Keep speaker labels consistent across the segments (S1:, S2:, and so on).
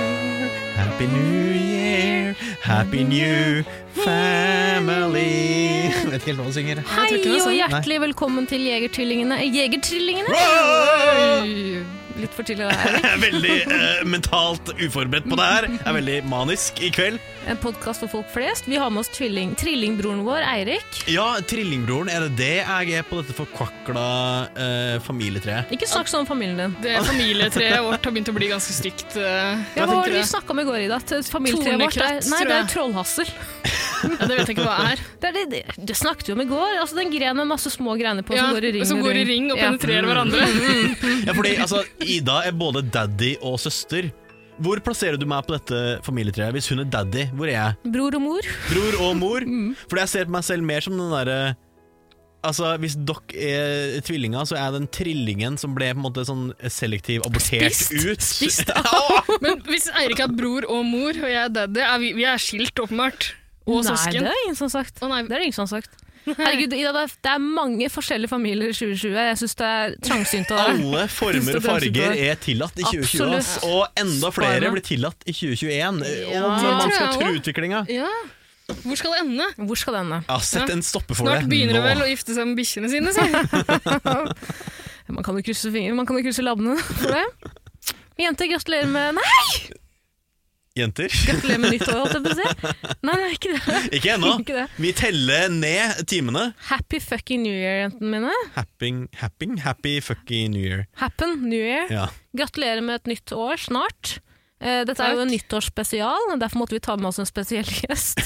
S1: Year, Happy New Year, Happy New Family. Jeg vet ikke helt hva du synger.
S2: Hei
S3: tror ikke det er
S2: og
S3: sånn.
S2: hjertelig velkommen til Jegertvillingene. Eh, Jegertrillingene? Oi, Litt for tidlig å være her.
S1: Jeg er veldig eh, mentalt uforberedt på det her. Jeg er veldig manisk i kveld.
S2: En podkast for folk flest. Vi har med oss tvilling, trillingbroren vår, Eirik.
S1: Ja, trillingbroren, er det det jeg er på dette forkvakla eh, familietreet?
S2: Ikke snakk sånn om familien din.
S3: Det familietreet vårt har begynt å bli ganske stygt. eh,
S2: Ja, hva
S3: jeg tenker
S2: var det vi
S3: det.
S2: snakka om i går, Ida? At Familietreet vårt er
S3: Tornekrøtt,
S2: Nei,
S3: tror
S2: det er
S3: jeg.
S2: trollhassel.
S3: Ja, det vet jeg ikke hva er.
S2: Det, er det, det, det snakket vi om i går. Altså Den grenen med masse små grener på
S3: Ja,
S2: som går i ring
S3: som går i ring og
S2: Ja. Mm,
S3: penetrerer hverandre.
S1: Ja, fordi altså, Ida er både daddy og søster. Hvor plasserer du meg på dette familietreet? Hvis hun er daddy, hvor er jeg?
S2: Bror og mor.
S1: Bror og mor. Fordi jeg ser på meg selv mer som den derre Altså, Hvis dere er tvillinger, så er jeg den trillingen som ble på en måte sånn selektiv abortert
S2: Spist.
S1: ut.
S2: Spist
S1: av!
S2: mm.
S3: Men hvis Eirik er bror og mor, og jeg er daddy, er vi, vi er skilt åpenbart. Og
S2: nei,
S3: søsken.
S2: det er ingen som har sagt.
S3: Å, nei.
S2: Det er det ingen som har sagt. Herregud, Ida, det er- det er mange forskjellige familier i 2020. Jeg syns det er trangsynt av deg.
S1: Alle former og farger er tillatt i 2020. ass.
S2: Absolutt.
S1: Og enda
S2: Spare.
S1: flere blir tillatt i 2021.
S3: Ja.
S1: Om man
S3: Det tror
S1: skal
S3: jeg
S1: tro
S3: også.
S1: utviklinga.
S3: Ja. Hvor skal det ende?
S2: Hvor skal den, da?
S1: Ja, sett en stopper for
S3: Snart begynner
S1: det
S3: det vel å gifte seg med bikkjene sine, si.
S2: Man kan jo krysse fingre, man kan jo krysse labbene for det. Jenter, gratulerer med Nei,
S1: Jenter.
S2: gratulerer med nytt år, holdt jeg på å si. Nei, nei, ikke det.
S1: Ikke ennå.
S2: Ikke det.
S1: Vi teller ned timene.
S2: Happy fucking new year, jentene mine.
S1: Happing, happing, happy fucking new year.
S2: Happen new year.
S1: Ja.
S2: Gratulerer med et nytt år snart. Eh, Dette er jo en nyttårsspesial, derfor måtte vi ta med oss en spesiell gjest.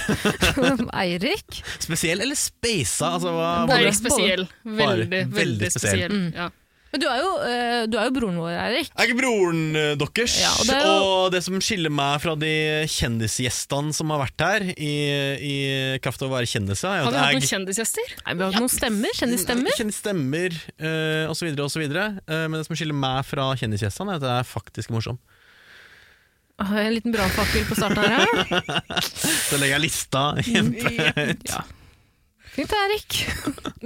S2: Eirik.
S1: Spesiell eller speisa? Altså, hva,
S3: Det
S1: hvor-
S3: er ikke spesiell.
S1: Bare
S3: Veldig,
S1: veldig
S3: veldig
S1: spesiell.
S3: spesiell.
S2: Mm.
S3: Ja.
S2: Men du er jo, eh, du er jo broren vår, Eirik.
S1: Jeg er ikke broren eh, deres,
S2: Ja,
S1: og,
S2: og
S1: det
S2: det er jo-
S1: som skiller meg fra de kjendisgjestene som har vært her, i, i kraft av å være kjendiser, er jo
S3: Har vi hatt
S1: at
S3: noen
S1: jeg
S3: kjendisgjester?
S2: Nei, Vi har hatt noen stemmer, kjendisstemmer.
S1: kjenner stemmer, eh, og så videre, og så videre. Eh, men det som skiller meg fra kjendisgjestene, er at jeg er faktisk morsom.
S2: Åh, En liten brannfakkel på starten her. ja.
S1: Så legger jeg lista igjen.
S2: Ja. Mm. Fint, Eirik.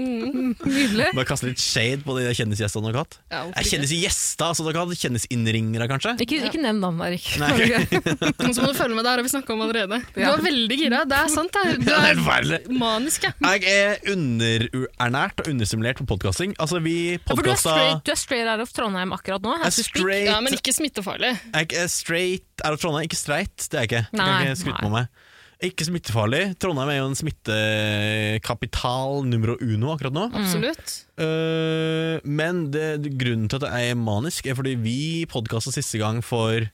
S2: Nydelig.
S1: Bare kaste litt shade på de kjendisgjestene dere har hatt.
S3: Ja, hvorfor
S1: Jeg
S3: ikke?
S1: kjennes gjester, altså dere har hatt kjendisinnringere, kanskje?
S2: Ikke, ikke nevn navn, Eirik.
S1: Nei.
S3: Men så må du følge med, det her har vi snakka om allerede. Du
S2: Ja.
S3: er veldig gira, det er sant. det er-
S1: Ja,
S3: Du
S1: det er
S3: er
S1: forferdelig.
S3: manisk, ja.
S1: Jeg er underernært og understimulert på podcasting. Altså, vi
S2: Ja, for du er,
S1: podcasta
S2: straight, du er straight out of Trondheim akkurat nå.
S1: Jeg
S2: Her
S1: er
S2: skal du spik-
S1: straight
S3: Ja, men ikke smittefarlig.
S2: Mm.
S1: Jeg er straight Er det Trondheim? Ikke streit, det er jeg ikke. Det
S2: Nei,
S1: kan jeg ikke skryte
S2: nei.
S1: på meg. Ikke smittefarlig. Trondheim er jo en smittekapital numero uno akkurat nå.
S3: Absolutt.
S1: Eh, men det, grunnen til at jeg er manisk, er fordi vi podkasta siste gang for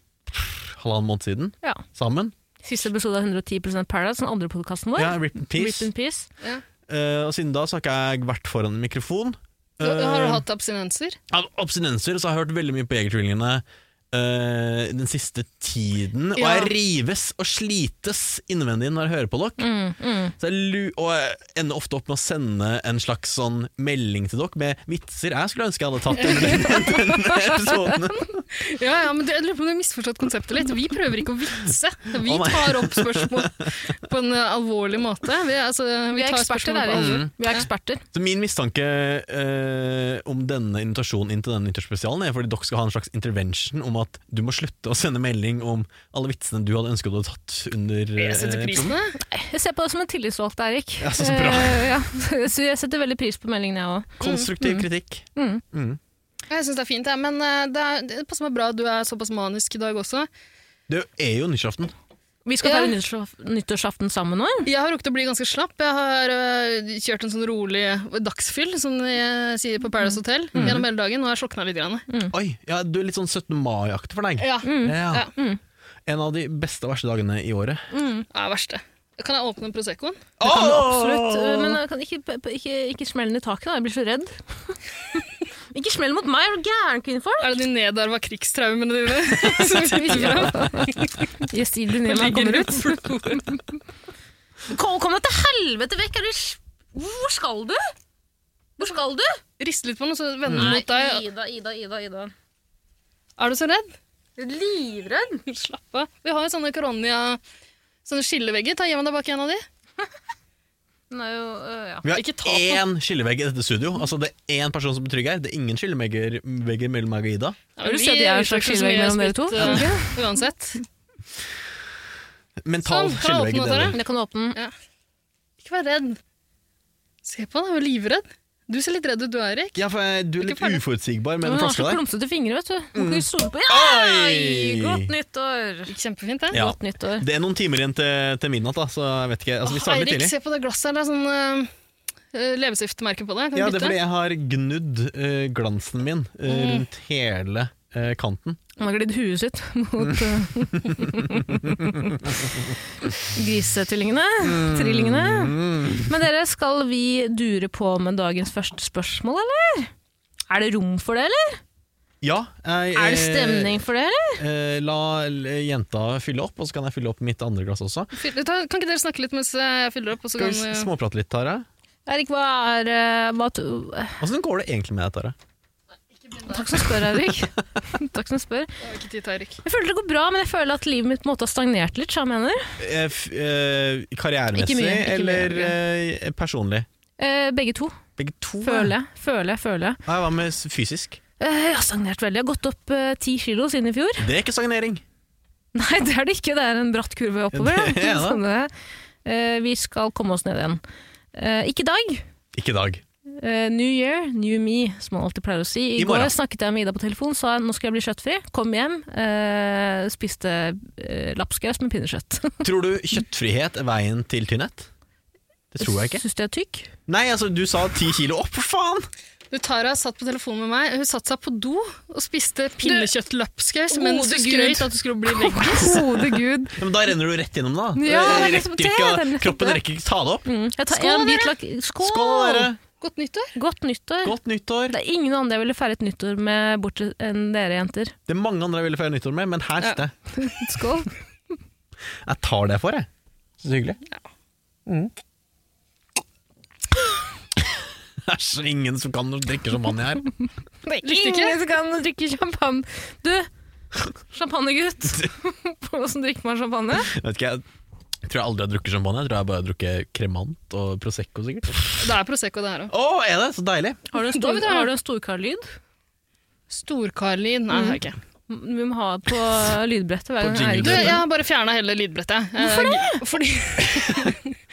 S1: halvannen måned siden.
S2: Ja.
S1: Sammen.
S2: Siste episode av 110 Paradise, den andre podkasten vår.
S1: Ja, Rip in
S2: Rip
S1: peace.
S2: in peace.
S1: Eh, og siden da så har ikke jeg vært foran en mikrofon. Eh,
S3: Du- Har du hatt abstinenser?
S1: Av abstinenser så har jeg hørt veldig mye på Jegertvillingene eh, den siste tiden. Og
S3: Ja.
S1: jeg rives og slites innvendig når jeg hører på dere.
S3: Mm,
S1: Så jeg lu og jeg ender ofte opp med å sende en slags sånn melding til dere med vitser jeg skulle ønske jeg hadde tatt under den, den episoden.
S3: Ja, ja, men det- Jeg lurer på om du har misforstått konseptet litt. Vi prøver ikke å vitse. Vi
S1: Å, nei.
S3: tar opp spørsmål på en eh, alvorlig måte. Vi, er, altså, vi
S2: Vi er
S3: tar
S2: eksperter,
S3: spørsmål på alvor.
S1: Mm.
S2: Eirik. Vi er eksperter.
S1: Så min mistanke eh, om denne invitasjonen inn til denne nyttårsspesialen er fordi dere skal ha en slags intervention om at du må slutte å sende melding om alle vitsene du hadde ønsket du hadde tatt under
S3: Jeg setter
S1: eh,
S3: pris på det.
S2: Jeg ser på deg som en tillitsvalgt, Eirik.
S1: Ja, så- så bra.
S2: Eh, ja. Så jeg setter veldig pris på meldingen, jeg
S3: Mm,
S2: òg.
S1: konstruktiv kritikk.
S3: Jeg syns det er fint, jeg. Men eh, det, er, det passer meg bra at du er såpass manisk i dag også.
S1: Det er jo nyttårsaften.
S2: Vi skal feire
S3: Ja.
S2: nyttårsaf- nyttårsaften sammen nå.
S3: Jeg har rukket å bli ganske slapp. Jeg har øh, kjørt en sånn rolig dagsfyll, som jeg sier på Paradise Hotel,
S1: Mm.
S3: gjennom hele dagen. og jeg slokna litt. Grann.
S1: Oi, ja, du er litt sånn 17. mai-aktig for deg.
S3: Mm. Ja, mm.
S1: Ja.
S3: Ja.
S1: En av de beste og verste dagene i året.
S3: det er verste. Kan jeg åpne Proseccoen?
S2: Det
S3: eh,
S2: eh, kan du absolutt. Eh, Men jeg kan ikke, ikke, ikke smell den i taket, da. Jeg blir så redd. Ikke smell mot meg, er du gæren kvinnfolk?
S3: Er det de nedarva krigstraumene dine som virker fram?
S2: Jessil Dunema kommer ut. Kom, kom deg til helvete vekk! Er du s- Hvor skal du? Hvor skal du?
S3: Riste litt på den, og så vende den mot deg.
S2: Ida, Ida, Ida. Ida.
S3: Er du så redd?
S2: Livredd?
S3: Slapp av. Vi har jo sånne koronia... Sånne skillevegger. Ta Gi meg tilbake en av de.
S2: Den er jo øh, ja.
S1: Vi har
S3: Ikke ta på-
S1: én skillevegg i dette studio. Altså Det er én person som er trygg her. Det er ingen skillevegger vegger mellom meg og Ida.
S3: Ja,
S2: Har du
S3: vi
S2: sett at jeg er en slags
S3: uttrykker så
S2: skillevegg
S3: mye
S2: mellom dere to?
S3: spytt,
S2: Er det
S3: eh, Uansett.
S1: Mental
S3: Sånn, kan jeg
S1: skillevegg.
S3: åpne
S1: det er
S3: dere?
S1: det.
S2: Men jeg kan åpne den.
S3: Ikke vær redd. Se på han, han er jo livredd. Du ser litt redd ut, du, Erik.
S1: Ja, for eh, du er
S3: Ikke
S1: litt
S3: ferdig.
S1: uforutsigbar med
S2: Den
S1: den
S2: har så
S1: flaska der. Mm.
S2: klumsete fingre, vet du. Må ikke stole på
S1: Oi!
S2: Oi! Godt nyttår!
S3: Gikk kjempefint, det.
S1: Ja.
S2: Godt nyttår.
S1: Det er noen timer igjen til, til midnatt, da, så jeg vet ikke. Altså, vi
S3: Åh,
S1: starter litt
S3: Eirik,
S1: tidlig.
S3: se på det glasset her. Det er sånn uh, leppestiftmerke på det. Kan du
S1: Ja, det er
S3: bytte? Mm.
S1: fordi jeg har gnudd eh, glansen min eh, rundt hele eh, kanten.
S2: Han har glidd huet sitt mot øh, Grisetvillingene.
S1: Mm.
S2: Trillingene.
S3: Mm.
S2: Men dere, skal vi dure på med dagens første spørsmål, eller? Er det rom for det, eller?
S1: Ja, jeg,
S2: Er det
S1: eh,
S2: stemning for det, eller?
S1: eh, la l- jenta fylle opp, og så kan jeg fylle opp mitt andre glass også.
S3: Fyll- ta- Kan ikke dere snakke litt mens jeg fyller opp? Og så
S1: Skal
S3: kan,
S1: vi s-
S3: vi-
S1: småprate litt, Tara?
S2: Erik, hva er øh, hva to-
S1: Åssen går det egentlig med deg, Tara?
S2: Takk som spør, Erik. Takk som spør.
S3: Jeg har eh, ikke tid til Eirik.
S2: Jeg føler det går bra, men jeg føler at livet mitt på en måte har stagnert litt, så jeg mener.
S1: Eh, f- eh, karrieremessig
S2: Ikke mye, ikke mye,
S1: eller
S2: ja.
S1: eh, personlig?
S2: Eh, begge to.
S1: Begge to.
S2: Føler jeg, føler jeg, føler jeg.
S1: ja. Ja, Hva med s- fysisk?
S2: Eh, jeg har stagnert veldig. Jeg har gått opp eh, ti kilo siden i fjor.
S1: Det er ikke stagnering.
S2: Nei, det er det ikke. Det er en bratt kurve oppover.
S1: Ja, det er det.
S2: Sånn det er. Eh, vi skal komme oss ned igjen. Eh, ikke i dag.
S1: Ikke i dag.
S2: Eh, new year, new me, som man alltid pleier å si. I,
S1: I morgen.
S2: går snakket jeg med Ida på telefon, sa nå skal jeg bli kjøttfri. Kom hjem, eh, spiste eh, lapskaus med pinnekjøtt.
S1: Tror du kjøttfrihet er veien til tynnhet? Det tror jeg ikke.
S2: Syns du jeg er tykk?
S1: Nei, altså, du sa ti kilo opp, for faen!
S3: Du, Tara satt på telefonen med meg. Hun satte seg på do og spiste pinnekjøttlapskaus
S2: Du-
S3: mens du
S2: Gode
S3: skrøt
S2: Gud.
S3: at du skulle bli vegg.
S2: Gode gud.
S1: Ja, men da renner du rett gjennom, da.
S2: Ja,
S1: Eh,
S2: det
S1: rekker
S2: er liksom- det
S1: ikke,
S2: er nettopp
S1: kroppen
S2: det.
S1: rekker ikke ta det opp.
S2: Mm. Jeg tar
S3: Skål,
S2: en bit lak Skål!
S1: Skål, dere!
S3: Godt nyttår.
S2: Godt nyttår.
S1: Godt nyttår.
S2: Det er ingen andre jeg ville feiret nyttår med bort enn dere jenter.
S1: Det er mange andre jeg ville feire nyttår med, men her
S3: Ja.
S1: sitter jeg.
S2: Skål.
S1: Jeg tar det for, jeg. Så hyggelig. Mm. Det er så ingen som kan drikke champagne her.
S3: Likte ikke?
S2: Ingen som kan drikke champagne. Du, champagnegutt. Hvordan drikker man champagne?
S1: Jeg vet ikke, jeg tror jeg aldri har drukket champagne. Jeg tror jeg bare har drukket kremant og Prosecco, sikkert. Å,
S3: Det er Prosecco, det her òg.
S1: er det? Så deilig.
S2: Har du en,
S3: Da vet
S2: stor,
S3: jeg.
S2: har du en storkarlyd?
S3: Storkarlin. Nei, det har jeg ikke.
S2: Vi må ha på lydbrettet
S1: På
S2: hver gang Eirik
S3: Du,
S1: jingle.
S3: jeg
S2: gjør det.
S3: har bare fjerna hele lydbrettet. Hvorfor det? Fordi,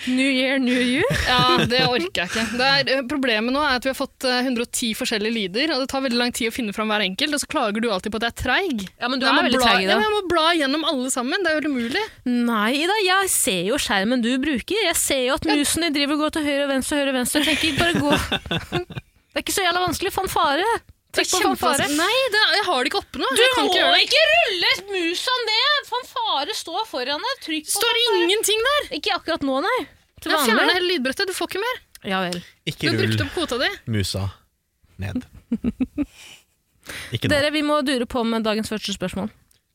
S2: New year, new you.
S3: ja, det orker jeg ikke. Det er, eh, problemet nå er at vi har fått eh, 110 forskjellige lyder, og det tar veldig lang tid å finne fram hver enkelt, og så klager du alltid på at jeg er treig.
S2: Ja, men du
S3: Jeg
S2: er
S3: må
S2: veldig
S3: bla-
S2: treig i
S3: Ja,
S2: det.
S3: men jeg må bla gjennom alle sammen. Det er jo helt umulig.
S2: Nei, Ida, jeg ser jo skjermen du bruker. Jeg ser jo at musen din driver og går til høyre og venstre og høyre og venstre. Jeg tenker, bare gå. Det er ikke så jævla vanskelig. Fanfare. Trykk på fanfare.
S3: Nei, det, jeg har det ikke oppe nå.
S2: Du
S3: jeg kan
S2: må
S3: ikke gjøre det.
S2: ikke rulle musa ned! Fanfare står foran deg. Trykk på
S3: Står det ingenting der?
S2: Ikke akkurat nå, nei. Til
S3: Jeg fjerna
S2: vanlig.
S3: hele lydbrettet. Du får ikke mer.
S2: Ja vel.
S3: Du
S1: Ikke
S3: har
S1: rull
S3: brukt opp kvota di.
S1: musa ned. Ikke nå.
S2: Dere, vi må dure på med dagens første spørsmål.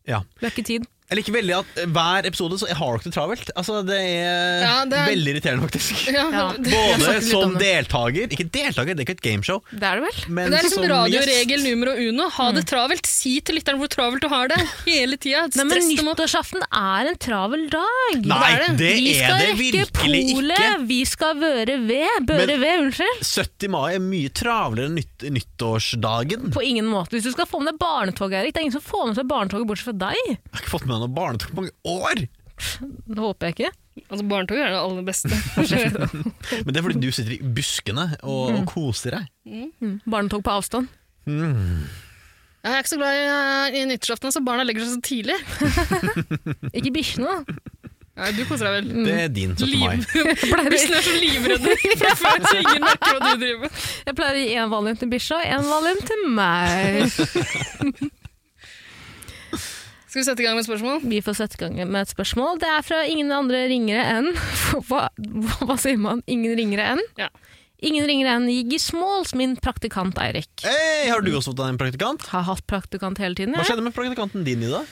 S1: Ja.
S2: Vi har ikke tid.
S1: Jeg liker veldig at eh, hver episode så har dere det travelt. Altså, det er,
S3: Ja, det er-
S1: veldig irriterende, faktisk.
S3: Ja.
S2: Ja.
S3: Det
S1: Både
S2: snakket litt om
S1: som deltaker Ikke deltaker, det er ikke et gameshow.
S2: Det er det vel?
S1: Men
S3: det er liksom
S1: som
S3: radioregel
S1: sånn gjest.
S3: numero uno. Ha det travelt. Si til lytteren hvor travelt du har det. Hele tida.
S2: Mm. Nei, men
S3: Stress dem opp.
S2: Nyttårsaften er en travel dag.
S1: Nei,
S3: Hva er det?
S1: det
S2: vi
S1: er
S2: skal
S1: det
S2: rekke
S1: virkelig ikke.
S2: Vi skal være ved. Børe
S1: Men-
S2: ved, unnskyld.
S1: 70. mai er mye travlere enn nytt, nyttårsdagen.
S2: På ingen måte. Hvis du skal få med deg barnetog, Erik, det er ingen som får med seg barnetoget bortsett fra deg.
S1: Jeg har ikke fått med meg noe barnetog på mange år!
S2: Det håper jeg ikke.
S3: Altså, Barnetog er det aller beste.
S1: Men det er fordi du sitter i buskene og,
S3: Mm.
S1: og koser deg.
S2: Mm. Barnetog på avstand.
S3: Jeg er ikke så glad i, i nyttårsaften, så barna legger seg så tidlig.
S2: Ikke bikkjene.
S3: Ja, du koser deg vel.
S1: Det er din 17. mai.
S3: Mm. Liv. Bussen er så livredde fra før, så ingen merker hva du driver med.
S2: Jeg pleier å gi én valium til bikkja og én valium til meg.
S3: Skal vi sette i gang med et spørsmål?
S2: Vi får sette i gang med et spørsmål. Det er fra ingen andre ringere enn Hva, hva, hva sier man? Ingen ringere enn?
S3: Ja.
S2: Ingen ringere enn Jiggy Smalls, min praktikant Eirik.
S1: Hei, har du også fått deg en praktikant?
S2: Har hatt praktikant hele tiden.
S1: Hva
S2: jeg.
S1: skjedde med praktikanten din, Ida?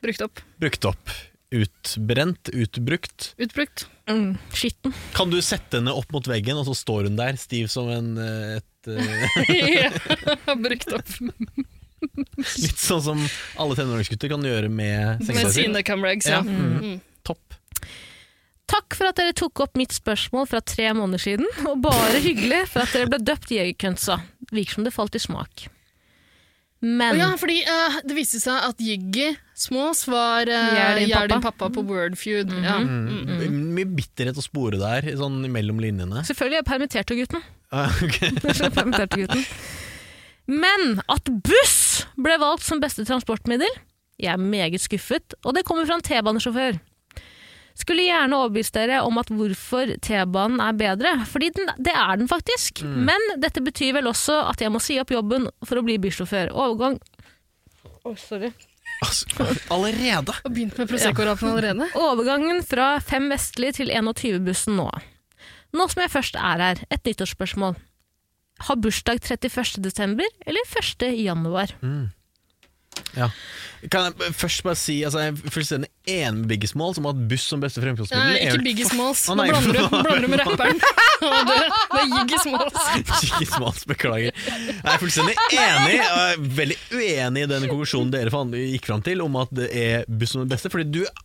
S3: Brukt opp.
S1: Brukt opp. Utbrent, utbrukt.
S3: Utbrukt.
S2: Mm, skitten.
S1: Kan du sette henne opp mot veggen, og så står hun der, stiv som en eh, et, eh,
S3: Ja, Brukt opp.
S1: Litt sånn som alle tenåringsgutter kan gjøre med
S3: Med
S1: sengetøyet sitt.
S3: sine camrags,
S1: Ja.
S3: ja.
S1: Mm.
S3: Mm.
S1: Topp.
S2: Takk for at dere tok opp mitt spørsmål fra tre måneder siden, og bare hyggelig for at dere ble døpt Jegerkønsa. Virker som det falt i smak. Men
S3: Og ja, fordi eh, det viste seg at Jiggy Smås var uh,
S2: Gjør din
S3: Gjør din
S2: pappa. Mhm.
S3: pappa på Wordfeud. ja. Mm.
S1: Mye bitterhet å spore der, sånn mellom linjene.
S2: selvfølgelig, jeg permitterte gutten.
S1: Ah, ok.
S2: Så permitterte gutten. Men at buss ble valgt som beste transportmiddel, jeg er meget skuffet, og det kommer fra en T-banesjåfør. Skulle gjerne overbevist dere om at hvorfor T-banen er bedre, fordi den, det er den faktisk. Men dette betyr vel også at jeg må si opp jobben for å bli bussjåfør. Overgang Å, sorry.
S1: Altså, allerede!
S3: Og begynt med Prosecco-rapen allerede.
S2: Overgangen fra 5 Vestlig til 21-bussen nå. Nå som jeg først er her, et nyttårsspørsmål. Ha bursdag 31. desember eller 1. januar?
S1: Ja. Kan jeg først bare si altså, Jeg er fullstendig enig med Biggie Small, som har hatt buss som beste fremkomstmiddel.
S3: Nei, ikke Biggie Smalls.
S1: Å,
S3: Nå
S1: nei.
S3: blander du, blander du med rapperen. Å, det, det er Jiggy Smalls.
S1: Biggie Smalls, beklager. Jeg er fullstendig enig, og jeg er veldig uenig i den konklusjonen dere faen gikk fram til, om at det er buss som er det beste, fordi du er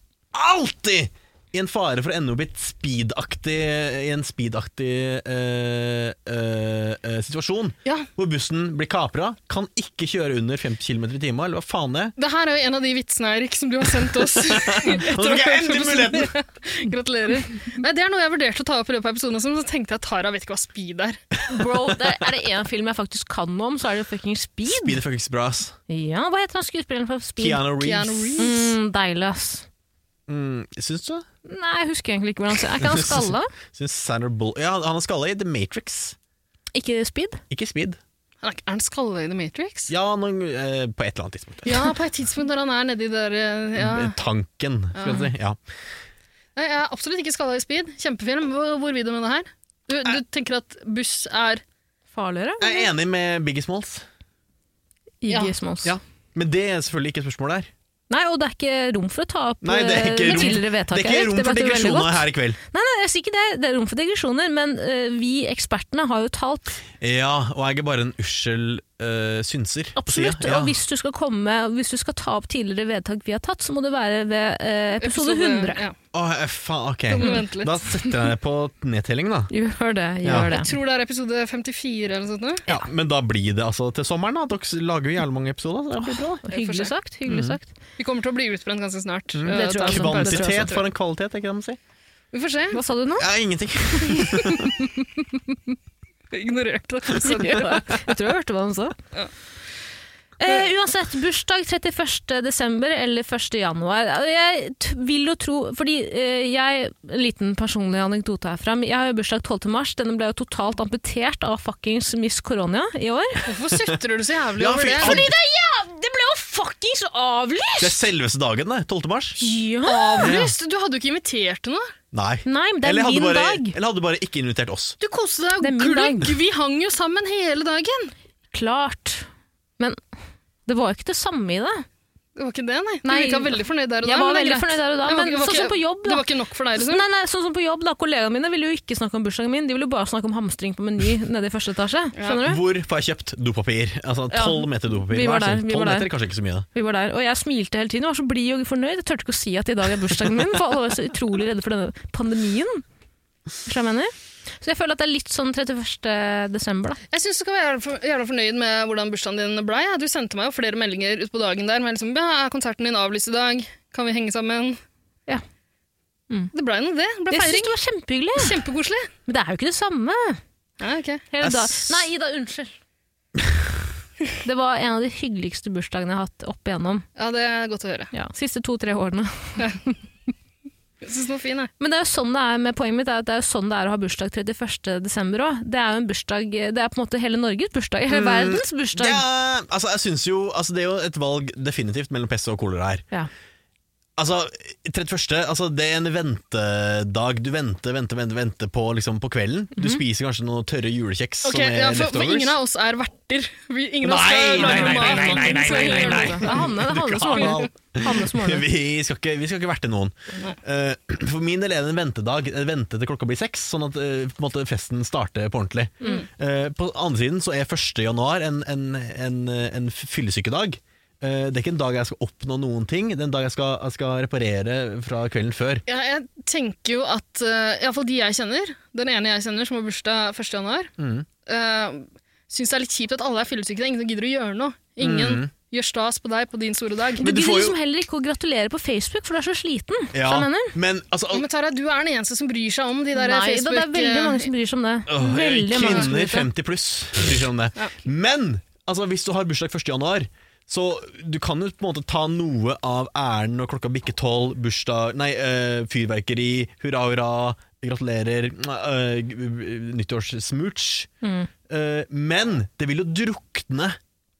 S1: alltid i en fare for å ende opp i, et speedaktig, i en speedaktig eh, eh, eh, situasjon.
S3: Ja.
S1: Hvor bussen blir kapra, kan ikke kjøre under 50 km i timen, eller hva faen det er.
S3: Det her er jo en av de vitsene Erik, som du har sendt oss.
S1: Nå fikk jeg endelig muligheten!
S3: Gratulerer. Nei, det er noe jeg vurderte å ta opp i løpet av episoden, også, men så tenkte jeg Tara vet ikke hva speed er.
S2: Bro, det er det én film jeg faktisk kan noe om, så er det fucking Speed.
S1: Speed er fuckings bra, ass.
S2: Ja, Hva heter han skuespilleren for Speed?
S1: Keanu Reeves.
S3: Keanu Reeves.
S2: Mm, deilig, ass.
S1: Mm, syns du?
S2: Nei, jeg husker egentlig ikke hvordan han ser Er ikke han skalla?
S1: Syns Sandra Bull Ja, han er skalla i The Matrix,
S2: Ikke Speed?
S1: ikke Speed.
S3: Er han- er han skalle i The Matrix?
S1: Ja, noen, eh, på et eller annet tidspunkt.
S3: Ja, på et tidspunkt når han er nedi der eh, ja.
S1: Tanken, skal jeg si. Ja.
S3: Nei, Jeg er absolutt ikke skalla i speed. Kjempefilm. Hvor, hvor vil du med det her? Du, du tenker at buss er
S2: Farligere?
S1: Jeg er enig med Biggie Smalls,
S2: Iggy
S3: Ja.
S2: Smalls.
S1: Ja. men det er selvfølgelig ikke spørsmålet her.
S2: Nei, og det er ikke rom for å ta opp
S1: Nei, det er ikke
S2: eh,
S1: rom-
S2: tidligere
S1: Det
S2: vedtak.
S1: er ikke
S2: Erik.
S1: rom for
S2: vet du veldig
S1: digresjoner
S2: godt.
S1: her i kveld.
S2: Nei, nei, jeg sier ikke det. Det er rom for digresjoner, men eh, vi ekspertene har jo talt.
S1: Ja, og jeg er bare en ussel eh, synser. på
S2: Absolutt.
S1: siden. Ja.
S2: Og hvis du skal komme, hvis du skal ta opp tidligere vedtak vi har tatt, så må det være ved eh, episode 100.
S3: Ja.
S1: Åh, eh, faen, ok.
S3: Da må du vente litt.
S1: Da setter jeg på nedtelling, da.
S2: Gjør det,
S1: Ja.
S2: gjør det.
S3: Tror det er episode 54 eller noe sånt. nå.
S1: Ja, men da blir det altså til sommeren, da. Dere lager jo jævlig mange episoder. Så det blir bra. da.
S2: Hyggelig sagt.
S1: Mhm.
S2: hyggelig sagt.
S3: Vi kommer til å bli utbrent ganske snart.
S1: Mm.
S3: Eh,
S2: Det tror jeg
S3: ta en
S2: også.
S3: sånn pause.
S2: Det tror jeg
S1: Kvantitet for en kvalitet, er ikke det man sier?
S3: Vi får se.
S2: Hva sa du nå?
S1: Ja, ingenting.
S3: Jeg ignorerte det.
S2: Jeg tror jeg hørte hva han sa.
S3: Ja.
S2: Eh, uansett, bursdag 31. desember eller 1. januar. Altså, Jeg t vil jo tro Fordi eh, jeg En liten personlig anekdote herfra. men Jeg har jo bursdag 12. mars. Denne ble jo totalt amputert av fuckings Miss Koronia i år.
S3: Hvorfor sutrer du så jævlig
S1: Ja,
S3: over
S1: fy-
S3: det?
S1: Fordi
S2: det, ble jo fuckings avlyst!
S1: Det er selveste dagen, det. 12. mars.
S2: Ja!
S3: Avlyst? Du hadde jo ikke invitert til noe.
S1: Nei.
S2: Nei, men det er
S1: eller, hadde
S2: min
S1: bare,
S2: dag.
S1: eller hadde bare ikke invitert oss.
S3: Du koste
S2: Det er
S3: deg
S2: min
S3: og gløgg.
S2: dag.
S3: Vi hang jo sammen hele dagen.
S2: Klart. Men det var jo ikke det samme i det.
S3: Det var ikke det, nei. Du
S2: Nei.
S3: virka veldig fornøyd der og da.
S2: Jeg var
S3: men det er
S2: veldig
S3: greit.
S2: fornøyd der og da,
S3: Det var
S2: men
S3: ikke- det var
S2: sånn
S3: ikke-
S2: som på jobb,
S3: Det
S2: da.
S3: var ikke nok for deg, liksom.
S2: Nei, nei, sånn som på jobb da, Kollegaene mine ville jo ikke snakke om bursdagen min, de ville jo bare snakke om hamstring på Meny nede i første etasje. Skjønner du?
S1: Hvor får jeg kjøpt dopapir? Altså
S2: Ja.
S1: Tolv meter dopapir.
S2: Vi var
S1: Hva er det?
S2: der, vi
S1: 12
S2: var der.
S1: meter, kanskje ikke så mye. da.
S2: Vi var der, Og jeg smilte hele tiden, jeg var så blid og fornøyd. Jeg turte ikke å si at i dag er bursdagen min, for alle var så utrolig redde for denne pandemien. Skjønner du hva jeg mener? Så jeg føler at det er litt sånn 31. desember, da.
S3: Jeg syns du skal være jævla for- jævla fornøyd med hvordan bursdagen din ble. ja. Du sendte meg jo flere meldinger utpå dagen der med liksom, ja, er konserten din avlyst i dag? Kan vi henge sammen?
S2: Ja. Mm.
S3: Det blei nå det. Det ble
S2: Jeg syns
S3: feiring.
S2: det var kjempehyggelig,
S3: Kjempekoselig.
S2: men det er jo ikke det samme.
S3: Ja, ok.
S2: Hele
S1: Jeg
S2: dag.
S1: s-
S2: Nei, Ida, unnskyld. Det var en av de hyggeligste bursdagene jeg har hatt opp igjennom.
S3: ja, det er godt å høre.
S2: Ja, siste to-tre årene.
S3: Jeg syns den var fin, jeg.
S2: Men det er jo sånn det er med poenget mitt, er at det er jo sånn det er å ha bursdag 31. desember òg. Det er jo en bursdag, det er på en måte hele Norges bursdag,
S1: Mm.
S2: hele verdens bursdag.
S1: Ja, altså, jeg synes jo, altså, det er jo et valg definitivt mellom pest og kolera her.
S2: Ja.
S1: Altså, 31. Altså, det er en ventedag. Du venter, venter, venter, venter på, liksom, på kvelden. Du
S2: Mhm.
S1: spiser kanskje noen tørre julekjeks som
S3: Ok,
S1: Sånn er
S3: ja, for, for
S1: leftovers.
S3: ingen av oss er verter. Vi, ingen av oss
S1: Nei,
S3: skal
S1: nei,
S3: lage
S1: nei,
S3: mat. liksom.
S1: nei, nei, nei,
S2: Så
S1: nei,
S2: gjør
S1: nei, nei.
S2: du Det Det er Hanne, det er Hanne som
S1: klarer
S2: ordner. Hanne som ordner.
S1: vi, skal ikke, vi skal ikke verte noen. Eh, for min del er det en ventedag. Eh, Vente til klokka blir seks, sånn at eh, på en måte festen starter på ordentlig.
S3: Mm.
S1: Eh, på andre siden så er 1. januar en, en, en, en fyllesykedag. Eh, det er ikke en dag jeg skal oppnå noen ting, det er en dag jeg skal, jeg skal reparere fra kvelden før.
S3: Ja, jeg tenker jo at eh, i hvert fall de jeg kjenner, den ene jeg kjenner som har bursdag 1. januar,
S1: Mhm.
S3: eh, syns det er litt kjipt at alle er fyllesyke. Det er Ingen som gidder å gjøre noe. Ingen gjør stas på deg på din store dag.
S2: Du
S1: Mm. Men du
S2: gidder
S1: får jo-
S2: liksom heller ikke å gratulere på Facebook, for du er så sliten.
S1: Ja,
S2: skjønner du?
S1: men altså,
S3: Ja, men Tara, du er den eneste som bryr seg om de der
S2: Nei, da,
S3: Facebook...
S2: det er veldig mange som bryr seg om det.
S1: eh, Åh,
S2: veldig mange som
S1: Kvinner
S2: bryr seg.
S1: 50 pluss bryr seg om det.
S3: Ja.
S1: Men altså, hvis du har bursdag 1. januar, så du kan jo på en måte ta noe av æren når klokka bikker tolv, bursdag, nei, eh, fyrverkeri, hurra, hurra, gratulerer, eh, g- b- nyttårssmooch.
S3: Mm.
S1: Eh, men det vil jo drukne.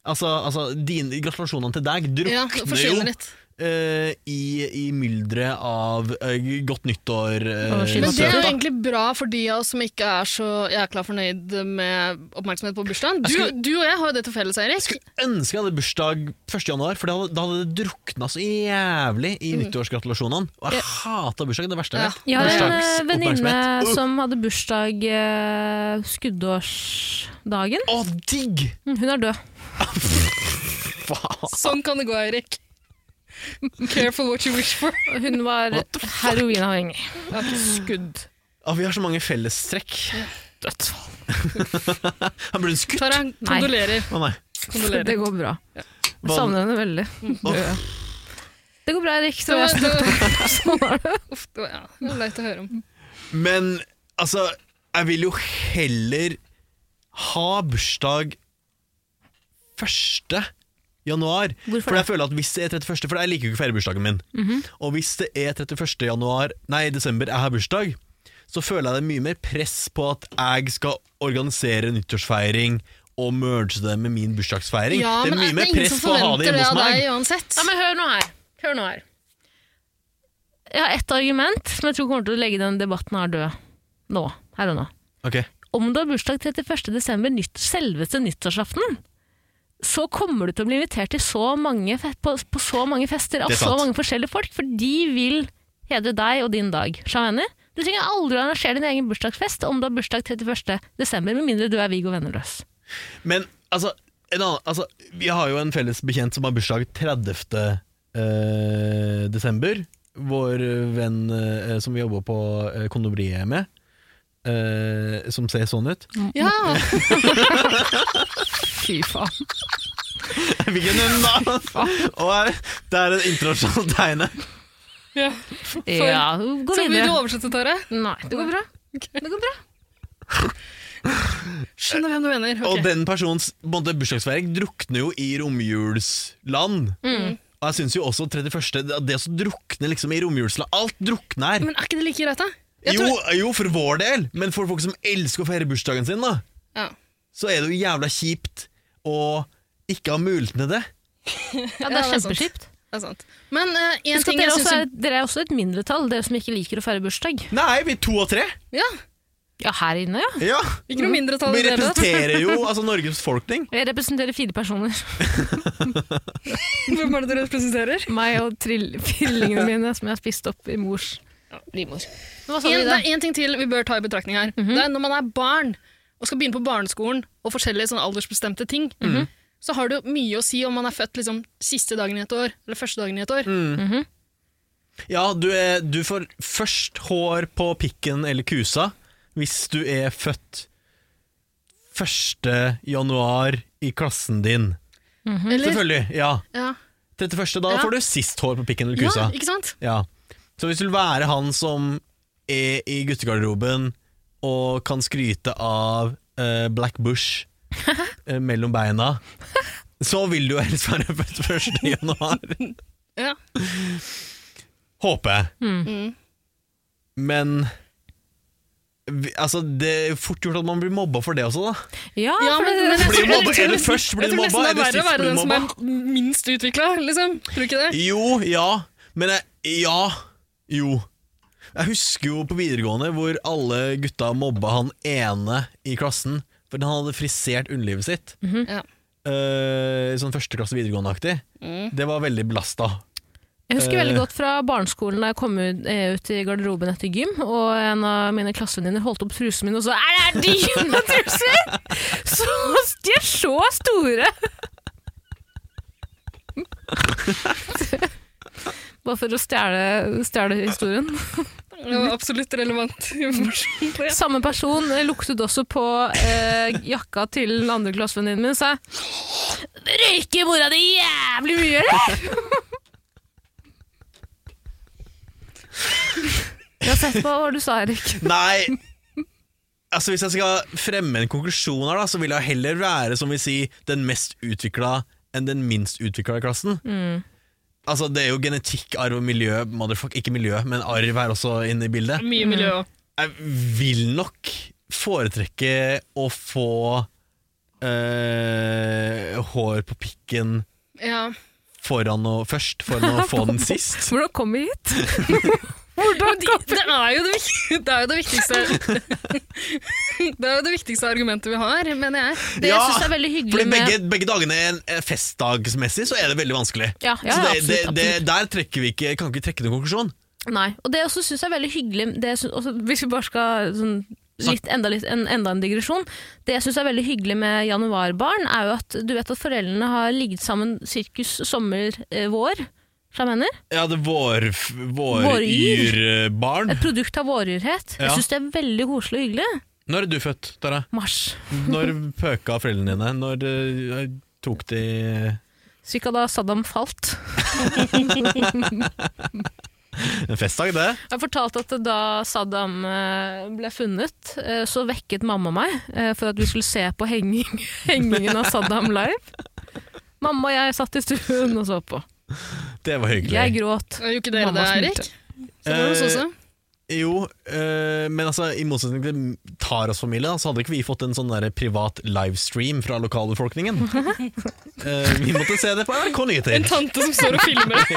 S1: Altså, altså dine gratulasjonene til deg
S3: eh, ja,
S1: drukner jo
S3: forsvinner litt.
S1: eh, i, i mylderet av eh, godt nyttår.
S2: Å, shit.
S1: Uh,
S3: Men det er jo
S2: søt, da.
S3: egentlig bra for de av oss som ikke er så jækla fornøyd med oppmerksomhet på bursdagen. Du,
S1: Jeg skulle-
S3: du og jeg har jo det til felles, Eirik.
S1: skulle ønske jeg hadde bursdag 1. januar, for da hadde, da hadde det drukna så jævlig i nyttårsgratulasjonene. Og jeg hata bursdag, det verste jeg vet.
S2: Mm. Jeg har en eh,
S1: Bursdags-
S2: venninne
S1: oppmerksomhet. Uh,
S2: som hadde bursdag eh, skuddårsdagen.
S1: Å, digg!
S2: Mm, Hun er død.
S1: Faen.
S3: Sånn kan det gå, Eirik. Careful what you wish for.
S2: Hun var heroinavhengig. Skudd.
S1: Å, vi har så mange fellestrekk.
S2: Dødsfall.
S1: Han ble skutt!
S3: Tara, kondolerer.
S1: Å nei.
S3: kondolerer.
S2: Det går bra.
S1: Hva-
S2: Jeg savner henne veldig. Død. Det går bra, Erik. Så jeg
S3: det, det,
S2: sånn var det.
S3: uff, det, var- ja, det var leit å høre om.
S1: Men altså, jeg vil jo heller ha bursdag 1. januar.
S2: Hvorfor
S1: for jeg føler at hvis det er 31. For jeg liker jo ikke å feire bursdagen min.
S3: Mhm.
S1: Og hvis det er 31. januar, nei, desember jeg har bursdag, så føler jeg det er mye mer press på at jeg skal organisere nyttårsfeiring og merge det med min bursdagsfeiring.
S3: Ja,
S1: det er
S3: men altså,
S1: mye mer
S3: ingen
S1: press
S3: som
S1: på å ha det
S3: forventer
S1: hjemme hos
S3: av
S1: meg.
S3: deg uansett.
S2: Ja, men hør nå her. Hør nå her. Jeg har ett argument som jeg tror kommer til å legge den debatten her død. Nå. Her og nå.
S1: Ok.
S2: Om du har bursdag 31. desember, nytt, selveste nyttårsaften, så kommer du til å bli invitert til så mange, fe- på, på så mange fester av
S1: Det er
S2: så
S1: sant.
S2: mange forskjellige folk, for de vil hedre deg og din dag. Skjønner du? Du trenger aldri å arrangere din egen bursdagsfest om du har bursdag 31. desember, med mindre du er Viggo Vennerløs.
S1: Men altså, en annen, altså Vi har jo en felles bekjent som har bursdag 30. eh, desember. Vår venn eh, som vi jobber på eh, kondomeriet med. eh, som ser sånn ut.
S3: Ja,
S2: Fy faen.
S1: Hvilken hund, da? Og er- det er et internasjonalt tegne.
S3: ja.
S2: Ja, gå
S3: Så vil du
S2: videre.
S3: oversette, Tara?
S2: Nei, det går bra. Det går bra.
S3: Skjønner hvem du mener. ok.
S1: Og den persons på en måte, bursdagsfeiring drukner jo i romjulsland.
S3: Mm.
S1: Og jeg syns jo også 31. Det, det å drukne liksom i romjulsland Alt drukner her.
S3: Men er ikke det like greit, da? Jeg
S1: Jo,
S3: tror-
S1: jo, for vår del, men for folk som elsker å feire bursdagen sin, da.
S3: Ja.
S1: så er det jo jævla kjipt å ikke ha muligheten til det.
S2: Ja,
S3: Ja,
S2: det er
S3: det er sant.
S2: kjempeskipt.
S3: Det er sant. Men eh, en
S2: Husk at
S3: ting
S2: dere,
S3: jeg
S2: også
S3: syns
S2: er, dere er også et mindretall, dere som ikke liker å feire bursdag.
S1: Nei, vi er to av tre.
S3: Ja,
S2: Ja, her inne, ja.
S1: Ja,
S3: ikke noe mindre tall
S1: Mm. Vi
S3: enn dere. da.
S1: representerer jo altså, Norges befolkning.
S2: Jeg representerer fire personer.
S3: Hvem er det du representerer?
S2: Meg og trill- tvillingene mine som jeg har spist opp i mors.
S3: Livmor.
S2: Hva sa du,
S3: En, det sånn Mhm.
S2: Ida?
S3: er en ting til vi bør ta i betraktning her. Det er Når man er barn og skal begynne på barneskolen og forskjellige sånne aldersbestemte ting, så har det jo mye å si om man er født liksom, siste dagen i et år eller første dagen i et år.
S1: Ja, du, er, du får først hår på pikken eller kusa hvis du er født 1. januar i klassen din.
S3: Eller?
S1: Selvfølgelig. Ja.
S3: Ja.
S1: 31. Da
S3: Ja.
S1: får du sist hår på pikken eller kusa.
S3: ja, ikke sant?
S1: Ja. Så hvis du vil være han som er i guttegarderoben og kan skryte av eh, Black Bush eh, mellom beina, så vil du jo helst være født 1. januar.
S3: Ja.
S1: Håper jeg.
S3: Mm.
S1: Men vi- altså, det er fort gjort at man blir mobba for det også, da.
S2: Ja,
S3: Ja,
S2: for
S3: men-
S2: det-
S3: men-
S2: det-
S1: Blir du
S3: Jeg tror-
S1: mobba? Er det først? Blir
S3: Jeg
S1: du
S3: tror
S1: mobba?
S3: nesten
S1: Er
S3: det er
S1: det
S3: verre å
S1: sist?
S3: være
S1: Blir du
S3: den som
S1: mobba?
S3: er minst utvikla, liksom. Tror du ikke det?
S1: Jo, ja. Men jeg, ja, jo. Jeg husker jo på videregående hvor alle gutta mobba han ene i klassen fordi han hadde frisert underlivet sitt.
S3: Ja.
S1: Eh, sånn første klasse videregående-aktig. Det var veldig belasta.
S2: Jeg husker
S1: Eh.
S2: veldig godt fra barneskolen da jeg kom ut, eh, ut i garderoben etter gym, og en av mine klassevenninner holdt opp trusene mine og sa Er det dine truser?! Så, de er så store! Bare for å stjele stjele historien.
S3: Det var absolutt relevant informasjon. på det.
S2: Samme person eh, luktet også på eh, jakka til den andre klassevenninnen min og sa Røyker mora di jævlig mye, eller? Jeg har sett på hva du sa, Erik.
S1: Nei! Altså Hvis jeg skal fremme en konklusjon her, da så vil jeg heller være som vi sier, den mest utvikla enn den minst utvikla i klassen. Altså Det er jo genetikk, arv og miljø, motherfuck, ikke miljø, men arv er også inne i bildet.
S3: Mye miljø òg.
S1: Jeg vil nok foretrekke å få eh, hår på pikken
S3: Ja.
S1: foran og først, foran å få den sist.
S2: Hvordan kom vi hit?
S3: Men de- Det er jo det, vik- det er jo det viktigste Det er jo det viktigste argumentet vi har, mener jeg.
S2: Det
S1: Ja,
S2: jeg syns er veldig hyggelig
S1: Fordi
S2: med
S1: begge, begge dagene er en- er festdagsmessig, så er det veldig vanskelig.
S2: Ja, ja,
S1: så det,
S2: absolutt,
S1: det, det,
S2: absolutt.
S1: der trekker vi ikke, kan vi ikke trekke noen konklusjon.
S2: Nei. Og det jeg også syns er veldig hyggelig det jeg synes, også, Hvis vi bare skal sånn, litt, enda, litt, en, enda en digresjon. Det jeg syns er veldig hyggelig med januarbarn, er jo at du vet at foreldrene har ligget sammen sirkus eh, sommer-vår. Som jeg mener.
S1: Ja, det vår, vår
S2: Våryr.
S1: yrbarn.
S2: Et produkt av våryrhet.
S1: Ja.
S2: Jeg syns det er veldig koselig og hyggelig.
S1: Når er du født, Tara?
S2: Mars.
S1: Når pøka foreldrene dine? Når eh, tok de
S2: Cirka da Saddam falt.
S1: en festdag, det?
S2: Jeg fortalte at da Saddam eh, ble funnet, eh, så vekket mamma meg eh, for at vi skulle se på henging, hengingen av Saddam live. Mamma og jeg satt i stuen og så på.
S1: Det var hyggelig.
S2: Jeg gråt.
S3: Gjorde ikke dere
S2: Mamma
S3: det, Erik?
S2: smilte.
S3: Så var det
S2: sånn
S3: hos oss også.
S1: Jo, eh, men altså, i motsetning til Taras familie, da, så hadde ikke vi fått en sånn der privat livestream fra lokalbefolkningen. Eh, vi måtte se det på NRK
S3: En
S1: Nyheter.
S3: tante som står og filmer.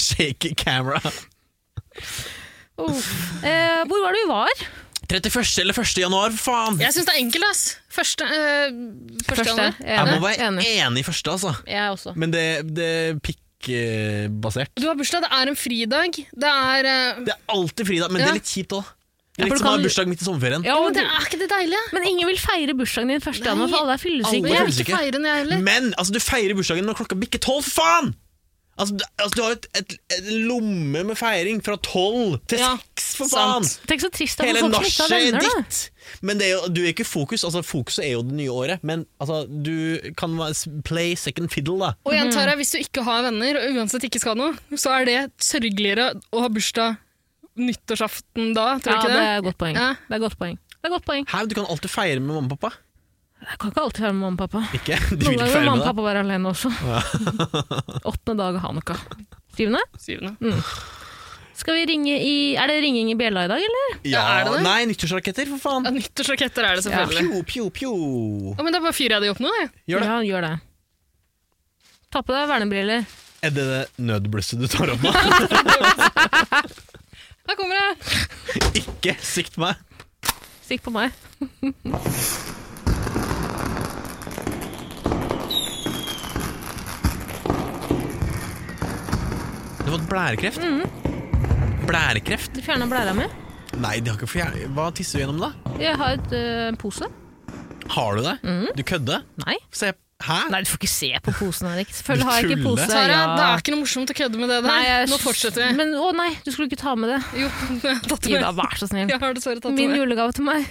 S1: Shake camera.
S2: Eh, hvor var det vi var?
S1: 31. eller 1. januar, for faen!
S3: Jeg syns det er enkelt, ass. Første, eh, første, gang.
S1: Jeg må
S2: Enig.
S1: være
S2: Enig.
S1: enig i første, altså.
S2: Jeg også.
S1: Men det, det er pikkbasert.
S3: Du har bursdag, det er en fridag. Det er eh,
S1: Det er alltid fridag, men det
S3: Ja.
S1: er litt kjipt òg. Det er
S2: Ja,
S1: litt som
S2: for du
S1: å ha
S2: kan-
S1: bursdag midt i sommerferien.
S2: Ja,
S3: Jo, men
S2: men,
S3: det er ikke det deilige.
S2: men ingen vil feire bursdagen din 1. januar, for alle er
S3: Men
S2: fyllesyke.
S1: Alle-
S3: jeg vil ikke
S1: føles ikke.
S3: feire den, jeg heller.
S1: Men altså, du feirer bursdagen når klokka bikker tolv, for faen! Altså, du, altså, du har jo et, et, et lomme med feiring fra tolv til
S3: Ja,
S1: seks, for faen!
S2: Tenk så trist det er
S1: Hele
S2: for folk som
S1: nachet
S2: ikke har
S1: er
S2: venner, da.
S1: ditt! Men det er jo, du er ikke fokus. Altså, fokuset er jo det nye året, men altså, du kan være- play second fiddle, da.
S3: Og igjen, Tara, hvis du ikke har venner, og uansett ikke skal noe, så er det sørgeligere å ha bursdag nyttårsaften da, tror
S2: Ja, det
S3: du ikke
S2: er et godt poeng.
S3: Ja.
S2: Det er et godt poeng. Det er et godt poeng.
S1: Hæ, du kan alltid feire med mamma og pappa.
S2: Jeg kan ikke alltid være med mamma og pappa.
S1: Ikke? Du vil ikke
S2: Noen ganger vil
S1: feire med
S2: mamma og
S1: deg.
S2: pappa være alene også. Åttende dag av hanukka. Syvende?
S3: det? Syvende.
S2: Skal vi ringe i Er det ringing i bjella i dag, eller?
S3: Ja, er det det?
S1: Nei, nyttårsraketter, for faen!
S3: Ja, nyttårsraketter er det selvfølgelig.
S1: Pjo, pjo, pjo.
S3: Ja, men da bare fyrer jeg de opp nå, jeg.
S1: Gjør det.
S2: Ja, gjør det. Ta på deg vernebriller.
S1: Er det det nødblusset du tar opp nå?
S3: Her kommer jeg.
S1: Ikke sikt meg.
S2: Stikk på meg.
S1: Du har fått blærekreft?
S2: Mm.
S1: Blærekreft?
S2: Du fjerna blæra mi.
S1: Nei, det har ikke fjern... Hva tisser du gjennom, da?
S2: Jeg har et øh, en pose.
S1: Har du det? Du kødder?
S2: Nei.
S1: Se, hæ?
S2: Mhm. Nei, du får ikke se på posen, Erik. Selvfølgelig har jeg ikke
S1: tuller.
S2: pose.
S3: Tara,
S2: Ja.
S3: det er ikke noe morsomt å kødde med det der.
S2: Nei, jeg-
S3: Nå fortsetter vi.
S2: Men, å nei, du skulle ikke ta med det.
S3: Jo, jeg har tatt det
S2: Ida,
S3: med.
S2: vær så snill.
S3: Jeg har dessverre tatt det
S2: Min
S3: med.
S2: julegave til meg.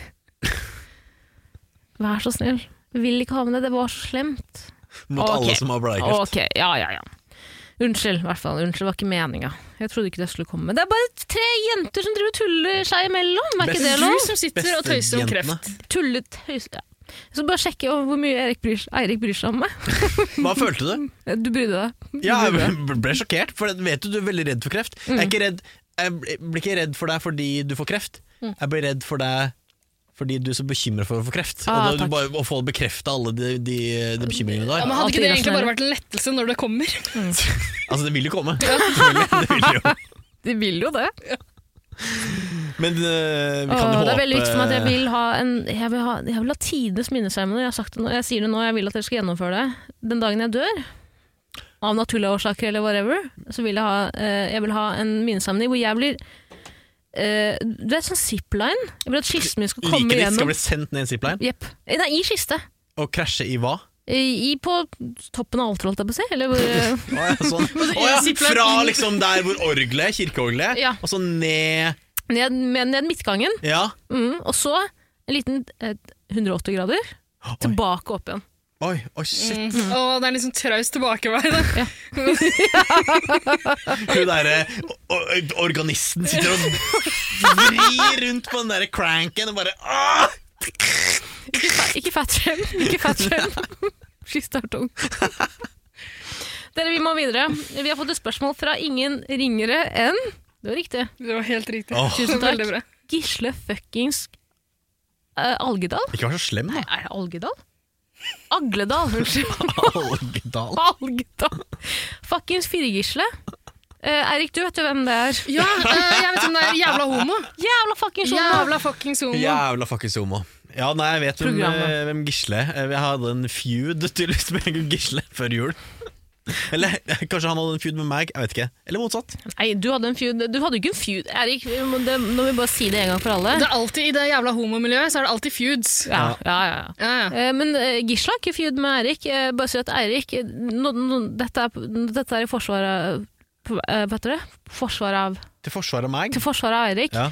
S2: Vær så snill. Vil ikke ha med det. Det var så slemt.
S1: Mot
S2: Ok.
S1: alle som har blærekreft.
S2: Ok, ja, ja, ja. Unnskyld, i hvert fall. Unnskyld, det var ikke meninga. Jeg trodde ikke det skulle komme. Men Det er bare tre jenter som driver og tuller seg imellom. Er ikke
S1: Best-
S2: det
S3: Du
S2: lov?
S3: som sitter og tøyser om
S1: Bestejentene.
S3: kreft.
S2: Tullet høyst... Ja. Jeg skal bare sjekke over hvor mye Erik bryr, Eirik bryr seg om meg.
S1: Hva følte du?
S2: Du brydde deg. Du Mhm.
S1: Ja,
S2: brydde
S1: jeg
S2: deg.
S1: ble- ble sjokkert, for jeg vet du du er veldig redd for kreft.
S2: Mm.
S1: Jeg, er ikke redd, jeg bl- blir ikke redd for deg fordi du får kreft. Jeg blir redd for deg Fordi du er så bekymra for å få kreft.
S2: Ah,
S1: og da,
S2: takk.
S1: du bare, å få bekrefta alle de, de, de bekymringene du
S3: Ja,
S1: har.
S3: men hadde
S2: Alt
S3: ikke det egentlig
S2: irrasjonelle.
S3: bare vært en lettelse når det kommer?
S1: Altså, det vil jo komme. Selvfølgelig, det vil jo.
S2: De vil jo det.
S1: Men eh, vi kan jo
S2: Åh,
S1: håpe
S2: det er veldig viktig for meg at jeg vil ha en Jeg vil ha, jeg vil ha tidenes minneseremoni. Jeg, har sagt det nå, jeg sier det nå, jeg vil at dere skal gjennomføre det. Den dagen jeg dør, av naturlige årsaker eller whatever, så vil jeg ha, eh, jeg vil ha en minneseremoni hvor jeg blir eh, Du vet sånn zipline? Jeg vil at kisten min skal komme
S1: Liket ditt skal
S2: gjennom.
S1: bli sendt ned i en zipline
S2: Jepp. Eh, Nei, i kiste.
S1: og krasje i hva?
S2: I, i- på toppen av alteret, holdt jeg på å si. Eller hvor eh,
S1: Å ja, sånn. Å ja, fra liksom der hvor orgelet er, kirkeorgelet,
S2: Ja.
S1: og så ned
S2: ned, med- ned midtgangen.
S1: Ja.
S2: Mm, og så en liten eh, 180 grader.
S1: Oi,
S2: Tilbake opp igjen.
S1: oi, oi shit.
S3: Mm.
S2: Mhm.
S3: Å, det er en liksom traust tilbakevei. Da.
S1: Hun derre o- o- organisten sitter og vrir rundt på den derre cranken og bare ah!
S2: Ikke, fa- ikke fat shame. Ikke fat shame. Skifte er tung. Dere, vi må videre. Vi har fått et spørsmål fra ingen ringere enn Det var riktig.
S3: Det var helt riktig.
S1: Åh.
S3: Tusen takk. Veldig bra.
S2: Gisle fuckings eh, Algedal?
S1: Ikke vær så slem,
S2: Nei, er det Algedal? Agledal, unnskyld.
S1: Algedal.
S2: Algedal. Fuckings Fire-Gisle. Eh, Eirik, du vet jo hvem det er.
S3: Ja, eh, jeg vet om det er jævla homo. Sånn
S2: Jævla fuckings homo!
S3: Jævla fuckings homo.
S1: Jævla fuckings homo. Ja, nei, jeg vet hvem,
S2: Programmet.
S1: eh, hvem Gisle er. Jeg hadde en feud tydeligvis med Gisle før jul. Eller kanskje han hadde en feud med meg, jeg vet ikke. Eller motsatt.
S2: Nei, du hadde en feud Du hadde jo ikke en feud, Eirik. vi må- det- Nå må vi bare si det en gang for alle.
S3: Det er alltid, I det jævla homomiljøet så er det alltid feuds.
S2: Ja, ja, ja, ja.
S3: Ja, ja.
S2: Eh, Men eh, Gisle har ikke feud med Eirik. Eh, Bare si at Eirik eh, nå- nå- dette, er- dette er i forsvar av på- eh, Vet dere? Forsvar av,
S1: Til forsvar av meg.
S2: til forsvar av Eirik.
S1: Ja.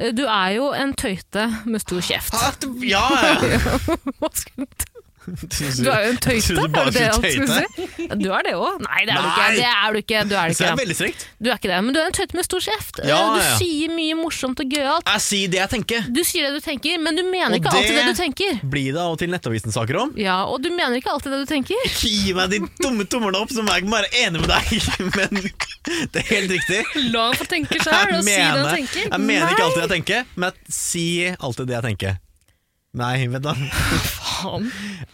S2: Eh, Du er jo en tøyte med stor kjeft.
S1: At, ja, ja.
S2: Hva skulle du- Du er jo en tøyte.
S1: Trodde du bare
S2: er det det
S1: skulle
S2: alt skulle
S1: tøyte?
S2: si? Ja, Du er det òg. Nei, det er du ikke.
S1: Nei!
S2: Det er du ikke. Du er, det
S1: Så jeg er
S2: ikke.
S1: veldig strengt.
S2: Du er ikke det. Men du er en tøyte med stor kjeft. Eh,
S1: Ja,
S2: Du
S1: ja.
S2: sier mye morsomt og gøyalt.
S1: Jeg sier det jeg tenker.
S2: Du sier det du tenker, men du mener
S1: Og
S2: ikke alltid det
S1: det-
S2: du tenker.
S1: Blir det av og til Nettavisen-saker om?
S2: Ja, og du mener ikke alltid det du tenker.
S1: Ikke Gi meg de dumme tommerne opp, så må jeg ikke være enig med deg. Men det er helt riktig.
S3: La han få tenke sjøl og si det han tenker.
S1: jeg mener ikke alltid jeg tenker, men jeg sier alltid det jeg tenker. Nei, vent da.
S2: Faen.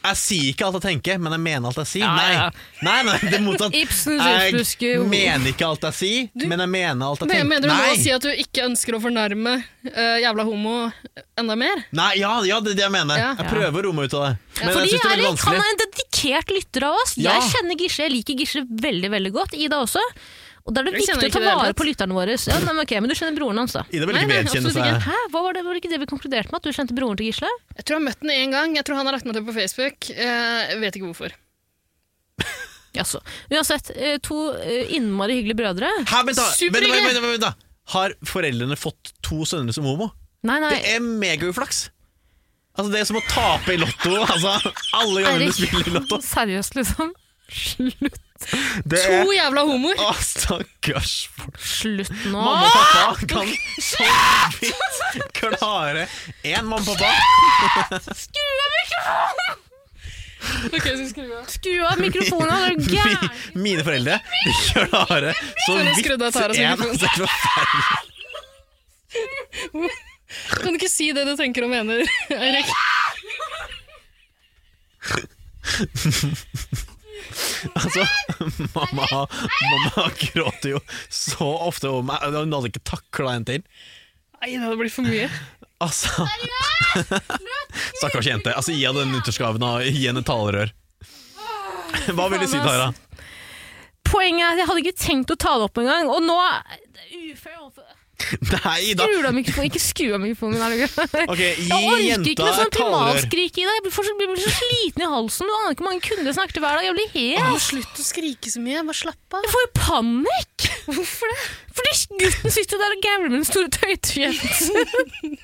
S1: Jeg sier ikke alt jeg tenker, men jeg mener alt jeg sier.
S2: Ja,
S1: nei.
S2: ja.
S1: nei, nei, det er motsatt.
S2: Ibsens utfluske
S1: Jeg
S2: ord.
S1: mener ikke alt jeg sier, men jeg mener alt jeg
S3: Men,
S1: tenker.
S3: mener du nå
S1: nei.
S3: å si at du ikke ønsker å fornærme eh, jævla homo enda mer?
S1: nei, ja, ja, det er det jeg mener.
S3: Ja.
S1: Jeg prøver å romme ut av det. Men
S2: Fordi
S1: jeg synes det er veldig
S2: Erik, han
S1: vanskelig.
S2: er en dedikert lytter av oss.
S1: Ja.
S2: Jeg kjenner Gisle, jeg liker Gisle veldig veldig godt. Ida også. Og da er det
S3: Jeg kjenner
S2: viktig å ta
S3: ikke det
S2: vare
S3: helt.
S2: på lytterne våre. Ja, nei, men, ok, men du kjenner broren hans, da.
S1: Ida vil ikke
S3: Nei, nei,
S1: vedkjenne
S2: Absolutt ikke.
S1: seg
S2: Hæ? Hva var, det, var det ikke det vi konkluderte med? At du kjente broren til Gisle?
S3: Jeg tror jeg har møtt den én gang. Jeg tror han har lagt meg til på Facebook. Eh, Jeg vet ikke hvorfor.
S2: Jaså. Uansett, eh, to eh, innmari hyggelige brødre.
S1: Hæ, vent da, vent, vent,
S3: Superhyggelig.
S1: vent, vent, vent da. Har foreldrene fått to sønner som homo?
S2: Nei, nei.
S1: Det er megauflaks. Altså, det er som å tape i lotto. Altså, alle gangene du spiller i
S2: Eirik,
S1: lotto.
S2: seriøst, liksom. Slutt.
S1: Det er
S3: To jævla homoer!
S1: Å, stakkars folk.
S2: Slutt nå.
S1: Mamma og
S3: Ah!
S1: pappa kan så vidt klare én mamma og pappa.
S2: Skru av mikrofonen!
S3: Ok, så skru av.
S2: Skru av mikrofonen, er du gæren?
S1: Mi- Mine foreldre de klarer så
S3: Sorry,
S1: vidt
S3: skrudde jeg Tara sin
S1: én.
S3: mikrofon.
S1: Altså, det er forferdelig.
S3: Kan du ikke si det du tenker og mener, Eirik?
S1: Altså, mamma, mamma gråter jo så ofte over meg. Hun hadde ikke takla en til.
S3: Nei, det hadde blitt for mye.
S1: Altså Stakkars jente. Altså, Gi henne den nyttårsgaven og gi henne et talerør. Hva vil du si, Tara?
S2: Poenget er at jeg hadde ikke tenkt å ta det opp engang, og nå det er ufør overfor
S1: Nei da!
S2: Skru av mikrofonen, ikke skru av mikrofonen. Er det gøy?
S1: Ok, Gi
S2: Jeg orker ikke
S1: jenta
S2: med sånn
S1: et talerør.
S2: primalskrik i deg. Jeg blir, for, jeg blir så sliten i halsen. Du aner ikke hvor mange kunder jeg snakker til hver dag. Jeg blir
S3: Åh,
S2: helt
S3: slutt å skrike så mye. Bare slapp av.
S2: Jeg får jo panikk! Hvorfor det? Fordi gutten sitter der og gambler med den store tøytefjesen.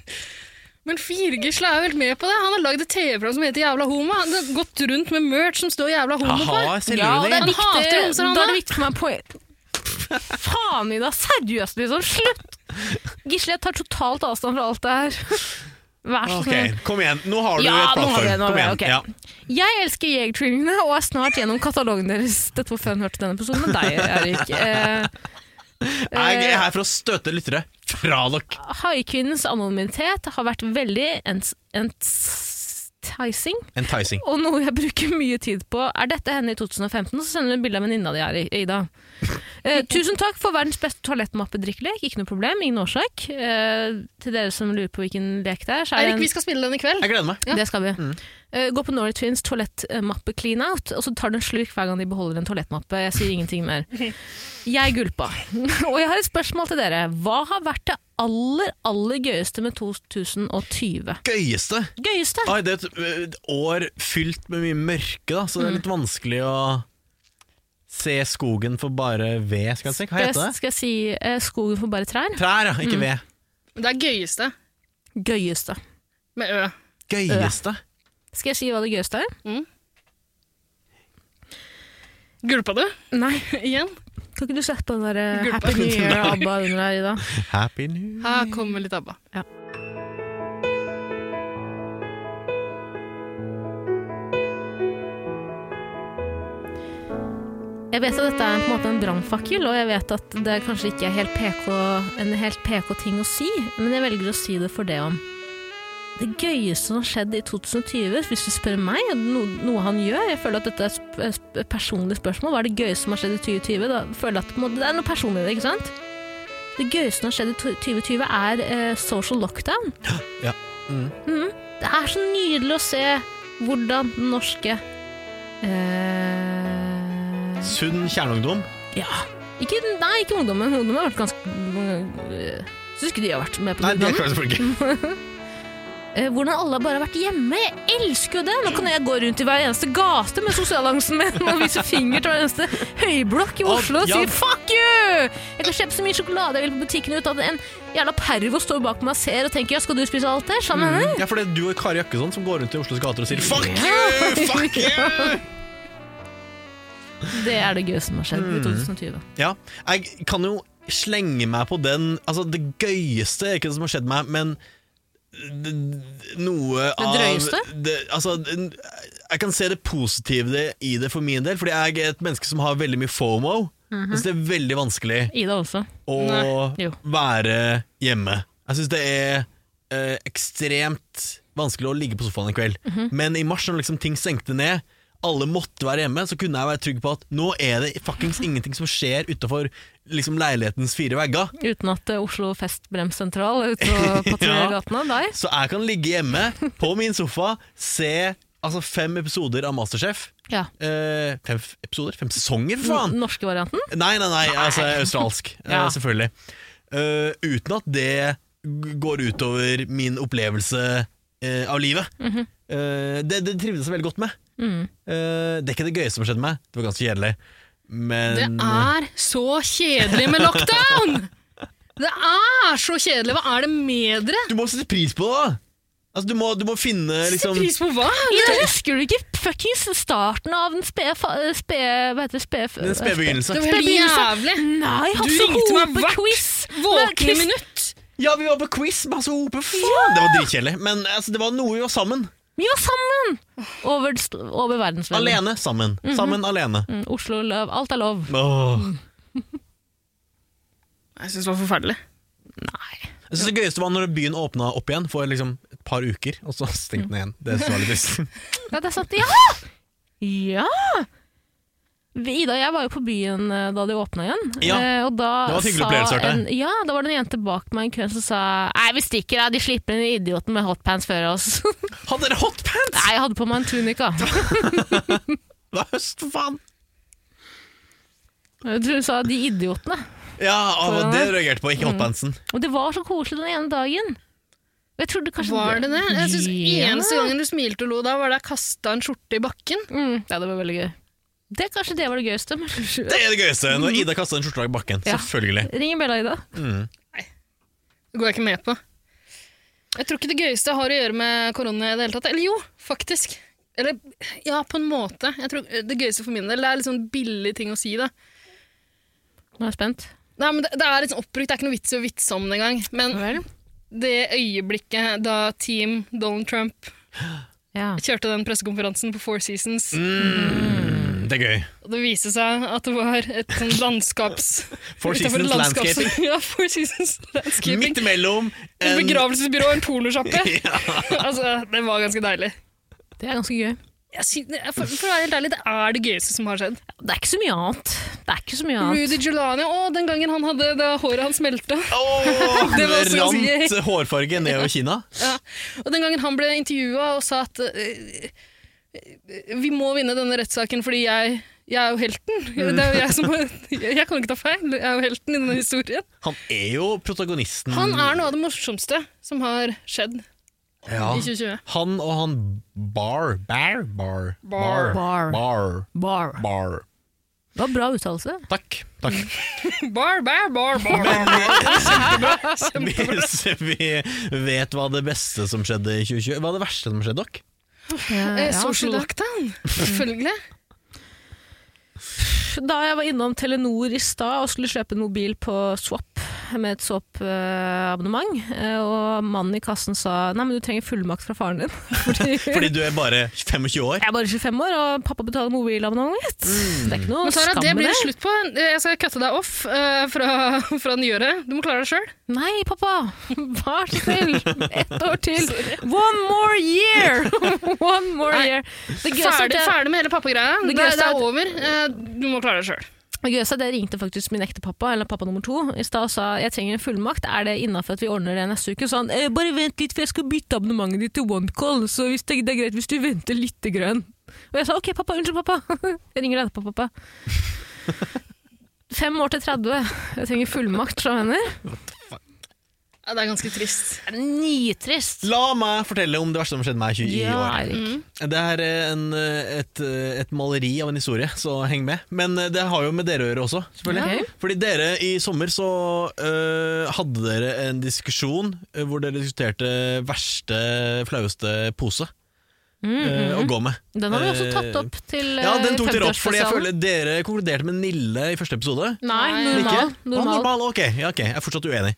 S3: Men Firgisle er jo helt med på det. Han har lagd et TV-program som heter Jævla homo. Han har gått rundt med merch som står Jævla homo på.
S1: Aha, selger
S2: Ja,
S1: du
S2: og det er
S1: det?
S3: Han
S2: viktig,
S3: hater homser, han
S2: da
S3: da.
S2: er det viktig for meg poeng. Faen, Ida. Seriøst, liksom. Slutt! Gisle, jeg tar totalt avstand fra alt det her. Vær så
S1: Ok,
S2: snill.
S1: Kom igjen, nå har du et
S2: Ja, nå har vi
S1: plattform.
S2: det, nå har
S1: Kom
S2: vi
S1: igjen.
S2: det, ok.
S1: Ja.
S2: Jeg elsker Jegertvillingene og er snart gjennom katalogen deres. Dette var før hun hørte denne episoden med deg, Erik. Eh,
S1: Jeg er her for å støte lyttere fra dere.
S2: Haikvinnens anonymitet har vært veldig ens- enticing,
S1: Enticing.
S2: og noe jeg bruker mye tid på. Er dette henne i 2015, så sender hun bilde av venninna di her, Ida. Eh, tusen takk for verdens beste toalettmappedrikkelek. Ikke noe problem, ingen årsak. Eh, til dere som lurer på hvilken lek det er, så er det
S3: Eirik, vi skal spille den i kveld.
S1: Jeg gleder meg.
S2: Det skal vi.
S1: Mm.
S2: Eh, gå på Norway Twins toalettmappe clean out, og så tar du en slurk hver gang de beholder en toalettmappe. Jeg sier ingenting mer. Jeg gulpa. og jeg har et spørsmål til dere. Hva har vært det aller, aller gøyeste med 2020?
S1: Gøyeste.
S2: Gøyeste?
S1: Oi, det er et ø, et år fylt med mye mørke, da, så det er litt vanskelig å se skogen for bare ved, skal jeg si. Hva heter det?
S2: Skal jeg si eh, skogen for bare trær?
S1: Trær, ja. Ikke ved.
S3: Det er gøyeste
S2: Gøyeste.
S3: med Ø. Mm.
S1: Gøyeste.
S2: Skal jeg si hva det gøyeste er?
S3: Gulpa du
S2: Nei.
S3: igjen?
S2: Kan ikke du sette på den der eh,
S3: Gulpa.
S2: Happy New Year og ABBA under her, Ida?
S1: Happy new
S3: Her kommer litt ABBA.
S2: Jeg vet at dette er på en måte en brannfakkel, og jeg vet at det kanskje ikke er helt PK, en helt PK-ting å si, men jeg velger å si det for det om. Det gøyeste som har skjedd i 2020, hvis du spør meg, og no, noe han gjør Jeg føler at dette er sp- eh, sp- et personlig spørsmål. Hva er det gøyeste som har skjedd i 2020? Da føler jeg at på en måte, det er noe personlig i det, ikke sant? Det gøyeste som har skjedd i to- 2020, er eh, social lockdown.
S1: Ja. Mm.
S2: Mhm. Det er så nydelig å se hvordan den norske eh,
S1: Sunn kjerneungdom.
S2: ja. Ikke, nei, ikke ungdommen. Ungdommen har vært ganske øh, Syns ikke de har vært med på
S1: Nei, det
S2: dugnaden.
S1: klarer jeg selvfølgelig ikke.
S2: Eh, Hvordan alle bare har vært hjemme. Jeg elsker jo det! Nå kan jeg gå rundt i hver eneste gate med sosialangsten min og vise finger til hver eneste høyblokk i
S1: Å,
S2: Oslo og
S1: ja.
S2: si 'fuck you'! Jeg kan kjøpe så mye sjokolade jeg vil på butikken uten at en jævla pervo står bak meg og ser og tenker 'ja, skal du spise alt det?' sammen med henne?
S1: Ja, for det er du og Kari Jakkesson som går rundt i Oslos gater og sier 'fuck you, fuck you'. Mm.
S2: Det er det gøyeste som har skjedd i 2020.
S1: Ja, jeg kan jo slenge meg på den Altså, det gøyeste er ikke det som har skjedd meg, men d- d- noe av
S2: drøyeste?
S1: Det, altså, n- jeg kan se det positive i det for min del, fordi jeg er et menneske som har veldig mye fomo. Jeg synes det er veldig vanskelig
S2: Ida også.
S1: å
S3: Nei,
S2: jo.
S1: være hjemme. Jeg syns det er eh, ekstremt vanskelig å ligge på sofaen en kveld. Men i mars, når liksom ting stengte ned, alle måtte være hjemme, så kunne jeg være trygg på at nå er det fuckings ingenting som skjer utafor liksom, leilighetens fire vegger.
S2: Uten at eh, Oslo Festbremssentral er ute og patruljerer
S1: Ja.
S2: gatene. Nei.
S1: Så jeg kan ligge hjemme på min sofa, se altså, fem episoder av Masterchef.
S2: Ja.
S1: Eh, fem f- episoder? Fem sesonger, for faen!
S2: Den norske varianten.
S1: Nei, nei, nei, altså australsk, eh,
S2: Ja.
S1: selvfølgelig. Eh, uten at det g- går utover min opplevelse eh, av livet.
S3: Mhm.
S1: Eh, det, det trivdes jeg veldig godt med.
S3: Mm.
S1: Eh, det er ikke det gøyeste som har skjedd meg, det var ganske kjedelig. Men
S3: Det er så kjedelig med lockdown! Det er så kjedelig! Hva er det med dere?
S1: du må sette pris på det! da. Altså, du, må, du må finne liksom
S3: Sett pris på hva?
S2: Ja, husker du ikke fuckings starten av den spede fa- spede- Hva heter det? Spede-
S1: den spedbegynnelsen.
S3: Det var helt jævlig!
S2: Nei,
S3: Du
S2: Hasse
S3: ringte meg hvert
S2: Hope-quiz!
S3: Våkne minutt!
S1: Ja, vi var på quiz med Hasse Hope, faen! Det var dritkjedelig. Men altså, det var noe vi var sammen.
S2: Vi var sammen! Over, over verdensvennen.
S1: Alene, sammen.
S3: Mhm.
S1: Sammen, alene.
S2: Mm, Oslo lov. Alt er lov.
S1: Åh.
S3: Jeg syns det var forferdelig.
S2: Nei.
S1: Jeg synes Det gøyeste var når byen åpna opp igjen for liksom et par uker, og så stengte den igjen. Det synes jeg var litt trist.
S2: Ja, det er sant. Ja! Ja! Ida og jeg var jo på byen eh, da de åpna igjen.
S1: Ja.
S2: eh, og da
S1: Det var en hyggelig
S2: sa
S1: opplevelse, hørte jeg.
S2: en, Ja, da var det en jente bak meg i køen som sa Nei, vi stikker, da. De slipper den idioten med hotpants før oss.
S1: Hadde dere hotpants?!
S2: Nei, jeg hadde på meg en tunika.
S1: Det var høst, for faen!
S2: Jeg tror hun sa de idiotene.
S1: Ja, og det reagerte på,
S3: Mm.
S1: ikke hotpantsen.
S2: Og det var så koselig den ene dagen. Og Jeg trodde kanskje
S3: Var det det? Jeg synes
S2: Ja.
S3: Eneste gangen du smilte og lo da, var da jeg kasta en skjorte i bakken.
S2: Mm, ja, det var veldig gøy. Det Kanskje det var det gøyeste. men-
S1: Det er det gøyeste! Når Ida kasta en skjortelag i bakken.
S2: Ja.
S1: Selvfølgelig.
S2: Ring Bella, Ida.
S3: Det går jeg ikke med på. Jeg tror ikke det gøyeste har å gjøre med korona i det hele tatt. Eller jo, faktisk. Eller ja, på en måte. Jeg tror Det gøyeste for min del det er litt sånn billig ting å si, da.
S2: Nå er jeg spent.
S3: Nei, men det, det er litt sånn oppbrukt, det er ikke noe vits i å vitse om det engang. Men det øyeblikket da Team Donald Trump
S2: Ja.
S1: Mm.
S3: kjørte den pressekonferansen på Four Seasons
S1: Det er gøy.
S3: Og det viste seg at det var et sånn landskaps...
S1: Four
S3: utenfor et
S1: Seasons Landscaping.
S3: ja, Four Seasons Landscaping.
S1: Midt imellom
S3: Et
S1: en
S3: begravelsesbyrå og en polosjappe. altså, det var ganske deilig.
S2: Det er ganske gøy.
S3: Jeg sy- for, for å være helt ærlig, det er det gøyeste som har skjedd.
S2: Det er ikke så mye annet. Det er ikke så mye annet.
S3: Rudy Giuliani, å, den gangen han hadde da håret hans smelta.
S1: Åh,
S3: Det var så
S1: rant hårfarge ned over kinna.
S3: Ja. Og den gangen han ble intervjua og sa at eh, eh, vi må vinne denne rettssaken fordi jeg, jeg er jo helten. Det er jo jeg, som, jeg kan jo ikke ta feil. Jeg er jo helten i denne historien.
S1: Han er jo protagonisten.
S3: Han er noe av det morsomste som har skjedd
S1: ja.
S3: i 2020.
S1: han og han Bar Bar Bar
S3: Barr.
S1: Bar,
S2: Barr.
S1: bar.
S2: Bar.
S1: bar.
S2: Det var bra uttalelse.
S1: Takk. Takk.
S3: Bar, bar, bar, bar, bar.
S1: Hvis vi vet hva det beste som skjedde i 2020 Hva er det verste som skjedde dere?
S3: Eh, Social lockdown, selvfølgelig.
S2: Da jeg var innom Telenor i stad og skulle kjøpe en mobil på Swap med et Swap-abonnement, og mannen i kassen sa nei, men du trenger fullmakt fra faren din. Fordi
S1: Fordi du er bare 25 år?
S2: jeg er bare 25 år, og pappa betaler mobilabonnementet mitt. Det er ikke noe
S3: Men Tara,
S2: skam
S3: det
S2: med
S3: blir
S2: det.
S3: det slutt på. Jeg skal cutte deg off eh, fra, fra nyåret. Du må klare deg sjøl.
S2: Nei, pappa! Vær så snill! Ett år til! One more year! One more
S3: Nei.
S2: year. Det gøyeste er at
S3: Ferdig,
S2: jeg-
S3: ferdig med hele pappagreia.
S2: Det
S3: Det, det,
S2: gøyeste er
S3: er
S2: at-
S3: over. Eh, Du må klare deg sjøl.
S2: Det gøyeste er at jeg ringte faktisk min ekte pappa, eller pappa nummer to, i stad og sa jeg trenger en fullmakt, er det innafor at vi ordner det neste uke? Så han eh, bare vent litt, for jeg skal bytte abonnementet ditt til OneCall, så hvis det, det er greit hvis du venter lite grann. Og jeg sa ok, pappa, unnskyld, pappa. jeg ringer deg etterpå, pappa. Fem år til 30. Jeg trenger fullmakt fra venner.
S3: Ja, det er ganske trist.
S2: Det er Nitrist.
S1: La meg fortelle om det verste som skjedde meg i 20
S2: Ja,
S1: år.
S2: Eirik.
S1: Det er eh, en, eh, et, eh, et maleri av en historie, så heng med. Men eh, det har jo med dere å gjøre også, selvfølgelig.
S2: Ok.
S1: Fordi dere i sommer så eh, hadde dere en diskusjon eh, hvor dere diskuterte verste, flaueste pose eh, å gå med.
S2: Mm, Den har vi også tatt
S1: Eh,
S2: opp til
S1: Ja,
S2: eh,
S1: den tok dere opp, fordi jeg
S2: 50-årsspesialen.
S1: føler dere konkluderte med Nille i første episode.
S2: Nei,
S3: Nei.
S2: normal.
S1: Ikke? Ah,
S2: normal.
S1: normal. Ok, ja, ok, jeg er fortsatt uenig.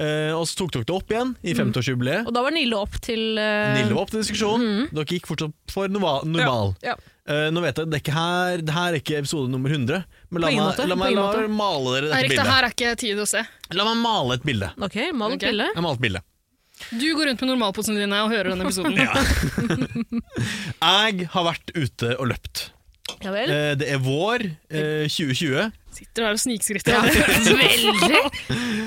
S1: Eh, og så tok dere det opp igjen i 50-årsjubileet.
S2: Og da var Nille opp til eh,
S1: Nille var opp til diskusjon. Dere gikk fortsatt for norma- normal.
S2: Mm. Ja.
S1: Eh, nå vet jeg, det, er ikke her, det her er ikke episode nummer 100, men la
S2: På
S1: meg,
S2: ingen måte,
S1: la
S2: på
S1: meg,
S2: ingen
S1: la
S2: måte.
S1: meg male dere dette
S3: Erik, det
S1: bildet.
S3: her er ikke tid å se.
S1: La meg male et bilde.
S2: Ok, mal
S3: Ok.
S2: okay. bilde.
S1: Jeg maler et bilde.
S3: Du går rundt med normalposene dine og hører denne episoden.
S1: Jeg har vært ute og løpt.
S2: Ja vel.
S1: Eh, det er vår eh, 2020.
S3: Sitter her og snikskritter.
S2: Veldig!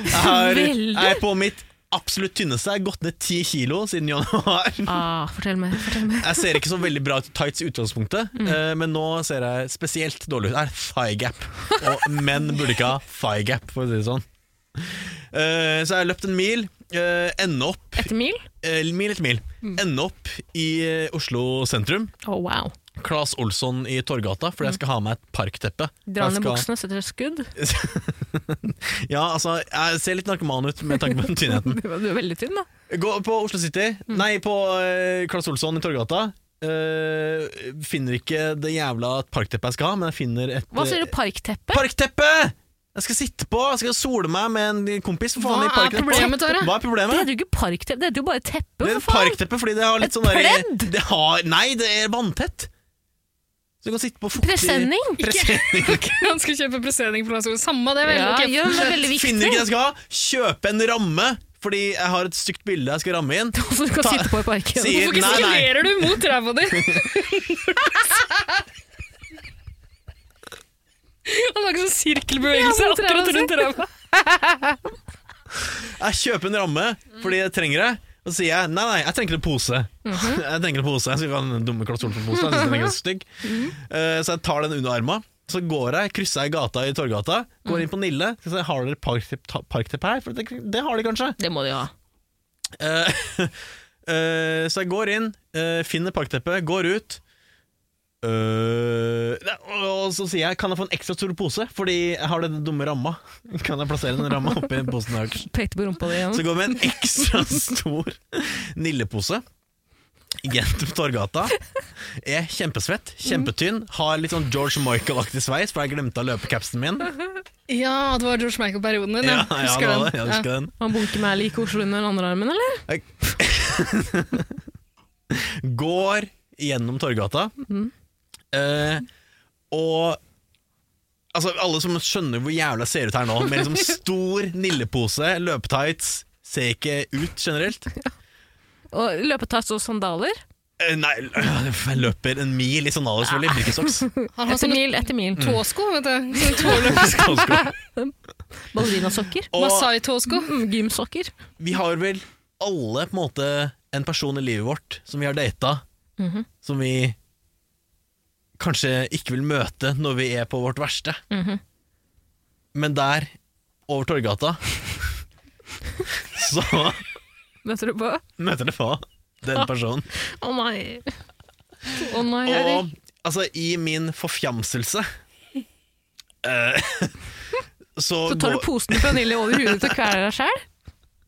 S1: Jeg, har,
S2: Veldig.
S1: jeg er på mitt absolutt tynneste. Jeg har gått ned ti kilo siden januar.
S2: Ah, fortell meg, fortell meg.
S1: Jeg ser ikke så veldig bra ut i tights i utgangspunktet,
S2: Mm.
S1: eh, men nå ser jeg spesielt dårlig ut. Jeg har thigh gap, og menn burde ikke ha thigh gap, for å si det sånn. Eh, så jeg har løpt en mil, uh, ende opp
S2: Etter mil?
S1: eh, mil etter mil,
S2: Mm.
S1: ende opp i eh, Oslo sentrum.
S2: Å, Oh, wow.
S1: Claes Olsson i Torgata, for jeg skal ha med et parkteppe.
S2: Mm. Dra
S1: Jeg
S2: ned
S1: skal-
S2: buksene, setter et skudd.
S1: Ja, altså, jeg ser litt narkoman ut med tanke på den tynnheten.
S2: Du er veldig tynn, da.
S1: Gå på Oslo City,
S2: Mm.
S1: nei, på uh, Claes Olsson i Torgata. Eh, finner ikke det jævla parkteppet jeg skal ha, men jeg finner et
S2: Hva sier du,
S1: eh,
S2: parkteppe?
S1: Parkteppe! Jeg skal sitte på, jeg skal sole meg med en kompis. For faen,
S3: Hva
S1: i
S3: er
S1: parkteppet.
S3: problemet, Tara?
S1: Hva er
S2: det
S1: problemet?
S2: heter jo ikke parkteppe, det heter jo bare teppe,
S1: Men
S2: for faen!
S1: parkteppe, fordi det har litt
S2: Et
S1: sånn der,
S2: pledd?
S1: det har, Nei, det er vanntett. Så du kan sitte på fuktig
S2: Presenning?
S1: Presenning.
S3: Han skal kjøpe presenning på landslaget. Samme det, vel.
S2: Ja,
S3: Ok,
S2: gjør det
S3: fortsett.
S2: veldig
S1: Finner
S2: viktig.
S1: ikke det jeg skal ha, kjøpe en ramme, fordi jeg har et stygt bilde jeg skal ramme inn.
S2: Som du kan
S1: Ta-
S2: sitte på i parken.
S1: Sier-
S3: Hvorfor
S1: Nei, nei.
S3: gestikulerer du mot ræva di? Han har ikke sånn sirkelbevegelse
S2: Ja, mot ræva
S3: akkurat
S2: si.
S3: rundt ræva.
S1: Jeg kjøper en ramme fordi jeg trenger det. Og så sier jeg nei, nei, jeg trenger en pose. Jeg trenger en pose, jeg skal ikke ha den dumme Klaus Olsen-posen. Jeg synes den er ganske stygg. Eh, så jeg tar den under arma. Så går jeg, krysser jeg gata i Torgata, går inn på Nille. Skal se, har dere parktepp ta- parktepp her? For det, det har de kanskje.
S2: Det må de ha.
S1: Eh, eh, så jeg går inn, eh, finner parkteppet, går ut. Eh, nei, og så sier jeg kan jeg få en ekstra stor pose, fordi jeg har den dumme ramma. Kan jeg plassere den ramma oppi posen øverst?
S2: Pekte på rumpa di igjen.
S1: Så går vi med en ekstra stor nillepose gjennom Torgata. Er kjempesvett, kjempetynn, har litt sånn George Michael-aktig sveis, for jeg glemte å løpe capsen min.
S3: Ja, det var George Michael-perioden din.
S1: Ja,
S3: Ja,
S1: ja,
S3: Husker
S1: det var
S3: den.
S1: det. Jeg husker den.
S2: Han bunker meg like Oslo under den andre armen, eller?
S3: Mm.
S1: Går gjennom Torgata. Eh, Og altså, alle som skjønner hvor jævla jeg ser ut her nå, med liksom stor nillepose, løpetights, ser ikke ut generelt.
S2: Og løpetights og sandaler.
S1: Eh, Nei, jeg løper en mil i sandaler, selvfølgelig. Brikkesoks.
S3: Han har
S2: Etter
S3: sånne
S2: mil etter
S1: Mm.
S2: mil.
S3: tåsko, vet du. Sånn Sånne tåløp-
S2: Ballerinasokker.
S1: Og
S3: Masai-tåsko.
S2: Mm, Gymsokker.
S1: vi har vel alle på en måte en person i livet vårt som vi har data,
S2: Mhm.
S1: som vi kanskje ikke vil møte når vi er på vårt verste.
S2: Mhm.
S1: Men der, over Torgata, så
S2: Møter du på? Å
S1: møter det på den personen.
S2: nei. Å nei, Erik.
S1: Og altså, i min forfjamselse eh, så,
S2: Så tar du
S1: går-
S2: posen med vanilje over hudet til å kvele deg sjæl?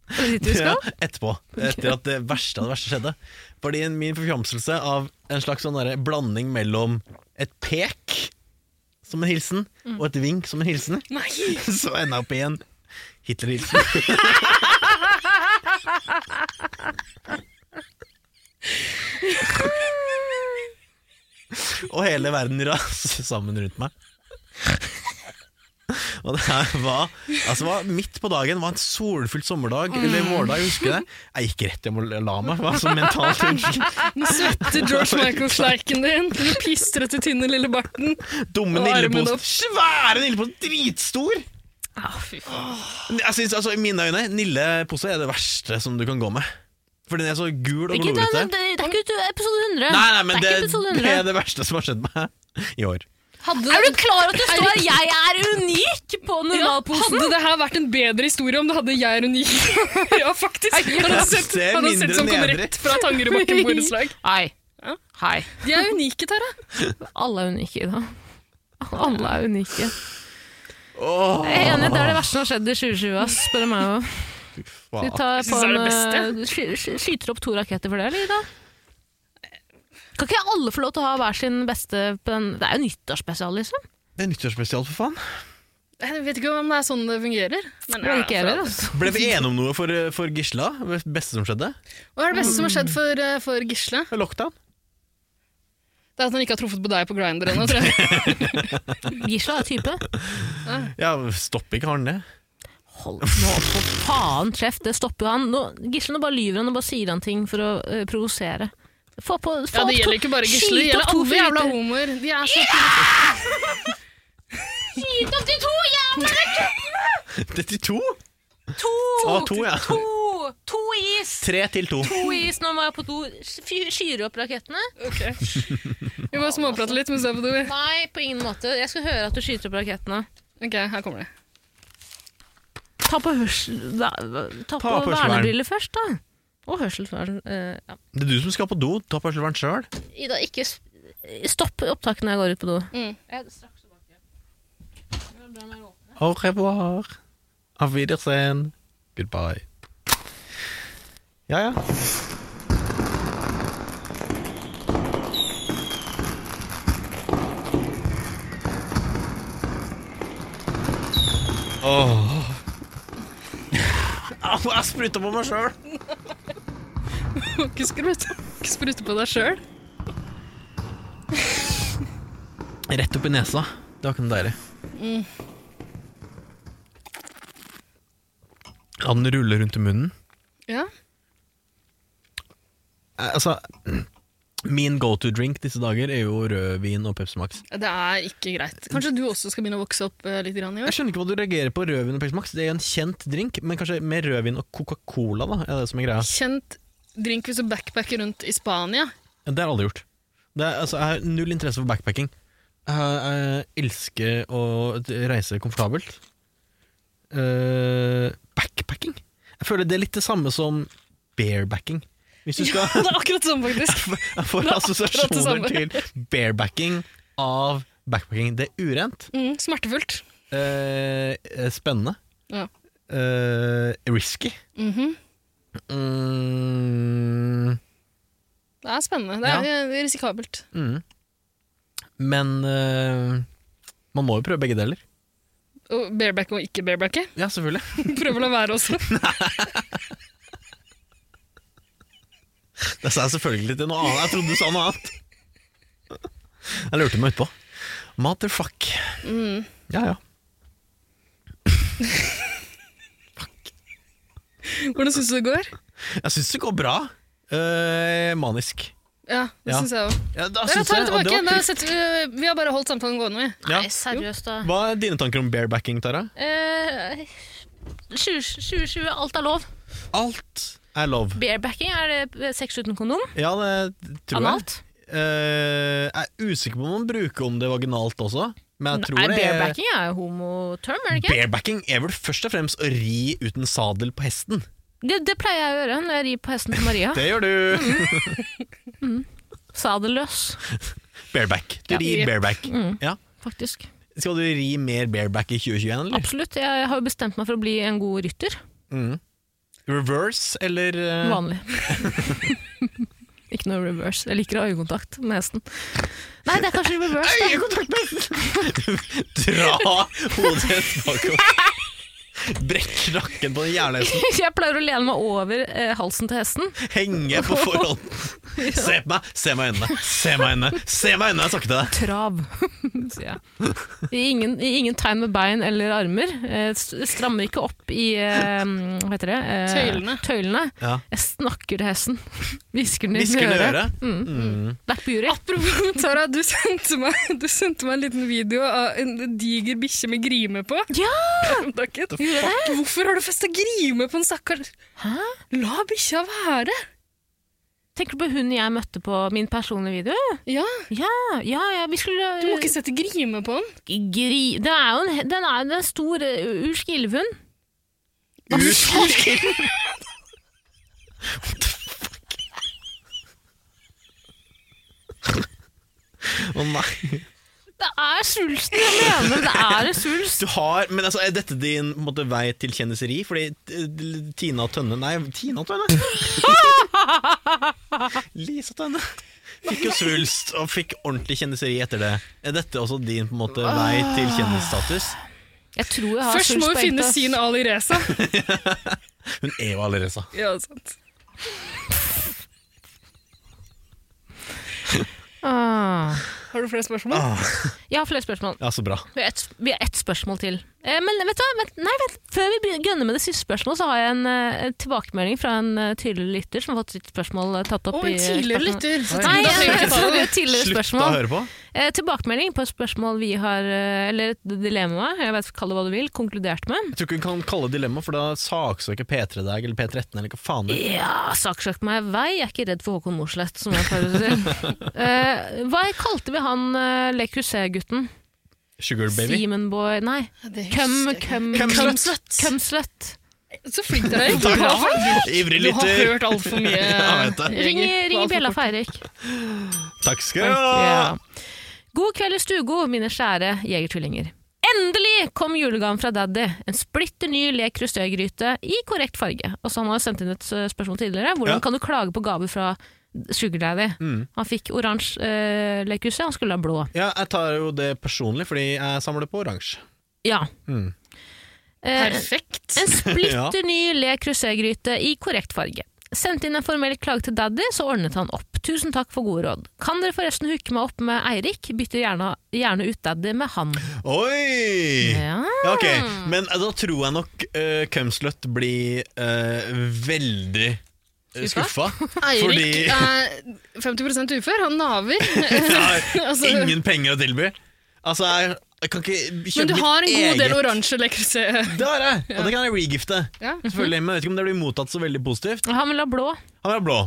S2: Er det dit vi skal?
S1: Ja, etterpå. Etter at det verste av det verste skjedde. Fordi min forfjamselse av en slags sånn derre blanding mellom et pek som en hilsen, og et vink som en hilsen,
S3: Nei!
S1: så enda opp i en Hitler-hilsen. og hele verden raser sammen rundt meg. Og det her var, altså det var midt på dagen, det var en solfull sommerdag, eller vårdag, jeg husker det. Jeg gikk rett hjem og la meg, var sånn så mentalt unnskyld.
S3: Den svette George Michael-sleiken din. Den pistrete, tynne lille barten.
S1: Dumme
S3: Og armen
S1: nilleposen.
S3: opp.
S1: Svære nilleposen, dritstor!
S2: Å, Ah, fy faen.
S1: Jeg synes, altså, I mine øyne, nillepose er det verste som du kan gå med. Fordi den er så gul og
S2: Ikke, det,
S1: glorete.
S2: er- det er ikke ut- episode 100.
S1: Nei, nei, men
S2: det
S1: det,
S2: er ikke episode
S1: det
S2: 100.
S1: er det verste som har skjedd meg i år.
S3: Hadde
S2: Er du klar over at det står at 'jeg er unik' på normalposen?
S3: Hadde det her vært en bedre historie om det hadde jeg er unik? ja, faktisk. Han har sett,
S1: Det er
S3: han har sett
S1: mindre
S3: som kom
S1: nedrig.
S3: rett fra Tangerudbakken borettslag.
S2: Hei.
S3: Ja.
S2: Hei.
S3: De er unike, Tara.
S2: Alle er unike i dag. Alle er unike.
S1: Åh,
S2: Jeg er enig, det er det verste som har skjedd i 2020, ass, spør du meg òg.
S1: fy
S2: Du
S1: faen.
S2: tar
S3: Jeg
S2: på
S3: synes det
S2: en,
S3: er det beste.
S2: eh, du sky- sky- skyter opp to raketter for det, eller, Ida? Kan ikke alle få lov til å ha hver sin beste på en Det er jo nyttårsspesial, liksom.
S1: Det er nyttårsspesial, for faen.
S3: Jeg vet ikke om det er sånn det fungerer. Men
S2: Det er ikke jeg heller, altså.
S1: Ble vi enige om noe for, for Gisla? Det beste som skjedde?
S3: Hva er det beste som har skjedd for, eh, for Gisle?
S1: Lockdown.
S3: Det er at han ikke har truffet på deg på Grindr ennå, tror jeg.
S2: Gisla er type.
S1: Ja, stopp ikke han det.
S2: Hold nå for faen kjeft, det stopper jo han. Nå, Gisle nå bare lyver han og bare sier han ting for å eh, provosere. Få på, få
S3: Ja,
S2: opp
S3: det
S2: to-
S3: gjelder ikke bare Gisle,
S2: skyt
S3: det
S2: opp
S3: gjelder
S2: to
S3: alle jævla
S2: flyter.
S3: homoer. De er så
S2: Skyt opp de to jævla
S1: 32?
S2: To!
S1: Å, to, ja.
S2: to! To is!
S1: Tre til to.
S2: To is, nå må jeg på do. Fy- Skyr opp rakettene?
S3: Vi må småprate litt mens du er på do. vi.
S2: Nei, på ingen måte. Jeg skal høre at du skyter opp rakettene.
S3: Ok, her kommer det.
S2: Ta på, hørsel, da, ta på,
S1: Ta på hørselsvern.
S2: vernebriller først, da. Og hørselsvern. eh, ja.
S1: Det er du som skal på do. Ta parselveren sjøl.
S2: Ida, ikke s- stopp opptaket når jeg går ut på do.
S3: Mm.
S2: Jeg er straks tilbake.
S1: Au revoir. Auf Wiedersehen. Goodbye. Ja, ja. Åh. Au, jeg spruta på meg sjøl.
S3: Ikke sprute, ikke sprute på deg sjøl.
S1: Rett opp i nesa. Det var ikke noe deilig. La den rulle rundt i munnen.
S3: Ja.
S1: Eh, Altså, min go to drink disse dager er jo rødvin og Pepsi Max.
S3: Det er ikke greit. Kanskje du også skal begynne å vokse opp eh, litt grann i
S1: Jeg
S3: år?
S1: skjønner ikke hva du reagerer på rødvin og Pepsi Max. Det er jo en kjent drink, men kanskje med rødvin og Coca-Cola, da, er det som er greia.
S3: Kjent drink hvis du backpacker rundt i Spania.
S1: Det har jeg aldri gjort. Det er, altså, jeg har null interesse for backpacking. Jeg, jeg elsker å reise komfortabelt. Eh, backpacking? Jeg føler det er litt det samme som barebacking. Hvis du skal
S3: Ja, det er akkurat det samme, faktisk.
S1: Jeg får
S3: det er
S1: assosiasjoner
S3: akkurat det
S1: til barebacking av backpacking. Det er urent.
S3: Mm, smertefullt.
S1: eh, spennende.
S3: Ja.
S1: eh, risky.
S3: Mhm.
S1: Mm,
S3: Det er spennende. Det er eh, risikabelt.
S1: mm. Men eh, man må jo prøve begge deler.
S3: Og bareback og ikke barebacke.
S1: Ja, selvfølgelig.
S3: Prøv å la være også.
S1: Det sa jeg selvfølgelig til noe annet. Jeg trodde du sa noe annet. Jeg lurte meg utpå. Motherfuck.
S3: Mm.
S1: Ja, ja.
S3: Hvordan syns du det går?
S1: Jeg syns det går bra. Eh, manisk.
S3: Ja, det
S1: Ja.
S3: syns jeg òg.
S1: Ja, da
S3: Ja,
S1: synes
S3: ta det
S1: jeg- og
S3: tilbake.
S1: var
S3: Da
S1: kult.
S3: setter vi, vi har bare holdt samtalen gående, vi.
S1: Ja.
S2: Nei, seriøst, da.
S1: Hva er dine tanker om barebacking, Tara?
S2: Eh, 20- 2020, alt er lov.
S1: Alt er lov.
S2: Barebacking er det sex uten kondom.
S1: Ja, det tror jeg.
S2: Analt.
S1: Eh, jeg er usikker på om man bruker om det vaginalt også, men jeg tror
S2: Nei,
S1: det er
S2: barebacking er jo homoterm, er det ikke?
S1: Barebacking er vel først og fremst å ri uten sadel på hesten.
S2: Det, det pleier jeg å gjøre når jeg rir på hesten til Maria.
S1: Det gjør du!
S2: Mm. Sadelløs,
S1: Bareback. Du
S2: Ja. Mm.
S1: rir bareback. Ja.
S2: faktisk.
S1: Skal du ri mer bareback i 2021, eller?
S2: Absolutt. Jeg har jo bestemt meg for å bli en god rytter.
S1: Reverse, eller eh,
S2: Vanlig. ikke noe reverse. Jeg liker øyekontakt med hesten. Nei, det er kanskje reverse, da.
S1: Øyekontakt med hesten! Dra hodet bakover. Brekk nakken på den jævla hesten.
S2: Jeg pleier å lene meg over eh, halsen til hesten.
S1: Henge på forhånd. Se på meg, se meg i øynene, se meg i øynene, se meg i øynene! Jeg snakker til deg.
S2: Trav, sier jeg. I ingen, I ingen tegn med bein eller armer. Eh, s- strammer ikke opp i eh, Hva heter det? Eh,
S3: Tøylene.
S2: tøylene.
S1: Ja.
S2: Jeg snakker til hesten. Hvisker den i
S1: Hvisker den i
S2: øret. Mm.
S1: øret.
S2: Backbury.
S3: Apropos Tara, du sendte, meg, du sendte meg en liten video av en diger bikkje med grime på.
S2: Ja!
S3: Takket.
S2: Gjorde jeg det?
S3: Hvorfor har du festa grime på en stakkars
S2: Hæ?
S3: La bikkja være!
S2: Tenker du på hun jeg møtte på min personlige video?
S3: Ja,
S2: Ja, ja, ja vi skulle
S3: Du
S1: Eh.
S3: må ikke sette grime på den.
S2: Gri... Den er jo en, den er, den er stor uh, ursk ilvhund.
S1: Urskild! Å nei.
S2: Det er svulsten jeg mener, det er en svulst.
S1: Du har, men altså, Er dette din på en måte, vei til kjendiseri? Fordi eh, Tina Tønne Nei, Tina Tønne! Lisa Tønne. Fikk jo svulst og fikk ordentlig kjendiseri etter det. Er dette også din på en måte, vei til kjendisstatus?
S2: Jeg tror jeg har
S3: Først
S2: svulst
S3: må hun
S2: på
S3: finne
S2: ekte.
S3: sin Ali Reza.
S1: Hun er jo allerede så.
S3: Ja, sant.
S2: Ah.
S3: Har du flere spørsmål?
S1: Ah.
S2: Jeg har flere spørsmål.
S1: Ja, så bra.
S2: Vi har ett vi har ett spørsmål til. Eh, men vet du hva, vent, nei, vent. før vi begynner- gønner med det siste spørsmålet, så har jeg en, eh, en tilbakemelding fra en eh, tidligere lytter som har fått sitt spørsmål eh, tatt opp
S3: Å, en
S2: i eh,
S3: tidligere
S2: spørsmål-
S3: lytter. Så
S2: Nei,
S3: da trenger vi
S2: jeg,
S3: ikke ta det.
S2: et tidligere
S1: Slutt å
S2: spørsmål.
S1: høre på.
S2: Eh, tilbakemelding på et spørsmål vi har, eh, eller et dilemma, jeg vet kall det hva du vil, konkludert med.
S1: Jeg tror ikke hun kan kalle det dilemma, for da saksøker P3 deg eller P13 eller hva faen det er.
S2: Ja, saksøk meg i vei, jeg er ikke redd for Håkon Mosleth, som jeg pleier å si. Eh, hva kalte vi han uh, Le Creuset-gutten?
S1: Sugar baby.
S2: Seamanboy Nei,
S3: Ja, det husker
S2: Cum
S3: jeg.
S2: Cum
S1: Cum
S2: Cumslut.
S3: Så flink dere er.
S1: Takk.
S3: Du har-
S1: Ivrig
S3: Du har
S1: lytter.
S3: hørt altfor mye.
S1: Ja, jeg vet det.
S2: Ring,
S3: Jørgen.
S2: ring
S3: Alt for
S2: bjella
S3: kort.
S2: for Eirik.
S1: Takk skal du ha.
S2: Ja. God kveld i stugo, mine kjære jegertvillinger. Endelig kom julegaven fra daddy. En splitter ny Le Creuset-gryte i korrekt farge. Og så Han har sendt inn et eh, spørsmål tidligere. Hvordan
S1: Ja. Mm.
S2: kan du klage på gaver fra Sugar Daddy? Han fikk oransje eh, Le Creuset, han skulle ha blå.
S1: Ja, jeg tar jo det personlig, fordi jeg samler på oransje.
S2: Ja.
S1: Mm.
S2: Eh,
S3: Perfekt.
S2: En splitter ny Le Creuset-gryte i korrekt farge. Sendte inn en formell klage til daddy, så ordnet han opp. Tusen takk for gode råd. Kan dere forresten hooke meg opp med Eirik? Bytter gjerne, gjerne ut daddy med han.
S1: Oi!
S2: Ja.
S1: Ja, ok, Men eh, da tror jeg nok uh, Cumslut blir eh, veldig eh, skuffa.
S2: Skuffa?
S1: Fordi
S3: Eirik er 50 ufør. Han naver.
S1: jeg har
S3: Altså-
S1: ingen penger å tilby. Altså, jeg, jeg kan ikke kjøpe
S3: Men du har en
S1: mitt
S3: god del
S1: eget.
S3: oransje lekrelse.
S1: Det har jeg, og det kan jeg regifte.
S3: Ja.
S1: Selvfølgelig, Men jeg vet ikke om det blir mottatt så veldig positivt.
S2: Han vil ha blå.
S1: Han er blå,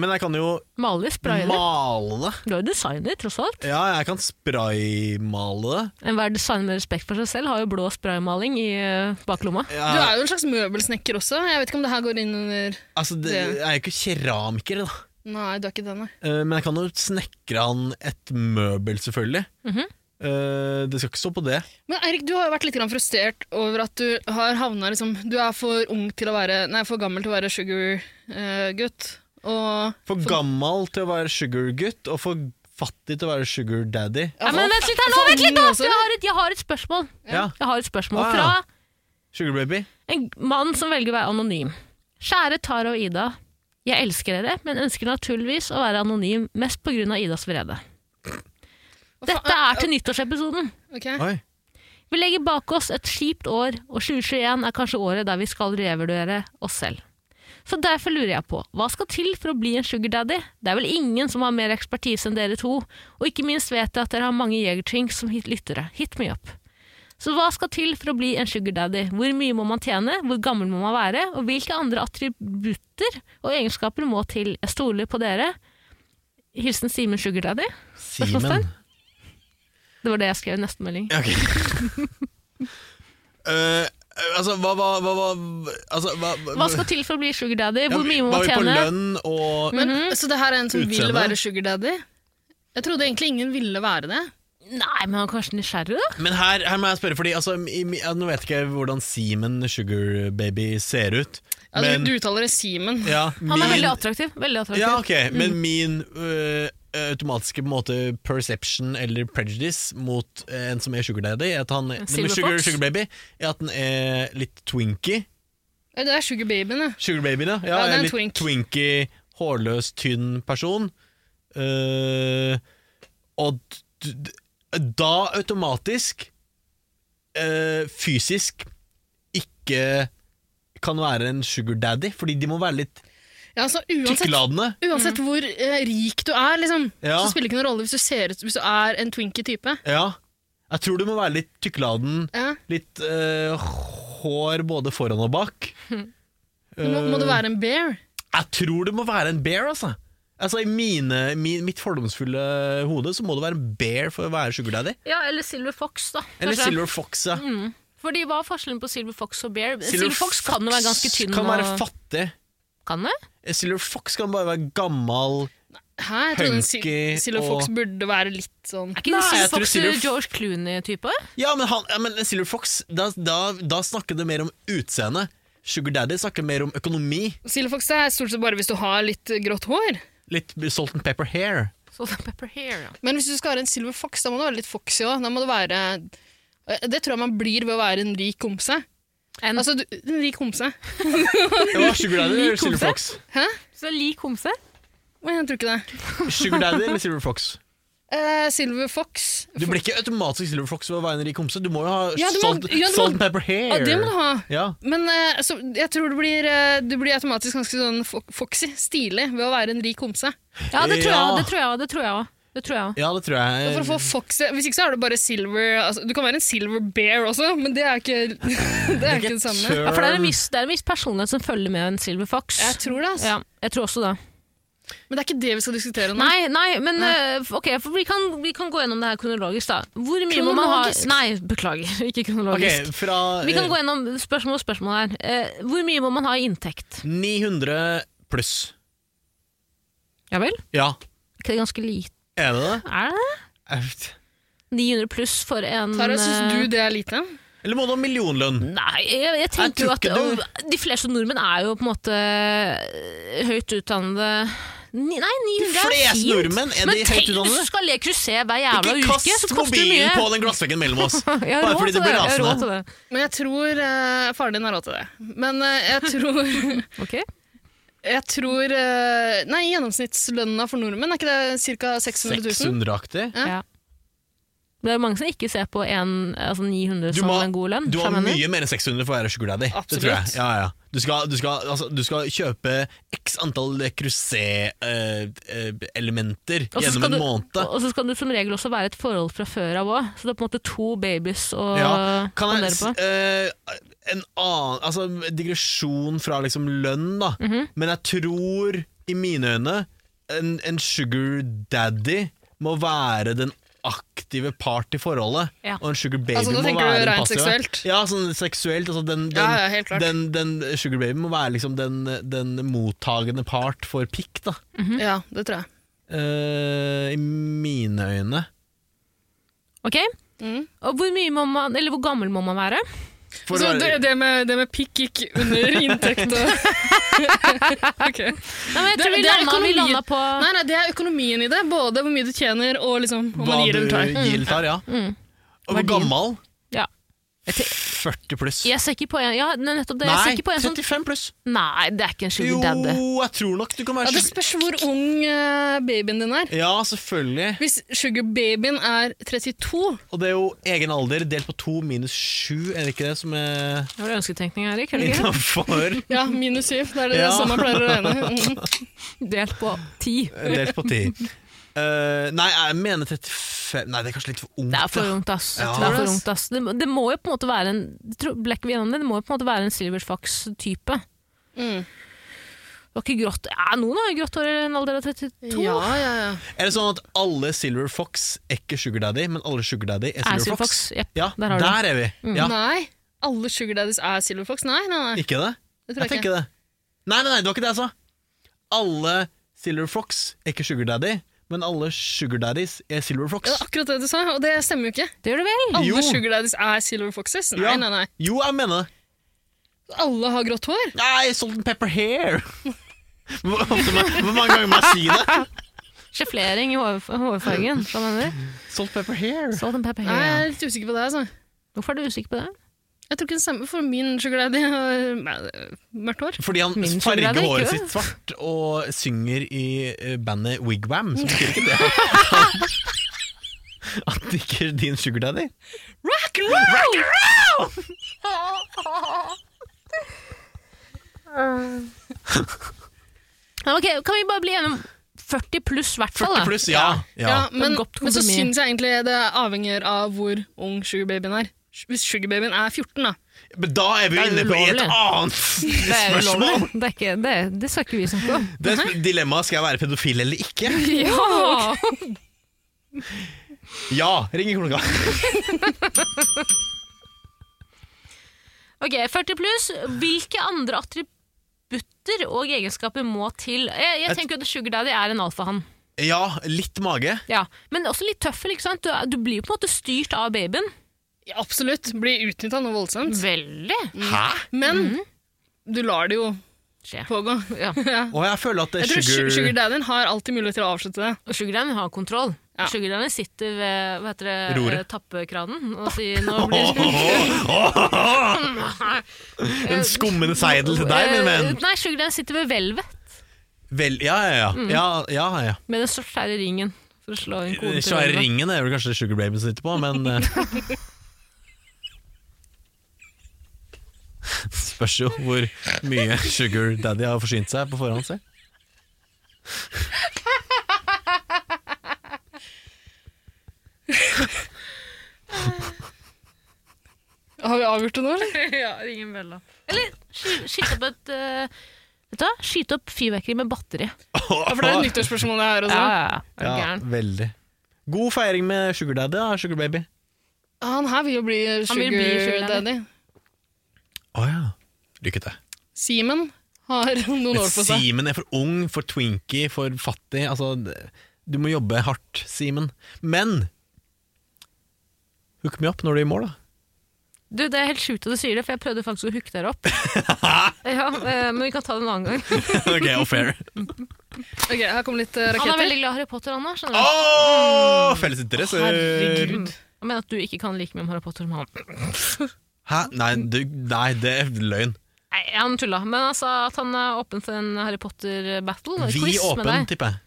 S1: men jeg kan jo
S2: Maler, sprayer.
S1: male det.
S2: Du er jo designer, tross alt.
S1: Ja, jeg kan spraymale det.
S2: Enhver designer med respekt for seg selv har jo blå spraymaling i eh, baklomma.
S3: Du
S1: Jeg,
S3: er jo en slags møbelsnekker også. Jeg vet ikke om det her går inn under
S1: altså, det,
S3: det-
S1: jeg er jo ikke keramiker, da.
S3: Nei, du er ikke det, nei.
S1: Eh, Men jeg kan jo snekre han et møbel, selvfølgelig.
S2: Mhm.
S1: Eh, Det skal ikke stå på det.
S3: Men Eirik, du har jo vært litt grann frustrert over at du har havna liksom Du er for ung til å være Nei, for gammel til å være sugar-gutt. eh, og
S1: For gammel til å være sugargutt, og for fattig til å være sugar daddy.
S2: Ja, men vent litt her nå!
S3: for
S2: Vent litt nå!
S3: ung også,
S2: Jeg har et, jeg har et spørsmål.
S1: Ja.
S2: Jeg har et spørsmål
S1: Ah,
S2: fra
S1: ja. Sugar baby.
S2: En mann som velger å være anonym. Kjære Tara og Ida. Jeg elsker dere, men ønsker naturligvis å være anonym mest pga. Idas vrede. Dette er til nyttårsepisoden.
S3: Ok.
S1: Oi.
S2: Vi legger bak oss et kjipt år, og 2021 er kanskje året der vi skal revurdere oss selv. Så derfor lurer jeg på, hva skal til for å bli en sugar daddy? Det er vel ingen som har mer ekspertise enn dere to, og ikke minst vet jeg at dere har mange jegertynks som hit lyttere. Hit me up. Så hva skal til for å bli en sugar daddy? Hvor mye må man tjene? Hvor gammel må man være? Og hvilke andre attributter og egenskaper må til? Jeg stoler på dere. Hilsen Simen Sugar Daddy.
S1: Simen.
S2: Det var det jeg skrev i neste melding.
S1: Ja, ok. Eh, altså, hva, hva, hva, hva altså, hva,
S2: Hva skal til for å bli sugar daddy? Hvor mye må
S1: var
S2: man
S1: vi på
S2: tjene?
S1: lønn og
S3: Men,
S2: Mhm.
S3: Så det her er en som vil
S1: Utseende?
S3: være sugar daddy? Jeg trodde egentlig ingen ville være det.
S2: Nei, men han er kanskje nysgjerrig, da?
S1: Men her, her må jeg spørre, fordi altså, i, mi- ja, nå vet ikke jeg hvordan Simen Sugar Baby ser ut.
S3: Ja,
S1: men,
S3: Altså, du, du uttaler det Simen.
S1: ja,
S2: Altså, Han er
S1: min-
S2: veldig attraktiv. Veldig attraktiv.
S1: Ja, ok,
S3: Mm.
S1: men min øh, automatiske på en måte perception eller prejudice mot eh, en som er sugar daddy, er at han er,
S2: Silver
S1: sugar,
S2: fox?
S1: sugar baby, er at han er litt twinky.
S3: Ja, Det er sugar babyen, ja.
S1: Sugar baby, da. Ja,
S3: Ja, det
S1: er
S3: er en
S1: litt
S3: twink.
S1: twinky, hårløs, tynn person. Eh, og d d da automatisk eh, fysisk ikke kan være en sugar daddy, fordi de må være litt
S3: ja altså, uansett,
S1: tykkladende.
S3: uansett
S2: Mhm.
S3: hvor eh, rik du er, liksom,
S1: Ja.
S3: så spiller det ikke noen rolle hvis du, ser ut, hvis du er en twinky type.
S1: Ja. Jeg tror du må være litt tykkeladen.
S3: Ja.
S1: Litt eh, hår både foran og bak.
S3: Du Må, må du
S1: Eh,
S3: være en bear?
S1: Jeg tror det må være en bear, altså. Altså I mine, mi- mitt fordomsfulle hode så må det være en bear for å være sugar daddy.
S2: Ja, eller Silver Fox, da.
S1: Eller
S2: kanskje.
S1: Silver Fox. Ja.
S2: Fordi Hva er forskjellen på Silver Fox og Bear? Silver, Fox, kan jo være ganske tynn.
S1: Kan være
S2: og-
S1: fattig.
S2: Kan det?
S1: Silver Fox kan bare være gammal.
S3: Hæ? Jeg trodde en Sil-
S1: hunky
S3: Silver Fox
S1: og-
S3: burde være litt sånn
S2: Er ikke
S1: Nei,
S2: Silver
S1: jeg tror
S2: Fox
S1: Silver F-
S2: George Clooney-type?
S1: Ja, men, han, ja, men Silver Fox, da, da, da snakker det mer om utseende. Sugar daddy snakker mer om økonomi.
S3: Silver Fox er stort sett bare hvis du har litt eh, grått hår.
S1: Litt salt and pepper hair.
S2: Salt and pepper hair, ja.
S3: Men hvis du skal være en Silver Fox, da må du være litt foxy òg. Da må du være eh, Det tror jeg man blir ved å være en rik homse.
S2: En,
S3: Altså, du, en rik homse.
S1: Det var sugar daddy eller
S2: Lik
S1: Silver
S2: homse.
S1: Fox?
S3: Hæ?
S2: så lik homse?
S3: Oi, Jeg tror ikke det.
S1: Sugar daddy eller Silver Fox?
S3: Eh, Silver Fox
S1: Du blir ikke automatisk Silver Fox ved å være en rik homse. Du må jo ha
S3: Ja, du må-
S1: salt,
S3: ja, du må-
S1: salt and pepper hair.
S3: Ja, det må du ha.
S1: Ja.
S3: Men eh, så, jeg tror du blir, eh, du blir automatisk ganske sånn fo- foxy, stilig, ved å være en rik homse.
S2: Ja, det tror
S1: Ja.
S2: jeg det tror jeg, det tror jeg, også. det tror jeg også.
S1: ja, det tror jeg.
S3: Og For å få foxy, Hvis ikke så er du bare silver altså, Du kan være en silver bear også, men det er ikke det, er ikke det samme.
S2: Ja, for det er, en viss, det er en viss personlighet som følger med en Silver Fox.
S3: Jeg tror det,
S2: Ja,
S3: altså.
S2: jeg tror også det.
S3: Men det er ikke det vi skal diskutere nå.
S2: Nei, Mm. nei, men eh, ok, for vi kan, vi kan gå gjennom det her kronologisk, da. Hvor mye må man ha
S3: Kronologisk?
S2: Nei, beklager. Ikke
S1: Ok,
S2: kronologisk.
S1: fra
S2: Vi kan
S1: eh,
S2: gå gjennom spørsmål og spørsmål her. Eh, hvor mye må man ha i inntekt?
S1: 900 pluss.
S2: Ja vel?
S1: Ja,
S2: Ikke det ganske lite?
S1: er det det?
S2: Er det det?
S1: Jeg vet-
S2: 900 pluss for en
S3: Tara, syns
S2: eh,
S3: du det er lite?
S1: Eller må du ha millionlønn?
S2: Nei, jeg, jeg tenker jo
S1: tror
S2: at
S1: ikke du-
S2: og De fleste nordmenn er jo på en måte eh, høyt utdannede Ni- Nei, 900 er
S1: fleste
S2: fint.
S1: nordmenn, er de høyt
S2: Men tenk
S1: utdannede?
S2: hvis du skal le cruiser hver
S1: Ikke
S2: jævla uke,
S1: kast
S2: så koster det
S1: mobilen
S2: mye.
S1: på den glassveggen mellom oss!
S2: Jeg har
S1: Bare
S2: råd
S1: fordi
S2: til
S1: det blir
S2: det, jeg har råd
S1: rasende.
S2: til det.
S3: Men jeg tror eh, Faren din har råd til det. Men eh, jeg tror,
S2: Ok.
S3: jeg tror eh, Nei, gjennomsnittslønna for nordmenn, er ikke det ca. 600 000?
S1: 600-aktig.
S2: Ja. Det er jo mange som ikke ser på en, altså 900
S1: Du
S2: som
S1: må ha-
S2: en god lønn.
S1: Du har
S2: skjønner jeg.
S1: mye mer enn 600 for å være sugar daddy. Det
S3: Absolutt.
S1: tror jeg. Ja, ja. Du, skal, du, skal, altså, du skal kjøpe x antall cruisé-elementer
S2: Og så
S1: gjennom
S2: skal
S1: en
S2: du-
S1: måned.
S2: Og så skal du som regel også være et forhold fra før av òg, så det er på en måte to babies å
S1: Ja, kan jeg,
S2: fondere
S1: s-
S2: på.
S1: eh, en annen altså, digresjon fra liksom lønn, da.
S3: Mhm.
S1: Men jeg tror, i mine øyne, en, en sugar daddy må være den aktive part i forholdet.
S2: Ja.
S1: Og en sugar baby
S3: Altså, da
S1: må
S3: tenker du
S1: være den
S3: rent
S1: passive.
S3: seksuelt?
S1: Ja, sånn seksuelt. Altså, den, den,
S3: Ja, ja, helt klart.
S1: den, den sugar baby må være liksom den, den mottagende part for pikk, da.
S3: Ja, det tror jeg.
S1: Eh, I mine øyne.
S2: Ok?
S3: Mm.
S2: Og hvor, mye må man, eller hvor gammel må man være?
S1: For
S3: så
S1: å være-
S3: det, det, med, det med pikk gikk under inntekt og Ok.
S2: Nei, men jeg
S3: Det-
S2: tror vi
S3: det er
S2: landa, vi
S3: økonomi.
S2: landa på
S3: Nei, nei, det er økonomien i det. Både hvor mye du tjener og liksom, om man gir eller tar.
S2: Mm.
S1: Hva du gir eller tar, ja. Og hvor
S2: Verdien.
S1: gammel?
S2: Ja.
S1: 40 pluss.
S2: Jeg ser ikke poeng Ja, nettopp det. Jeg ser
S1: Nei,
S2: ikke poeng som
S1: 35 pluss.
S2: Nei, det er ikke en
S1: Jo,
S2: sugar daddy.
S1: jeg tror nok du kan
S3: Ja,
S1: være
S3: det
S1: sugar-
S3: spørs hvor ung eh, babyen din er.
S1: Ja, selvfølgelig.
S3: Hvis sugarbabyen er 32
S1: Og det er jo egen alder delt på to minus sju, er det ikke det som er
S2: Det var ønsketenkning, Erik. er det ikke?
S1: innafor?
S3: Ja, minus 7. Det er det
S1: Ja.
S3: sånn man pleier å regne. Mm.
S2: Delt på ti.
S1: Delt på ti. Eh, nei, jeg mener 35 Nei, det er kanskje litt for ungt.
S2: Det er for
S1: ja.
S2: ungt, ass.
S1: Ja.
S2: Det, er for ungt, ass. Det, det må jo på en måte være en det tror- Blekker vi gjennom det? Det må jo på en måte være en Silverfax-type.
S3: Mm.
S2: Det var ikke grått ja, Noen har jo grått hår i en alder av 32.
S3: Ja, ja, ja.
S1: Er det sånn at alle Silver Fox er ikke Sugar Daddy, men alle Sugar Daddy er
S2: Er
S1: Silver Fox?
S2: Silverfox. Jepp,
S1: Ja,
S2: der
S1: der,
S2: har du Mm.
S1: er vi. Mm. Ja,
S3: Nei, alle sugar daddies er Silver Fox. Nei, nei, nei.
S1: Ikke det?
S3: Det tror
S1: Jeg
S3: jeg ikke.
S1: tenker det. Nei, nei, nei, det var ikke det jeg sa. Alle Silver Fox er ikke Sugar Daddy, men alle Sugar Daddies er Silver
S3: Ja, det
S1: Fox.
S3: er akkurat det du sa, og det stemmer jo ikke.
S2: Det gjør det vel?
S3: Alle
S1: Jo.
S3: sugar daddies er Silver Foxes. Nei,
S1: Ja.
S3: nei, nei.
S1: Jo, jeg mener det.
S3: Alle har grått hår.
S1: Nei, Salt and Pepper Hair! Hvor, ofte må- hvor mange ganger må jeg si det?
S2: Sjeflering i hår, hårfargen. Hva mener du?
S1: Salt and Pepper Hair.
S2: Salt and pepper.
S3: Nei, jeg
S2: Hair.
S3: er litt usikker på det. altså.
S2: Hvorfor er du usikker på det?
S3: Jeg tror ikke det stemmer for min sugar daddy har nei, mørkt hår.
S1: Fordi han
S2: Min Sugar
S1: farger
S2: Daddy,
S1: håret
S2: ikke det?
S1: sitt svart og synger i eh, bandet Wigwam, så betyr ikke det at det ikke er din Sugar Daddy.
S3: Rock and roll!
S2: Ja, ok, kan vi bare bli enige om 40 pluss, i hvert fall?
S1: 40
S2: da?
S1: pluss, ja.
S3: Ja,
S1: ja.
S3: men,
S2: Godt
S3: men så
S2: kompromiss.
S3: syns jeg egentlig det avhenger av hvor ung sugarbabyen er. Hvis sugarbabyen er 14, da.
S1: Men da er vi jo
S2: Det er
S1: inne på i et
S2: ulovlig.
S1: annet
S2: Det er jo
S1: spørsmål.
S2: lovlig. Det, er ikke, det, det skal ikke vi snakke om.
S1: Det er sp- dilemmaet skal jeg være pedofil eller ikke?
S2: Ja!
S1: Ja, ring i klokka.
S2: Ok, 40 pluss. Hvilke andre attributter og egenskaper må til? Jeg, jeg tenker jo at Sugar Daddy er en alfahann.
S1: Ja, litt mage.
S2: Ja. Men også litt tøffel, ikke sant? Du, er- du blir jo på en måte styrt av babyen.
S3: Ja, absolutt. Blir utnytta noe
S2: Mm.
S3: voldsomt.
S2: Veldig.
S1: Hæ?
S3: Men du lar det jo
S2: Skje.
S3: pågå.
S2: Ja.
S1: Og jeg føler at det
S3: Jeg
S1: er
S3: tror
S1: sugar...
S3: sugar, sugar daddyen har alltid mulighet til å avslutte det.
S2: Og Sugar Daddy har kontroll.
S3: Ja.
S2: Sugar Daddy sitter ved hva heter det,
S1: Roret.
S2: tappekranen og sier nå blir
S1: En skummende seidel til deg, min
S2: Eh,
S1: venn.
S2: Nei, Sugar Daddy sitter ved hvelvet
S1: Vel, ja, ja, ja. ja, ja, ja.
S2: med den svære ringen for å slå inn mm. koden til
S1: Svære
S2: hvelvet.
S1: ringen er vel kanskje det Sugar Baby sitter på, men eh, Spørs jo hvor mye Sugar Daddy har forsynt seg på forhånd selv.
S3: Har vi avgjort det nå, eller?
S2: ja, ringen bella. Eller sky- skyte opp et eh, Vet du hva? Skyte opp fyrverkeri med batteri.
S3: Ja, for det er et nyttårsspørsmål det her også.
S2: Altså, Er du
S1: Ja,
S2: gæren?
S1: veldig. God feiring med Sugar Daddy, da, Sugar Baby.
S3: Han her vil jo bli
S2: vil
S3: sugar,
S2: bli sugar daddy.
S3: daddy.
S1: Å ja. Lykke til.
S3: Simen har noen
S1: Men
S3: år på seg.
S1: Simen er for ung, for twinky, for fattig. Altså, det- du må jobbe hardt, Simen. Men hook me up når du er i mål, da.
S2: Du, Det er helt sjukt at du sier det, for jeg prøvde faktisk å hooke dere opp. ja, eh, Men vi kan ta det en annen gang.
S1: ok, og fair.
S3: Ok, Her kommer litt eh,
S2: Han er
S3: raketter.
S2: veldig glad i Harry Potter, han da. skjønner du?
S1: Åh, felles interesser!
S3: Herregud.
S2: Jeg mener at du ikke kan like mye om Harry Potter som han.
S1: Hæ? Nei, du, nei, det er løgn.
S2: Nei, Han tulla, men han sa at han er åpen for en Harry Potter-battle. en
S1: Vi
S2: Quiz med
S1: åpen,
S2: deg.
S1: tipper jeg.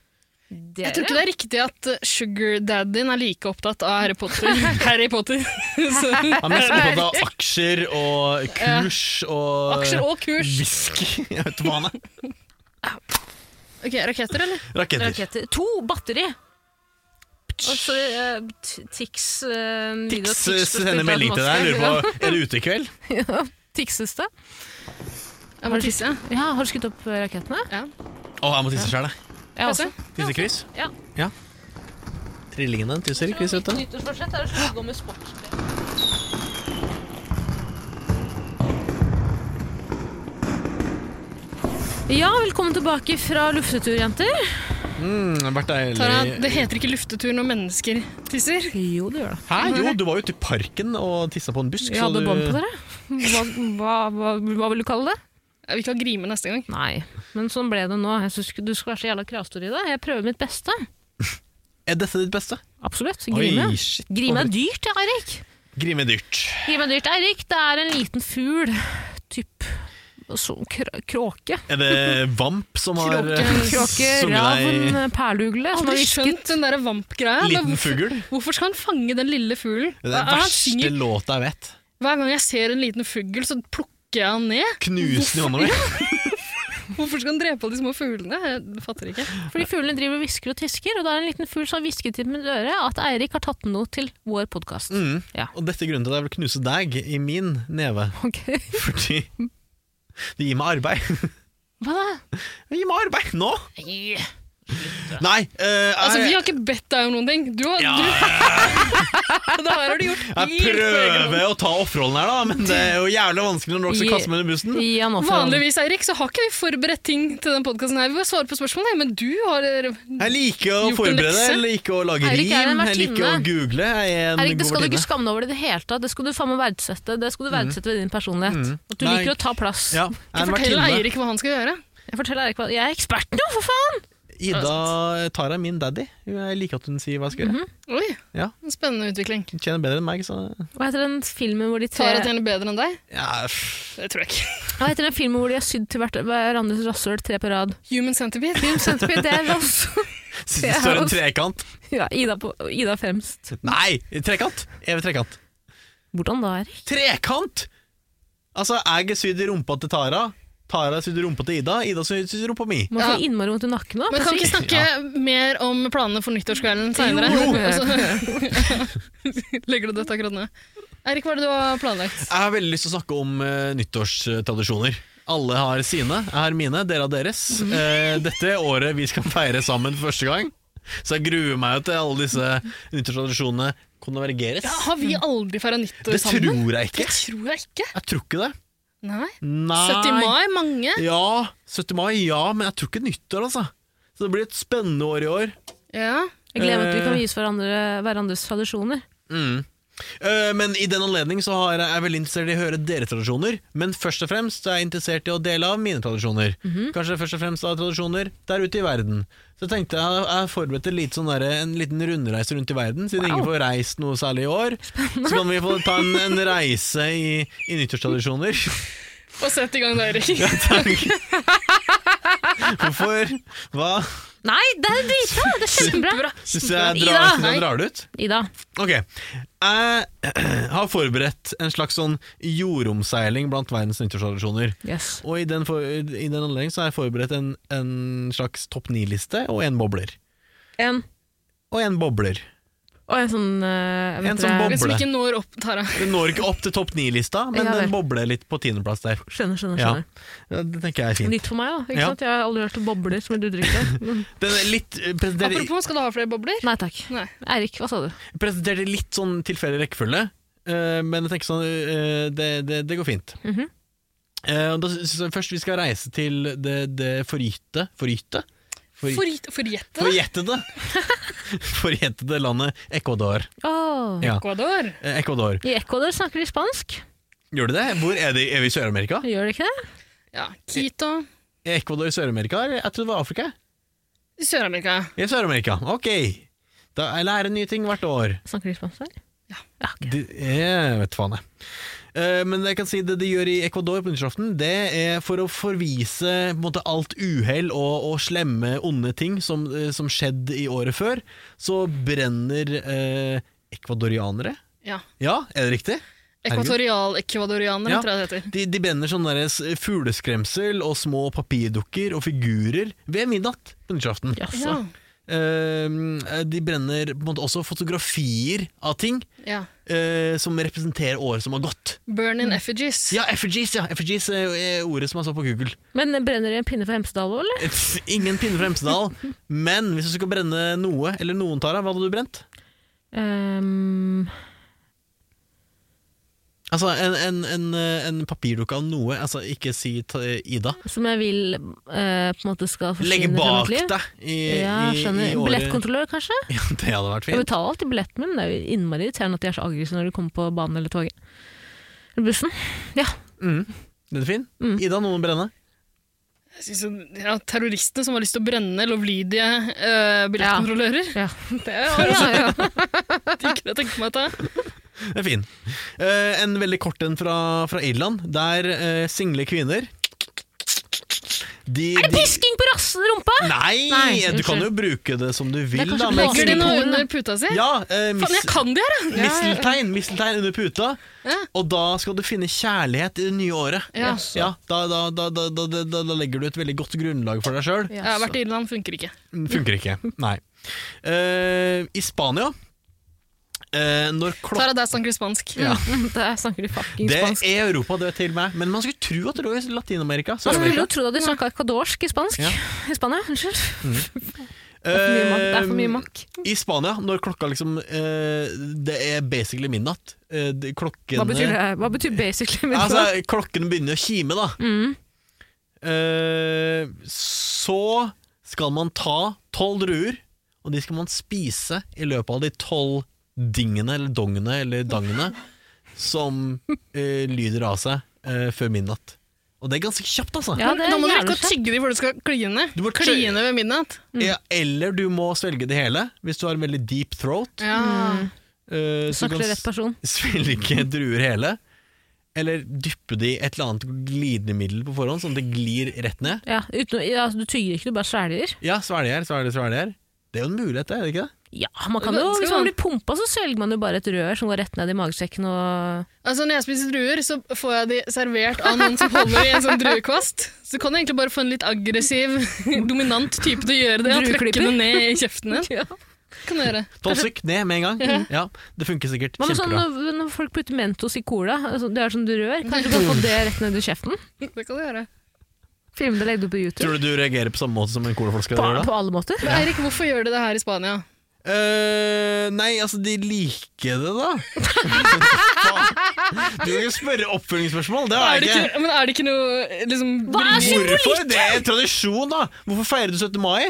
S2: Dere?
S3: Jeg tror ikke det er riktig at eh, sugar daddyen er like opptatt av Harry Potter. Harry Potter. Så-
S1: Han er mest opptatt av aksjer og kurs og
S3: Aksjer og kurs.
S1: Whisky. Jeg vet ikke hva han er. eh,
S3: Ok, Raketter, eller?
S1: Raketter.
S2: Raketter. To batteri! Og så eh, t- Tix eh, en video av
S1: Tix
S2: Tix som
S1: sender
S2: spilte
S1: melding til deg.
S2: masse.
S1: Lurer på, Er det ute i kveld?
S2: Tixes det?
S3: Jeg må tisse.
S2: Ja, Har du skutt opp eh, rakettene? altså.
S3: Ja.
S1: Å, jeg må tisse sjøl, jeg.
S2: Jeg
S3: også.
S1: Tissekryss.
S2: Ja.
S1: ja. Trillingene tisser i kryss, vet du.
S2: Nyttårsforsett er sånn å slutte å gå med sport. Ja, velkommen tilbake fra luftetur, jenter.
S1: Mm, det har vært
S3: Tara,
S1: deilig.
S3: det heter ikke luftetur når mennesker tisser.
S2: Jo, det gjør det.
S1: Hæ? Jo, du var jo ute i parken og tissa på en busk.
S2: Mm. Vi
S1: så
S2: hadde
S1: du-
S2: bånd på dere. Hva, hva, hva, hva vil du kalle det?
S3: Jeg vil ikke ha grime neste gang.
S2: Nei, men sånn ble det nå. Jeg synes ikke du skal være så jævla kravstor i det. Jeg prøver mitt beste.
S1: Er dette ditt beste?
S2: Absolutt.
S1: Oi,
S2: Grime.
S1: shit.
S2: Grime er dyrt, ja, Erik.
S1: Grime dyrt.
S2: Gi meg dyrt, Eirik. Det er en liten fugl. Typ så, kr kråke.
S1: Er det Vamp som har
S3: Kråke.
S1: eh,
S2: Kråke,
S1: sunget
S2: ravn,
S1: deg
S2: perleugle. eh, som har
S3: Aldri
S2: hvisket.
S3: skjønt den der vampgreia.
S1: liten
S3: Men hvorfor-
S1: fugl?
S3: Hvorfor skal han fange den lille fuglen?
S1: Det er
S3: Hva
S1: den
S3: er han
S1: verste
S3: synger?
S1: låta jeg vet.
S3: Hver gang jeg ser en liten fugl, så plukker jeg han ned.
S1: Knus den i hånda mi.
S3: Hvorfor skal han drepe alle de små fuglene? Jeg fatter ikke.
S2: Fordi fuglene driver og hvisker og tisker, og da er det en liten fugl som har hvisket i mitt øre at Eirik har tatt med noe til vår podkast.
S1: Mm.
S2: Ja.
S1: Og dette er grunnen til at jeg vil knuse deg i min neve,
S2: Ok.
S1: fordi det gir meg arbeid.
S2: Hva da?
S1: Det gir meg arbeid nå!
S2: Nei.
S1: Nei, eh,
S3: Altså, Vi
S1: jeg,
S3: har ikke bedt deg om noen ting. Du har,
S1: Ja.
S3: du, det her har du gjort
S1: jeg
S3: helt på egen hånd.
S1: prøver å ta offerrollen her, da, men det er jo jævlig vanskelig når dere skal kaste meg under bussen.
S2: Gi han offer.
S3: Vanligvis Eirik, så har ikke vi forberedt ting til den podkasten. Vi bare svarer på spørsmål, nei, men du har
S1: Jeg liker å
S3: Gjort en
S1: forberede,
S3: lekse.
S1: jeg liker å lage
S2: Eirik er en
S1: rim, jeg liker å
S2: vertinne.
S1: google. Jeg er en
S2: Erik, det
S1: god
S2: skal du
S1: vertinne.
S2: ikke skamme deg over det i det hele tatt. Det skal du faen meg verdsette. Det skal du verdsette ved din personlighet. At du
S1: Mm. Nei.
S2: liker å ta plass.
S1: Ja, jeg er en
S3: Fortell
S1: vertinne.
S3: Eirik hva han skal gjøre.
S2: Jeg forteller Erik hva Jeg er ekspert nå, for faen!
S1: Ida Tara er min daddy. Jeg liker at hun sier hva jeg skal gjøre.
S3: Oi,
S1: Ja.
S3: en spennende utvikling.
S1: Hun tjener bedre enn meg, så
S2: Hva heter den filmen hvor de tre
S3: Tara tjener bedre enn deg?
S1: ja, pff.
S3: Det tror jeg ikke.
S2: Hva heter den filmen hvor de har sydd til hvert- hverandres rasshøl tre på rad?
S3: Human centipede.
S2: Centipede, det er oss.
S1: Det står en trekant.
S2: Ja, Ida, på, Ida fremst.
S1: Nei, trekant! Evig trekant.
S2: Hvordan da, Erik?
S1: Trekant! Altså, jeg er sydd i rumpa til Tara. Tara er sydd i rumpa til Ida. Ida er sydd i rumpa mi.
S2: Man får
S3: Ja.
S2: innmari vondt i nakken nå.
S3: Men kan vi ikke
S2: Precis.
S3: snakke mer om planene for nyttårskvelden seinere?
S2: Jo, jo.
S3: Legger du dette akkurat nå? Eirik, hva er det du har planlagt?
S1: Jeg har veldig lyst til å snakke om eh, nyttårstradisjoner. Alle har sine. Jeg har mine, dere har deres.
S3: Mhm.
S1: Eh, dette er året vi skal feire sammen for første gang. Så jeg gruer meg jo til alle disse nyttårstradisjonene konvergeres.
S3: Har vi aldri feira nyttår
S1: Det
S3: sammen?
S1: tror jeg
S3: Det
S1: ikke.
S3: tror jeg ikke.
S1: Jeg tror ikke det.
S3: Nei.
S1: Nei.
S3: 70 mai, mange.
S1: Ja, 70 mai, ja, men jeg tror ikke nyttår, altså. Så det blir et spennende år i år.
S3: Ja.
S2: Jeg gleder meg til vi kan vise hverandre, hverandres tradisjoner.
S1: Eh, men i den anledning så har jeg, jeg er veldig interessert i å høre deres tradisjoner. Men først og fremst er jeg interessert i å dele av mine tradisjoner. Kanskje først og fremst av tradisjoner der ute i verden. Så jeg tenkte jeg, jeg forberedte litt sånn derre- en liten rundreise rundt i verden, siden ingen får reist noe særlig i år. Så kan vi få ta en, en reise i, i nyttårstradisjoner.
S3: Og sett i gang da, Eirik.
S1: Takk. Hvorfor? Hva?
S2: Nei, det er dritbra! Det er kjempebra!
S1: Syns jeg
S2: Ida,
S1: drar, synes
S3: nei.
S1: jeg drar det ut?
S2: Ida,
S1: Ok, jeg har forberedt en slags sånn jordomseiling blant verdens nyttårstradisjoner.
S2: yes.
S1: Og i den, for, i den anledning så har jeg forberedt en, en slags topp ni-liste og en bobler.
S2: En,
S1: Og en bobler.
S2: og en sånn eh, vet
S1: En
S2: dere-
S1: sånn bob-
S3: Men som ikke når opp, Tara.
S1: Den når ikke opp til topp ni-lista, men
S2: Ja vel.
S1: den bobler litt på tiendeplass der.
S2: Skjønner, skjønner.
S1: Ja.
S2: skjønner.
S1: Ja, Det tenker jeg er fint.
S2: Nytt for meg, da. Ikke
S1: Ja.
S2: sant? Jeg har aldri hørt om bobler som et uttrykk. der.
S1: Den er litt, eh, presenterer,
S3: Apropos, skal du ha flere bobler?
S2: Nei takk.
S3: Nei.
S2: Eirik, hva sa du?
S1: presenterer litt sånn tilfeldig rekkefølge, eh, men jeg tenker sånn eh, det, det, det går fint.
S2: Mhm.
S1: Eh, og da synes jeg først vi skal reise til det, det forgytte Forgytte? Forgy-
S3: Forrit- Forjette
S1: Forjettede
S3: deg.
S1: Forjettede landet Ecuador.
S2: Åh.
S1: Ja.
S3: Ecuador.
S1: Eh, Ecuador.
S2: I Ecuador snakker de spansk.
S1: Gjør de det? Hvor er de? Er vi i Sør-Amerika?
S2: Gjør de ikke det?
S3: Ja, Quito.
S1: Er Ecuador i Sør-Amerika? eller? Jeg trodde det var Afrika.
S3: I Sør-Amerika.
S1: I Sør-Amerika, ok. Da, jeg lærer nye ting hvert år.
S2: Snakker de spansk der?
S3: Ja.
S2: ok.
S1: Det er, vet faen jeg. Eh, men jeg kan si det de gjør i Ecuador på nyttårsaften, det er for å forvise på en måte, alt uhell og, og slemme, onde ting som, eh, som skjedde i året før. Så brenner eh, ekvadorianere.
S3: Ja.
S1: Ja, er det riktig?
S3: Ekvatorial-ekvadorianer,
S1: Ja.
S3: tror jeg det heter.
S1: De, de brenner sånn der s- fugleskremsel og små papirdukker og figurer ved midnatt på nyttårsaften.
S2: Jaså.
S3: Ja.
S1: Ehm, de brenner på en måte også fotografier av ting
S3: ja.
S1: eh, som representerer året som har gått.
S3: Burn
S1: Mm.
S3: in effigies.
S1: Ja, effigies, ja. Effigies er jo- er ordet som jeg så på Google.
S2: Men brenner de en pinne for Hemsedal òg, eller?
S1: Et- Ingen pinne fra Hemsedal, men hvis du skulle brenne noe eller noen, Tara, hva hadde du brent?
S2: Ehm,
S1: Altså, en, en, en, eh, en papirdukke av noe, altså ikke si ta- Ida.
S2: som jeg vil eh, på en måte skal
S1: Legge
S2: forsvinne fra
S1: bak
S2: mitt liv.
S1: deg i,
S2: Ja,
S1: i,
S2: skjønner.
S1: i året.
S2: Billettkontrollør, kanskje?
S1: Ja, det hadde vært
S2: Jeg
S1: fint.
S2: betaler alltid billetten min, men det er jo innmari irriterende at de er så aggressive når de kommer på banen eller toget. Eller bussen. Ja.
S1: Mm. Den er fin. Ida, noen må brenne.
S3: Jeg synes, jo- ja, terroristene som sånn, har lyst til å brenne lovlydige eh, billettkontrollører.
S2: ja.
S3: Det er altså ikke det jeg tenker meg til.
S1: Den er fin. Eh, en veldig kort en fra, fra Irland, der eh, single kvinner de,
S2: Er det
S1: de-
S2: pisking på rass rumpa?!
S1: Nei,
S2: Nei,
S1: du
S2: unnskyld.
S1: kan jo bruke det som du vil,
S2: kanskje
S1: da.
S2: ikke
S1: men-
S2: lov.
S3: Legger de noe under puta si?
S1: Ja, eh,
S3: Faen, jeg
S1: mis,
S3: kan det her, da!
S1: misteltein, misteltein under puta.
S3: Ja.
S1: Og da skal du finne kjærlighet i det nye året.
S3: Ja.
S1: Ja, da, da, da, da, da, da, da legger du et veldig godt grunnlag for deg sjøl.
S3: Jeg har vært i Irland, funker ikke.
S1: Funker ikke. Nei. Eh, I Spania eh, Når klokka
S3: Tara, der snakker du spansk.
S1: ja.
S2: Der snakker de fucking
S1: Det
S2: spansk.
S1: er Europa, det til meg. Men man skulle tro at det lå i Latin-Amerika.
S2: Man skulle jo
S1: Sør-Amerika.
S2: tro at de snakka
S3: Mm.
S2: kadorsk i spansk.
S1: Ja.
S2: I Spania, unnskyld. Det
S3: Eh,
S2: er for mye makk. Det er for mye makk.
S3: mm,
S1: Eh, I Spania, når klokka liksom eh, Det er basically midnatt. Eh, det- klokken
S2: Hva betyr det? Hva betyr basically med
S1: Altså, klokken begynner å kime, da.
S2: Mm.
S1: Eh, så skal man ta tolv druer, og de skal man spise i løpet av de tolv dingene, eller dongene, eller dangene, som eh, lyder av seg eh, før midnatt. Og det er ganske kjapt, altså.
S2: Ja, det er
S3: da må du
S2: jævlig
S3: ikke tygge de før du skal kline.
S1: Du må tygge-
S3: Kline ved midnatt.
S2: Mm.
S1: Ja, eller du må svelge det hele, hvis du har en veldig deep throat.
S3: Ja.
S1: eh, så du
S2: Mm. Snakker
S1: kan
S2: til rett person.
S1: svelge druer hele. Eller dyppe det i et eller annet glidemiddel på forhånd, sånn at det glir rett ned.
S2: Ja, uten, ja, altså, du tygger ikke, du bare svelger.
S1: Ja, svelger, svelger, svelger. Det er jo en mulighet, det, er det ikke det?
S2: Ja, man kan jo,
S3: Skal
S2: hvis man
S3: man-
S2: blir pumpa, så svelger man jo bare et rør som går rett ned i magesekken og
S3: Altså, når jeg spiser druer, så får jeg de servert av noen som holder i en sånn druekvast. Så kan du egentlig bare få en litt aggressiv, dominant type til å gjøre det. Og trykke
S2: Drueklipper.
S3: det ned i kjeften din.
S2: ja.
S3: Kan du gjøre.
S1: Tolv stykk ned med en gang. Ja, Det funker sikkert.
S2: Hva med sånn
S1: Kjempebra.
S2: når, når folk putter Mentos i cola? Altså, det er sånn du rør. Kanskje
S3: Mm.
S2: du kan få det rett ned i kjeften?
S3: Det kan du gjøre.
S2: Filme det, legge det på YouTube.
S1: Tror du du reagerer på samme måte som en colaflaske?
S2: På,
S1: gjør da?
S2: på alle måter.
S3: Men Eirik, hvorfor gjør de det her i Spania?
S1: Eh, nei, altså, de liker det, da. du kan ikke spørre oppfølgingsspørsmål, det har
S3: Er det
S1: jeg ikke.
S3: ikke, men er det ikke noe liksom,
S2: Hva er
S3: bry-
S1: Hvorfor? Det er tradisjon, da! Hvorfor feirer du 17. mai?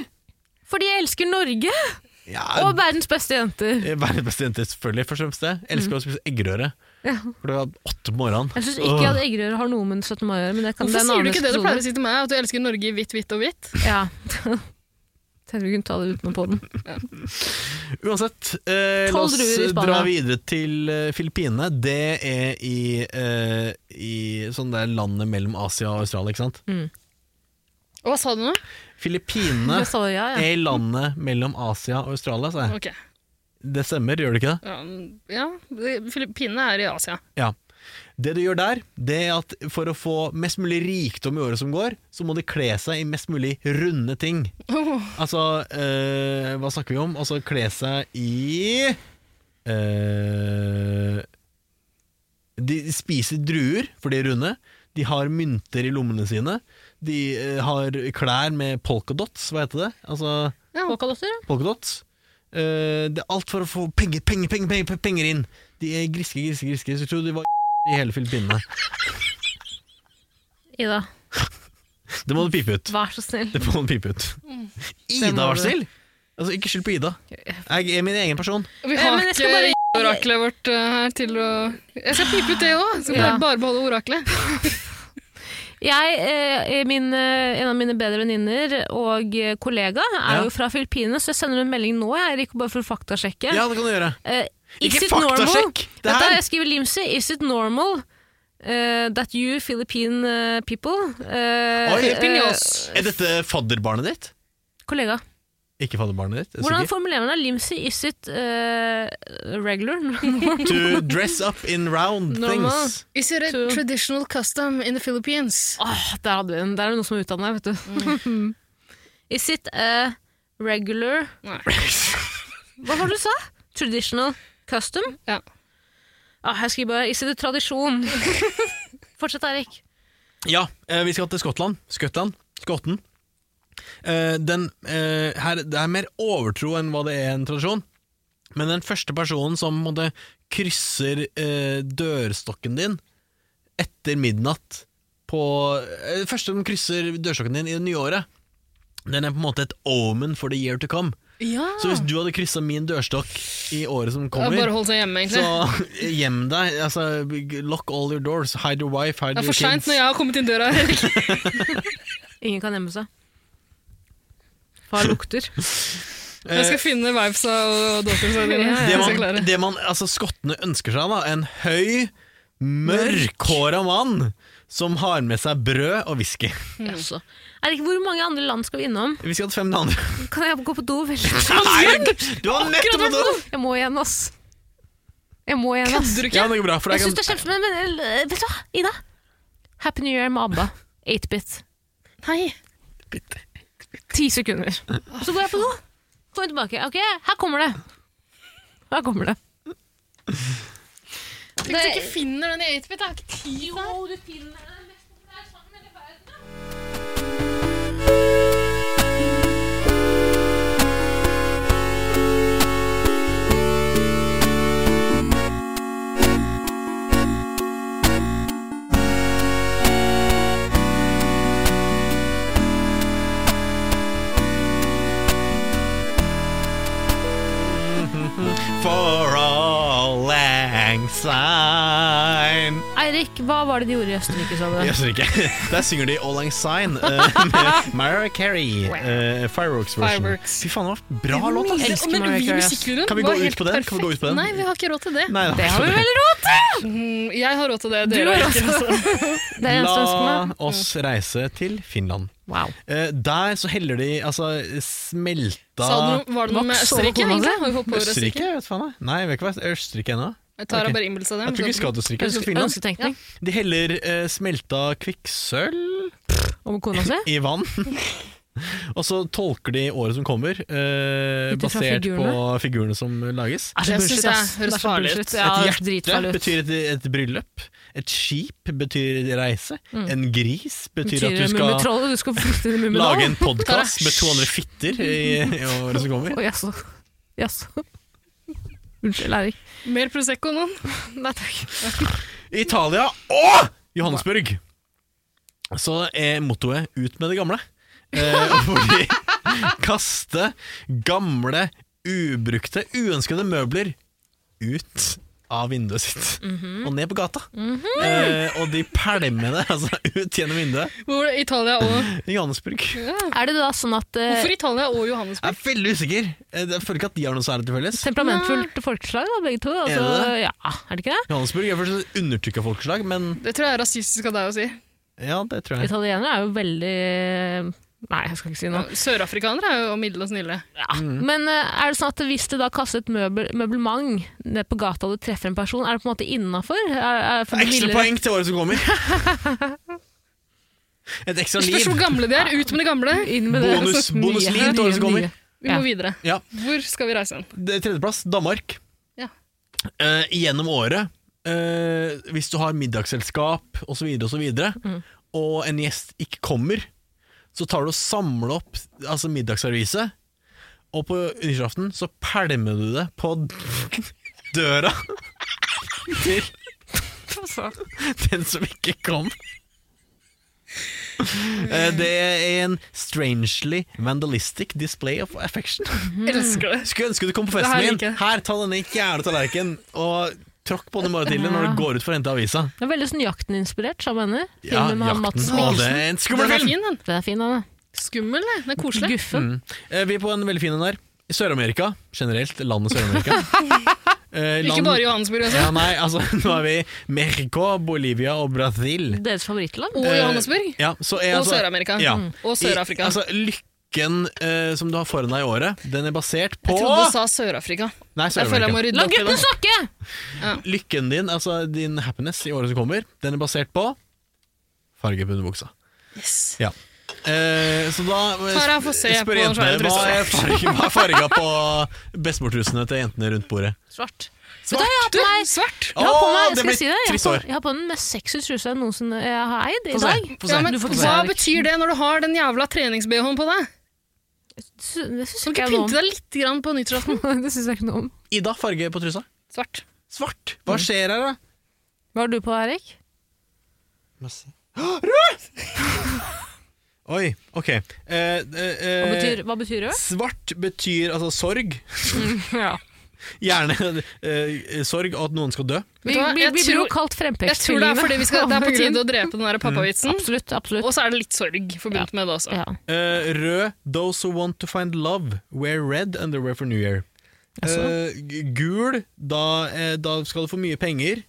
S2: Fordi jeg elsker Norge
S1: Ja, eh,
S2: og verdens beste jenter.
S1: Verdens beste jente, selvfølgelig. Først og fremst det. Elsker å spise eggerøre.
S2: Mm. Ja.
S1: For det var åtte på morgenen.
S2: Jeg syns ikke at eggerøre har noe med 17. mai å gjøre. Men det kan,
S3: Hvorfor
S2: er en
S3: sier du
S2: annen
S3: ikke det du
S2: episode.
S3: pleier å si til meg? At du elsker Norge i hvitt, hvitt og hvitt?
S2: Ja. Tenkte vi kunne ta det utenom podden.
S1: Uansett, eh, la
S2: Tolv
S1: oss
S2: druer i Spania.
S1: dra videre til eh, Filippinene. Det er i, eh, i sånn der landet mellom Asia og Australia, ikke sant?
S3: Og Hva sa du nå?
S1: Filippinene
S2: Jeg sa sånn, ja, ja.
S1: er landet mellom Asia og Australia, sa jeg.
S3: Ok.
S1: Det stemmer, gjør det ikke det?
S3: Ja, mm, ja. det- Filippinene er i Asia.
S1: Ja. Det du gjør der, det er at for å få mest mulig rikdom i året som går, så må de kle seg i mest mulig runde ting.
S3: Åh,
S1: Altså, eh, hva snakker vi om? Altså, kle seg i eh, De spiser druer, for de er runde. De har mynter i lommene sine. De eh, har klær med polkadots, hva heter det? Altså,
S2: Polkadotter, ja.
S1: polkadots. Eh, det er alt for å få penger, penger, penger, penger, pe- penger inn. De er griske, griske, griske. Så jeg tror de var i hele Filippinene.
S2: Ida,
S1: Det må du pipe ut.
S2: vær så snill.
S1: Det må du pipe ut.
S2: Mm. Det
S1: Ida,
S2: må
S1: vær
S2: du.
S1: så snill! Altså, ikke skyld på Ida. Jeg er min egen person.
S3: Vi
S2: Eh,
S3: har
S2: men jeg skal
S3: ikke
S2: bare-
S3: oraklet vårt eh, her til å Jeg skal pipe ut det òg! Skal
S2: Ja.
S3: bare, bare beholde oraklet.
S2: Jeg, eh, min, eh, en av mine bedre venninner og eh, kollega er
S1: Ja.
S2: jo fra Filippinene, så jeg sender hun en melding nå, jeg, Erik, bare for å faktasjekke.
S1: Ja, det kan du gjøre.
S2: Eh, is
S1: Ikke
S2: it normal?
S1: faktasjekk! Det
S2: Vent da,
S1: her
S2: jeg skriver limse. Is it normal eh, that you Philippine eh, people eh,
S1: Oi.
S3: Filipinos.
S1: Er dette fadderbarnet ditt?
S2: Kollega.
S1: Ikke fadderbarnet ditt? er du
S2: Hvordan
S1: sikker?
S2: formulerer man det? Limse, is it eh, regular?
S1: To dress up in round
S2: Normal.
S1: things.
S3: Is it a
S2: To-
S3: traditional custom in the Philippines?
S2: Åh, der hadde vi den. Der er det noen som er utdanna, vet du. Is it a regular
S3: Nei.
S2: Hva var det du sa? Traditional custom?
S3: Ja.
S2: Ah, jeg skriver bare Is it a tradisjon? Fortsett, Erik.
S1: Ja, eh, vi skal til Skottland. Skottland. Skotten. Eh, Den, eh, her, det er mer overtro enn hva det er en tradisjon. Men den første personen som på en måte krysser eh, dørstokken din etter midnatt på eh, Den første som krysser dørstokken din i det nye året, den er på en måte et omen for the year to come.
S3: Ja.
S1: Så hvis du hadde kryssa min dørstokk i året som
S3: Ah. Ja, bare
S1: kommer,
S3: holde seg hjemme, egentlig.
S1: så gjem deg. Altså, lock all your doors. Hide your wife, hide
S3: det er
S1: your
S3: for seint
S1: kids.
S3: når jeg har kommet inn døra. Erik.
S2: Ingen kan gjemme seg. Far lukter.
S3: Jeg skal finne vibesa og datorsa dine.
S2: Ja,
S1: Eh. Det
S2: ja.
S3: Eh, Jeg
S1: man,
S3: skal klare.
S1: det man, altså Skottene ønsker seg da en høy, mørkhåra mann som har med seg brød og whisky.
S2: Jaså. Erik, hvor mange andre land skal vi innom?
S1: Vi skal til fem navn.
S2: Kan jeg gå på do veldig
S1: Herregud, Du har nettopp fått det!
S2: Jeg må igjen, ass. Jeg må igjen, ass.
S3: Kødder du
S1: Ja,
S3: ikke?
S1: det går bra, for
S2: Jeg
S1: jeg
S2: syns det
S1: kan,
S2: er kjempefint, men, men eh, vet du hva, Ida? Happy New Year med ABBA. 8-bit.
S3: Nei.
S2: Ti sekunder. Så går jeg på do. Kommer tilbake. Ok, her kommer det. Her kommer det.
S3: Tenk hvis du ikke finner den i 8-bit. Det er ikke tid der.
S2: du finner den mest populære sangen i verden.
S1: for all lang sign
S2: Eirik, hva var det de gjorde i Østerrike, sa du?
S1: Jeg skjønner ikke. Der synger de All Lang Sign eh, med Mariah Carey. eh, Fireworks version.
S3: Fireworks.
S1: Fy faen, det var bra låt, ass.
S2: elsker
S3: Men
S2: Mariah
S3: vi
S2: Carey, ass.
S3: musikkluren
S1: Kan vi
S3: var
S1: gå ut
S3: helt
S1: på den? Kan vi gå ut på den?
S3: perfekt. Nei, vi har ikke råd til det.
S1: Nei, da.
S2: Det har vi vel råd til!
S3: Mm, Jeg har råd til det.
S2: Du
S3: Dere
S2: har
S3: har ikke. Altså.
S2: Det er eneste ønsket
S1: La
S2: meg.
S1: oss reise til Finland.
S2: Wow.
S1: Eh, der så heller de altså smelta
S3: Sa du noe- Var det noe med
S2: Vaks
S3: Østerrike?
S2: over
S3: egentlig?
S2: kona
S3: Har vi hoppet over
S1: Østerrike?
S3: Østerrike?
S1: Jeg vet faen jeg. Nei, jeg vet ikke hva det er. Østerrike ennå.
S3: Jeg tar
S1: Ok.
S3: bare innbilse av det.
S1: Jeg tror ikke vi skal til Østerrike, vi skal til Finland.
S2: Ønsketenkning
S1: De heller eh, smelta kvikksølv
S2: om kona si.
S1: i vann. Og så tolker de året som kommer, eh,
S2: Ut ifra
S1: basert
S2: figurene.
S1: på figurene som lages.
S2: Er så
S3: Det
S2: bullshit,
S3: synes jeg
S2: ass.
S3: høres
S2: Det er så
S3: farlig ut.
S2: bullshit. Ja,
S1: et hjerte
S2: dritfarlig ut.
S1: betyr et, et bryllup. Et skip betyr reise. En gris betyr,
S2: Betyr
S1: at du skal
S2: Mummitrollet, du skal flykte til Mummitrollet?
S1: lage en podkast med 200 fitter i, i året som kommer.
S2: Å, jaså. Jaså. Unnskyld, Eirik.
S3: Mer Prosecco nå? Nei takk.
S1: Italia og Johannesburg. Så er mottoet 'ut med det gamle'. Eh, hvor de kaster gamle, ubrukte, uønskede møbler ut av vinduet sitt og ned på gata. eh, og de pælmer det altså, ut gjennom vinduet.
S3: Hvor var det Italia og
S1: i Johannesburg.
S3: ja.
S2: Er det da sånn at eh,
S3: Hvorfor Italia og
S1: Jeg
S3: Johannesburg?
S1: er veldig usikker. Eh, Jeg føler ikke at de har noe særlig til felles.
S2: Temperamentfullt folkeslag, da, begge to. Altså,
S1: Er
S2: ja, er det ikke det?
S1: Johannesburg er først et undertrykka folkeslag, men
S3: Det tror jeg er rasistisk av deg å si.
S1: ja, det tror jeg.
S2: Italienere er jo veldig Nei, jeg skal ikke si noe.
S3: Sørafrikanere er jo middel og snille.
S2: Ja.
S1: Mm.
S2: Men eh, er det sånn at hvis du da kaster et møbel, møblement ned på gata og du treffer en person, er det på en måte innafor?
S1: Ekstra poeng til året som kommer. Et ekstra
S3: Spørs
S1: liv.
S3: hvor gamle de er. Ut med det gamle.
S2: Inn med det.
S1: Bonus-
S2: Så mye.
S1: bonusliv til året som kommer.
S2: Mye.
S3: Vi
S2: Ja.
S3: må videre.
S1: Ja.
S3: Hvor skal vi reise hen?
S1: Det er Tredjeplass, Danmark.
S3: Ja.
S1: Eh, gjennom året, eh, hvis du har middagsselskap osv., og, så videre, og, så videre, og en gjest ikke kommer, så tar du og samler opp altså middagsserviset, og på nyttårsaften så pælmer du det på døra til den som ikke kom. Eh, Det er en strangely vandalistic display of affection.
S3: Elsker det.
S1: Skulle ønske du kom på
S3: Det her
S1: festen min.
S3: liker jeg.
S1: Her, ta denne jævla tallerkenen, og tråkk på den i morgen tidlig når du går ut for å hente avisa.
S2: Det er veldig sånn Jakten-inspirert, sa henne. Filmen med han Madsen
S1: Å, det
S2: Mikkelsen.
S1: er en skummel
S3: Den er
S1: film!
S3: fin, den.
S2: Den er fin, den.
S3: Skummel, det. Den er
S2: da.
S3: koselig.
S2: Guffen.
S1: Eh, Vi er på en veldig fin en der. I Sør-Amerika, generelt, landet Sør-Amerika. Eh,
S3: Ikke
S1: land-
S3: bare Johannesburg, altså.
S1: ja, Nei, altså, nå er vi i Mexico, Bolivia og Brasil.
S2: Deres favorittland.
S3: Og
S1: Eh,
S3: Johannesburg.
S1: Ja, så er,
S3: Og
S1: altså,
S3: Sør-Amerika. Mm.
S1: Ja.
S3: Og Sør-Afrika.
S1: I- Altså, lykken eh, som du har foran deg i året, den er basert på
S3: Jeg trodde du sa Sør-Afrika.
S1: Nei,
S3: Jeg føler jeg må
S1: Sør-Amerika.
S3: rydde
S2: La
S3: opp i
S2: gutten
S3: det.
S2: snakke!
S1: Lykken din, altså din happiness i året som kommer, den er basert på farge på underbuksa.
S3: Yes.
S1: Ja. Eh, så da eh,
S3: Tara, få se på den svære
S1: hva
S3: trusa.
S1: er farge- hva er farga på bestemortrusene til jentene rundt bordet.
S2: Svart.
S1: Svart!
S3: Du, svart!
S2: Jeg har på meg,
S1: Åh,
S2: jeg skal
S1: blir
S2: si det, jeg
S1: trist
S2: har,
S1: år.
S2: på, jeg har på den mest sexy trusa jeg noensinne jeg har eid i
S1: Få se,
S2: dag.
S1: få se.
S3: Ja, men
S2: du får ikke
S3: Hva
S2: se, Erik.
S3: betyr det når du har den jævla trenings-BH-en på deg?
S2: Sy- Det syns ikke
S3: Kan du ikke
S2: jeg noe
S3: pynte deg litt grann på nyttårsaften?
S2: om. Det syns jeg ikke noe om.
S1: Ida, farge på trusa?
S3: Svart.
S1: Svart! Hva
S3: Mm.
S1: skjer her, da?
S2: Hva har du på, Erik?
S1: Oi, ok. Eh, eh, eh,
S2: Hva betyr, hva betyr rød?
S1: Svart betyr altså sorg.
S2: Ja.
S1: Gjerne eh, sorg og at noen skal dø.
S2: Vi,
S3: Vet du hva,
S2: vi,
S3: jeg
S2: vi blir jo
S3: tror-
S2: kalt
S3: Jeg tror det er fordi vi skal, det er på tide å drepe den der
S1: Mm,
S3: pappavitsen.
S2: Absolutt. absolutt.
S3: Og så er det litt sorg forbundet med det også.
S2: Ja.
S1: Eh, rød, those who want to find love, wear red underwear for New Year.
S2: Altså.
S1: Eh, g- gul, da, eh, da skal du få mye penger.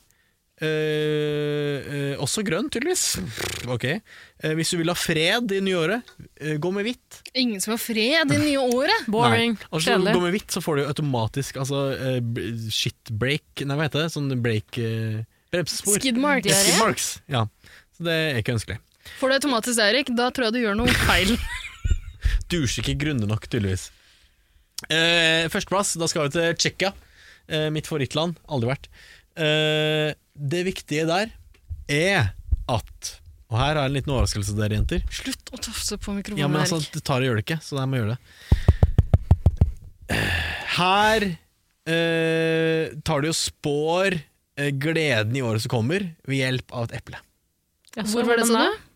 S1: Eh, eh, også grønn, tydeligvis. Ok. Eh, hvis du vil ha fred i nyåret, eh, gå med hvitt.
S3: Ingen som har fred i det nye året.
S2: Boring.
S1: Og så
S2: Kjedelig.
S1: går med hvitt, så får du automatisk altså, eh, b- shit break Nei, hva heter det? Sånn break eh, Bremsespor.
S3: Skidmark.
S2: Ja.
S1: Skid marks. Ja. Så det er ikke ønskelig.
S3: Får du automatisk det, Erik, da tror jeg du gjør noe feil.
S1: Dusjer ikke grundig nok, tydeligvis. Eh, førsteplass, da skal vi til Tsjekkia. Eh, mitt favorittland. Aldri vært. Eh, det viktige der er at Og her har jeg en liten overraskelse til dere, jenter.
S3: Slutt å tafse på mikrofonen,
S1: Ja, men altså,
S3: Erik.
S1: det tar og gjør det ikke, så jeg må gjøre det. Her eh, tar de og spår eh, gleden i året som kommer, ved hjelp av et eple.
S2: Ja, så
S3: Hvor var det, sa
S2: hvordan
S3: du?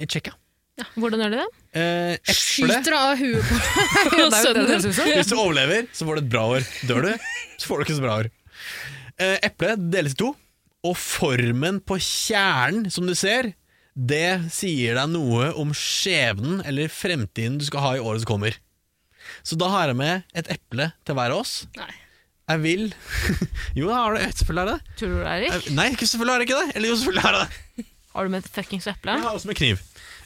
S1: I Tsjekkia.
S2: er- Hvordan gjør de det?
S1: Eh, eple
S3: Skyter av huet på
S2: det er jo det det
S3: sønnen.
S2: høres ut som.
S1: Hvis du overlever, så får du et bra år. Dør du, så får du ikke så bra år. Eh, Eplet deles i to, og formen på kjernen som du ser, det sier deg noe om skjebnen eller fremtiden du skal ha i året som kommer. Så da har jeg med et eple til hver av oss.
S3: Nei.
S1: Jeg vil Jo, jeg har det. Selvfølgelig er det det.
S2: Tror du det, Erik?
S1: Jeg- Nei, ikke selvfølgelig har jeg ikke det. Eller jo, selvfølgelig har jeg det.
S2: Har du med et fuckings eple?
S1: Jeg har også med kniv.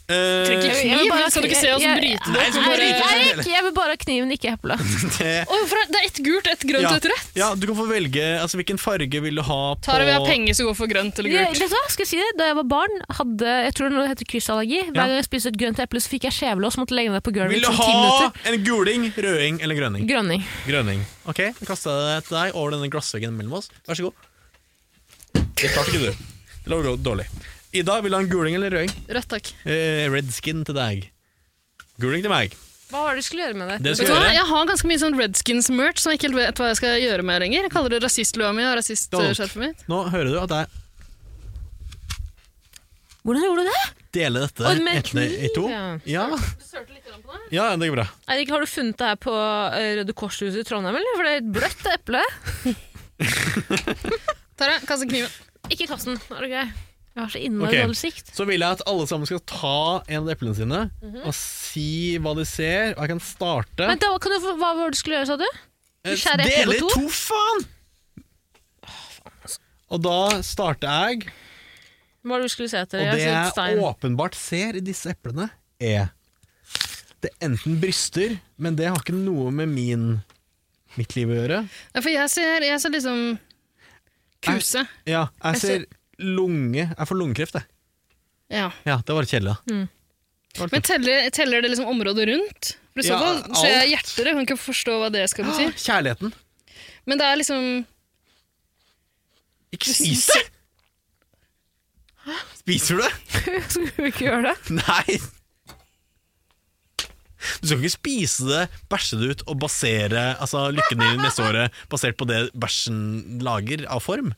S1: Eh,
S2: Jeg-
S3: Trenger ikke
S2: jeg vil
S3: kniv,
S2: bare-
S3: skal du ikke se oss
S2: jeg-
S3: bryte
S1: Nei,
S3: det
S1: jeg
S3: opp?
S1: skal bare-
S3: Bare...
S2: Erik, jeg vil bare ha kniven, ikke eplet.
S1: det-
S3: Å, for det- det er ett gult, ett grønt og ett rødt.
S1: ja, du kan få velge altså, hvilken farge vil du ha på
S3: Tara vil ha penger som går for grønt eller
S2: Jeg,
S3: gult.
S2: vet du hva, skal jeg si det? Da jeg var barn, hadde jeg tror det nå heter kryssallergi. Hver
S1: Ja.
S2: gang jeg spiste et grønt eple, så fikk jeg skjevelås og måtte legge meg ned på gulvet.
S1: Vil du
S2: i sånn ti
S1: ha
S2: minutter.
S1: en guling, røding eller grønning?
S2: Grønning.
S1: Grønning. Ok, jeg kaster det til deg over denne glassveggen mellom oss. Vær så god. Det klarte ikke du. Det lå godt dårlig. Ida, vil du ha en guling eller røding?
S3: Rødt, takk.
S1: Eh, red skin til deg. Guling til meg.
S2: Hva har du skulle gjøre med
S1: Det
S3: Vet du
S1: skal
S3: hva?
S1: jeg gjøre.
S3: Jeg har ganske mye sånn Redskins-merch som jeg ikke helt vet hva jeg skal gjøre med lenger. Jeg kaller det rasistlua mi og
S1: Don't.
S3: rasistskjerfet mitt.
S1: Nå hører du at jeg
S2: Hvordan gjorde du det?
S1: deler dette
S2: Oi, med
S1: etter i to.
S2: kniv,
S1: Ja. ja, det går bra.
S2: Erik, har du funnet det her på eh, Røde Kors-huset i Trondheim, eller? For det er et bløtt eple.
S3: Tara, kaste kniven.
S2: Ikke kast den, er det grei? Jeg har så innmari
S1: Ok.
S2: dårlig sikt.
S1: Så vil jeg at alle sammen skal ta en av eplene sine og si hva de ser. Og jeg kan starte.
S2: Men da, kan du, få- hva var det du skulle gjøre, sa du?
S1: Eh,
S2: skjærer eple
S1: Dele
S2: på
S1: i
S2: to?
S1: to, faen! Og da starter jeg,
S2: Hva var det du skulle se etter?
S1: og
S2: Jeg
S1: det
S2: har sett
S1: jeg
S2: stein.
S1: åpenbart ser i disse eplene, er Det er enten bryster, men det har ikke noe med min mitt liv å gjøre.
S3: Ja, for jeg ser, jeg ser liksom kuse.
S1: Ja, jeg
S3: Jeg
S1: ser lunge Jeg får lungekreft, jeg.
S3: Ja.
S1: Ja, det var litt kjedelig, da.
S3: Men teller, teller det liksom området rundt? For I så
S1: Ja,
S3: fall ser jeg
S1: alt.
S3: hjerter. Jeg kan ikke forstå hva det skal bety.
S1: Kjærligheten.
S3: Men det er liksom
S1: Ikke spis det! Spiser du det?
S2: Skulle du ikke gjøre det?
S1: Nei! Du skal ikke spise det, bæsje det ut og basere altså, lykken din neste året basert på det bæsjen lager av form.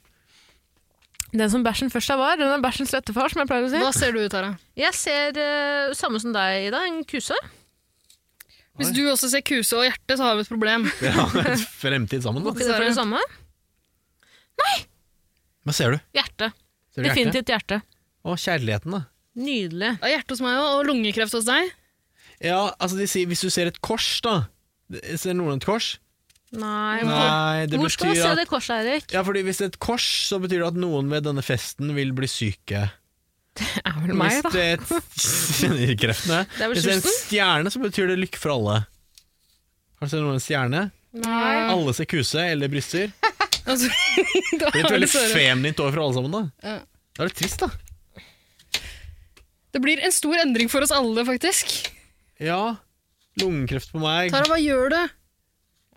S2: Den som bæsjen først er var, den er bæsjens rette far, som jeg pleier å si.
S3: Hva ser du, Tara?
S2: Jeg ser eh, samme som deg, Ida, en kuse.
S3: Hvis du også ser kuse og hjerte, så har vi et problem.
S1: Vi har en fremtid sammen, da.
S2: Ikke det for det samme?
S1: Hva ser du?
S2: Hjerte.
S1: Ser du hjertet?
S2: Definitivt hjerte.
S1: Og kjærligheten, da.
S2: Nydelig.
S3: Det er hjerte hos meg også, og lungekreft hos deg.
S1: Ja, altså de sier Hvis du ser et kors, da. Ser noen et kors?
S2: Nei, hvor-
S1: Nei, det
S2: Hvor skal du
S1: betyr
S2: se
S1: at
S2: det korset, Eirik?
S1: ja, fordi Hvis det er et kors, så betyr det at noen ved denne festen vil bli syke.
S2: Det er vel
S1: Hvis det er et Kjenner ikke kreftene.
S2: Det er vel
S1: Hvis det er en
S2: slutten?
S1: stjerne, så betyr det lykke for alle. Har du sett noen stjerne?
S3: Nei.
S1: Alle ser kuse eller bryster.
S3: Altså, da
S1: Det er et
S3: har du
S1: veldig
S3: Sara.
S1: feminint år for alle sammen, da.
S3: Ja.
S1: Det er litt trist, da.
S3: Det blir en stor endring for oss alle, faktisk.
S1: Ja. Lungekreft på meg.
S3: Tara, hva gjør du?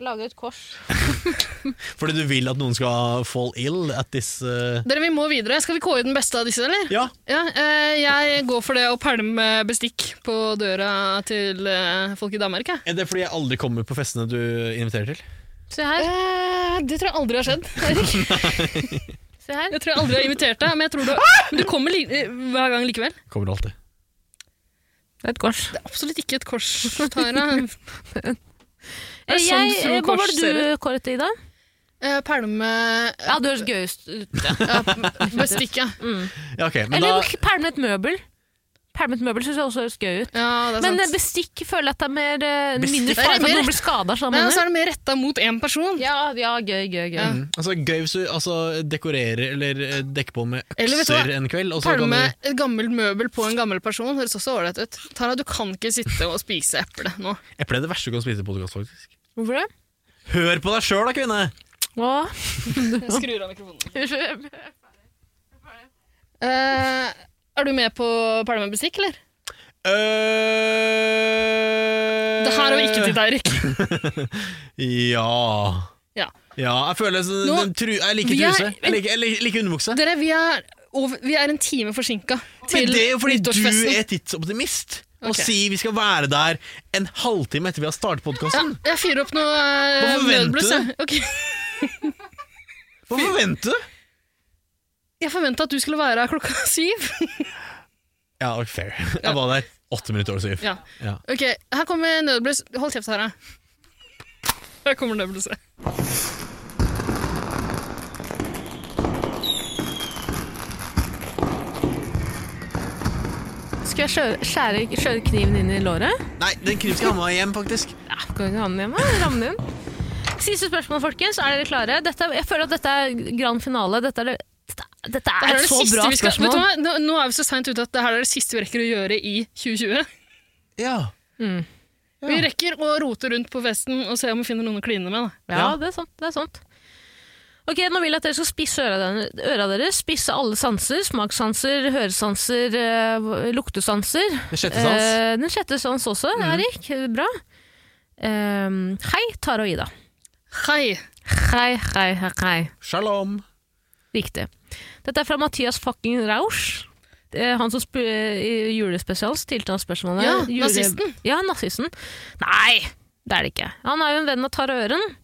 S2: Lage et kors.
S1: Fordi du vil at noen skal fall ill at this uh,
S3: Dere, Vi må videre. Skal vi kåre den beste av disse, eller?
S1: Ja.
S3: Ja, eh, Jeg går for det å pælme bestikk på døra til eh, folk i Danmark. jeg.
S1: Er det fordi jeg aldri kommer på festene du inviterer til?
S2: Se her.
S3: Eh, det tror jeg aldri har skjedd. Erik.
S2: Se her.
S3: Jeg tror jeg aldri har invitert deg, men jeg tror du, men du kommer li eh, hver gang likevel.
S1: Kommer alltid.
S2: Det er et kors.
S3: Det er absolutt ikke et kors, Tara. Det er sånn
S2: Jeg,
S3: små
S2: eh, hva
S3: kors
S2: var det
S3: sånn ser
S2: du kåret, Ida?
S3: Eh, Pælme
S2: Ja, du høres gøyest ut. ja.
S3: ja, Bestikk, ja.
S1: Ja, ok, men da,
S2: Eller pælme et møbel. Pælme et møbel syns jeg også høres gøy ut.
S3: ja det er
S2: Men eh,
S3: sant.
S2: bestikk føler jeg at det er mer, eh,
S1: Bestikk?
S2: mindre
S3: Det
S2: fare
S3: er
S2: for at
S3: mer-
S2: noen blir skada.
S3: Men så er det mer retta mot én person.
S2: Ja, ja, gøy, gøy, gøy.
S3: Ja.
S1: mm, altså, gøy hvis du altså, dekorerer eller eh, dekker på med
S3: Eller vet du
S1: økser
S3: hva?
S1: en kveld, og så kan
S3: Pælme
S1: du
S3: et gammelt møbel på en gammel person høres også ålreit ut. Tara, du kan ikke sitte og spise eple nå.
S1: Eple er det verste du kan spise i podkast, faktisk.
S2: Hvorfor det?
S1: Hør på deg sjøl, da, kvinne!
S2: Å.
S3: Jeg skrur av mikrofonen.
S2: Unnskyld.
S3: Eh, er du med på pælmebestikk, eller?
S1: Uh,
S3: Det her er jo ikke ditt, Eirik.
S1: Ja.
S3: Ja.
S1: Ja, jeg føler sånn,
S3: Nå-
S1: den tru, Jeg liker
S3: Vi er-
S1: truse. Jeg liker, jeg liker, jeg liker underbukse.
S3: Dere, vi er, over, vi er en time forsinka til
S1: Men det er jo fordi du
S3: nyttårsfesten.
S1: er tidsoptimist og
S3: Ok.
S1: sier vi skal være der en halvtime etter vi har startet podkasten.
S3: Jeg fyrer opp noe eh,
S1: Hvorfor venter
S3: nødbluss. jeg. Ok.
S1: Hva forventer du?
S3: Jeg forventa at du skulle være her klokka syv.
S1: Ja, ok, fair. Jeg var der åtte minutter over syv.
S3: Ja.
S1: Ja.
S3: Ok, Her kommer nødbluss. Hold kjeft, Tara. Her kommer nødblusset.
S2: Skal jeg skjøre, skjære, skjøre kniven inn i låret?
S1: Nei, den kniven skal jeg ha med meg hjem, faktisk.
S2: Ja, kan ikke ha den hjemme. Ramme den inn. Siste spørsmål, folkens. Er dere klare? Dette, er- jeg føler at dette er grand finale. Dette er, det- dette, er- dette
S3: Det her
S2: er
S3: er
S2: et
S3: det
S2: så
S3: siste
S2: bra
S3: vi skal, vet du
S2: spørsmål.
S3: hva? Nå, nå er vi så seint ute at det her er det siste vi rekker å gjøre i 2020.
S1: Ja.
S3: Vi rekker å rote rundt på festen og se om vi finner noen å kline med. Da.
S2: Ja, det er sant. Det er sant. Ok, Nå vil jeg at dere skal spisse øra dere- øra deres. Spisse alle sanser. Smakssanser, høresanser, eh, luktesanser.
S1: Den sjette sans.
S2: Eh, den sjette sans også,
S3: Mm.
S2: Erik. Bra. Ehm, hei, Tara og Ida.
S3: Hei!
S2: Hei, hei, hei, hei.
S1: Shalom.
S2: Riktig. Dette er fra Mathias fucking Rausch. Det er Han som sp eh, i julespesial stilte han spørsmålet.
S3: Ja, nazisten.
S2: Ja, nazisten. Nei, det er det ikke. Han er jo en venn av Tara Øren.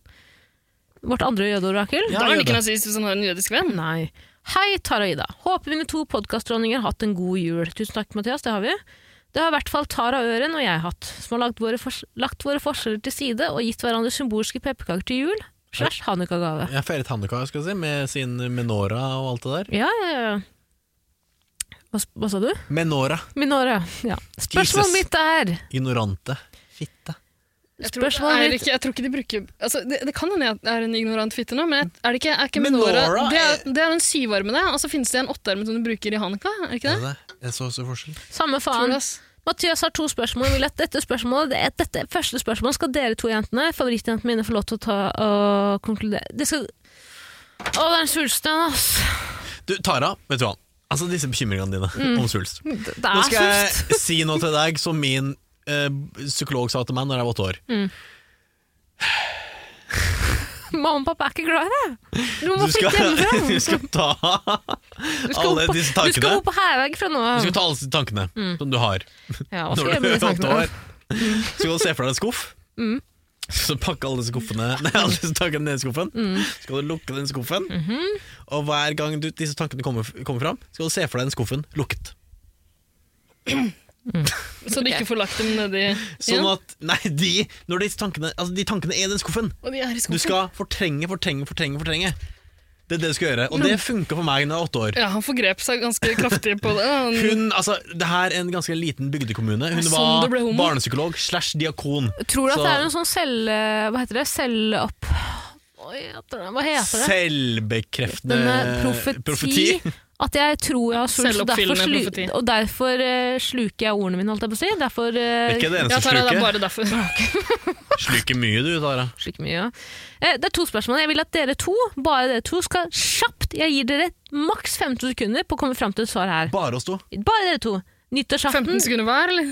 S2: Vårt andre jødeorakel.
S1: Ja,
S3: da er han
S1: gjør
S3: ikke
S1: det.
S3: nazist hvis han har en jødisk venn.
S2: Nei. Hei, Tara og Ida. Håper mine to podkastdronninger har hatt en god jul. Tusen takk, Mathias. Det har vi. Det har i hvert fall Tara Øren og jeg hatt, som har lagt våre, fors lagt våre forskjeller til side og gitt hverandre symbolske pepperkaker til jul slash hanukka-gave.
S1: Jeg feiret Hanukka skal jeg si, med sin menora og alt det der.
S2: Ja, ja, ja. Hva, s- hva sa du?
S1: Menora.
S2: Minora, ja. Spørsmålet
S1: Jesus.
S2: mitt er
S1: Ignorante. Fitte.
S3: Jeg tror,
S2: Spørsmålet
S3: Eirik,
S2: mitt-
S3: jeg tror ikke de bruker altså, det, det kan hende jeg er en ignorant fitte nå, men jeg- er det ikke, er ikke
S1: Menora
S3: Menora,
S1: er-
S3: det, er, det er en syvarme, det. Og så finnes det en åttearme som du bruker i Hanukka. Er det ikke
S1: Er
S3: det?
S1: det det? Jeg så også forskjell.
S2: Samme
S3: Tror
S2: faen.
S3: du, ass?
S2: Mathias har to spørsmål. Jeg vil at dette spørsmålet det- Dette første spørsmålet skal dere to jentene, favorittjentene mine, få lov til å ta og konkludere Det skal Å, det er en svulsten, ass.
S1: Du, Tara, vet du hva? Altså disse bekymringene dine
S3: Mm.
S1: om svulst.
S2: Det det
S1: Nå
S2: er
S1: skal
S2: svulst.
S1: jeg si noe til deg som min eh, psykolog sa til meg når jeg var åtte år.
S2: Mamma og pappa er ikke glad i deg. Du må
S1: Du
S2: flytte
S1: skal,
S2: hjemmefra.
S1: du skal ta
S2: liksom? Du skal
S1: alle
S2: bo på-
S1: disse
S2: Du skal
S1: tankene.
S2: bo på Herveg fra nå
S1: Du
S2: av.
S1: skal ta alle disse tankene som du har
S2: Ja, hva skal
S1: når
S2: jeg gjøre
S1: du er
S2: med
S1: åtte
S2: de tankene? Mm.
S1: år. Så skal du se for deg en skuff. Så pakke alle disse skuffene Nei, alle disse tankene ned i skuffen.
S2: Mm.
S1: Så skal du lukke den skuffen,
S2: Mhm.
S1: og hver gang du, disse tankene kommer, kommer fram, skal du se for deg den skuffen lukket.
S3: Så du ikke får lagt dem nedi
S1: Sånn
S3: igjen?
S1: at Nei, de, når disse tankene, altså, de tankene er i den skuffen.
S3: Og de er i
S1: Du
S3: skuffen.
S1: skal fortrenge, fortrenge, fortrenge, fortrenge. Det er det du skal gjøre, og det funka for meg da jeg var åtte år.
S3: Ja, han forgrep seg ganske kraftig på det. Han,
S1: Hun, altså, det her er en ganske liten bygdekommune. Hun
S3: sånn
S1: var
S3: du ble homo?
S1: barnepsykolog slash diakon.
S2: Tror du
S1: Så-
S2: at det er en sånn selv... Hva heter det? Selvopp... Oi, jeg tror det- Hva heter det?
S1: Selvbekreftende
S2: denne profeti, At jeg tror jeg har svulst, og derfor,
S3: Selvoppfyllende
S2: slu,
S3: profeti.
S2: og derfor eh, sluker jeg ordene mine, holdt jeg på å si. Derfor
S1: Det er
S2: eh,
S1: ikke det
S3: ja,
S1: eneste
S3: Tara, det er
S1: sluket.
S3: bare derfor.
S1: Sluker mye, du, Tara.
S2: slik mye. ja. Eh, det er to spørsmål. Jeg vil at dere to, bare dere to, skal kjapt Jeg gir dere maks 15 sekunder på å komme fram til et svar her.
S1: Bare oss to.
S2: Bare dere to.
S3: 15
S2: Nyttårsaften,
S3: sekunder hver, eller?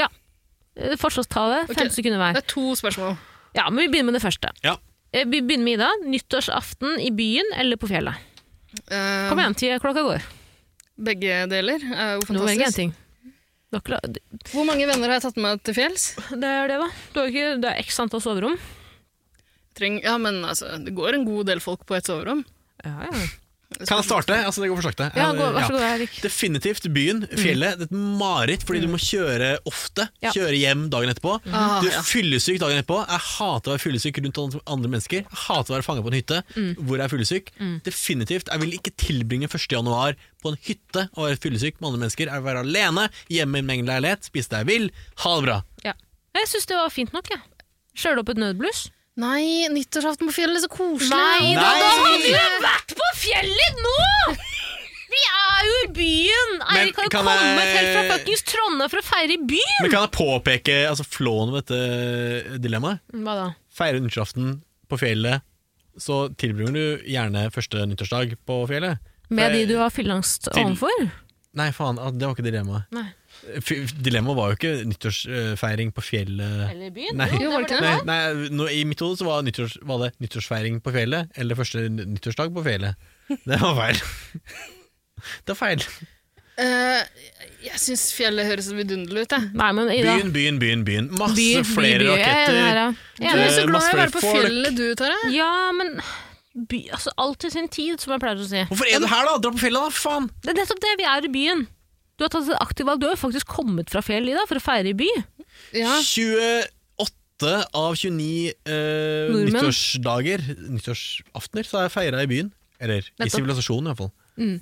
S2: eh, forsvarstale,
S3: Ok.
S2: 15 sekunder
S3: Det
S2: hver.
S3: er to spørsmål.
S2: Ja, men vi begynner med det første.
S1: Ja.
S2: Eh, Vi begynner med Ida. Nyttårsaften i byen eller på fjellet?
S3: Eh,
S2: Kom igjen, tida klokka går.
S3: Begge deler er jo
S2: Du må velge en
S3: fantastisk.
S2: ting. Du har ikke la-
S3: Hvor mange venner har jeg tatt med til fjells?
S2: Det er det, da. Du har ikke, det er x antall soverom.
S3: Treng, ja, men altså, det går en god del folk på et soverom.
S2: Ja, ja.
S1: Kan jeg starte? Altså, det går for sakte.
S2: Ja, gå, vær så god, Erik.
S1: Definitivt byen, fjellet. Det er et mareritt fordi du må kjøre ofte.
S2: Ja.
S1: Kjøre hjem dagen etterpå.
S2: Mhm.
S3: Ah,
S1: Du
S3: ja.
S1: er fyllesyk dagen etterpå. Jeg hater å være fyllesyk rundt andre mennesker. Jeg hater å være fanga på en hytte
S3: Mm.
S1: hvor jeg er fyllesyk. Definitivt. Jeg vil ikke tilbringe 1. januar på en hytte og være fyllesyk med andre mennesker. Jeg vil være alene, hjemme i min egen leilighet, spise det jeg vil. Ha det bra.
S2: Ja. Jeg syns det var fint nok, jeg. Kjørte opp et nødbluss.
S3: Nei, nyttårsaften på fjellet, så koselig!
S2: Nei,
S1: da, da hadde
S2: vi vært på fjellet nå! Vi er jo i byen!
S1: Men
S2: Eirik har jo
S1: kan
S2: kommet
S1: jeg-
S2: helt fra fuckings Trondheim for å feire i byen!
S1: Men kan jeg påpeke altså, flåen ved dette dilemmaet?
S2: Hva da?
S1: Feire nyttårsaften på fjellet, så tilbringer du gjerne første nyttårsdag på fjellet.
S2: Med de
S1: For-
S2: du har fylleangst
S1: Til-
S2: overfor?
S1: Nei, faen, ah, det var ikke dilemmaet.
S2: Nei.
S1: F- Dilemmaet var jo ikke nyttårsfeiring på fjellet.
S2: Eller i byen?
S1: Nei.
S3: Jo, var det
S1: Nei,
S3: ikke
S1: nei nå, I mitt hode så var, nyttårs, var det nyttårsfeiring på fjellet, eller første n- nyttårsdag på fjellet. Det var feil. Det er feil.
S3: Eh, jeg syns fjellet høres så vidunderlig ut, jeg.
S2: Nei, men Ida.
S1: Byen, byen, byen, byen. Masse
S2: By, by,
S1: flere
S2: by. Jeg er enig her,
S1: raketter.
S2: ja.
S3: Du
S2: Jeg er
S3: er
S1: Det
S2: enig.
S3: så glad i å
S1: masse
S3: være på
S1: folk.
S3: fjellet, du, Tare.
S2: Ja, men by, altså, Alt i sin tid, som jeg pleier å si.
S1: Hvorfor er du her, da? Dra på fjellet, da! Faen!
S2: Det er nettopp det, vi er i byen. Du har tatt et aktivt valg, du har jo faktisk kommet fra fjell i dag for å feire i by.
S3: Ja.
S1: 28 av 29 eh,
S2: Nordmenn.
S1: nyttårsdager, nyttårsaftener, så har jeg feira i byen. Eller i
S2: Nettopp.
S1: sivilisasjonen, iallfall.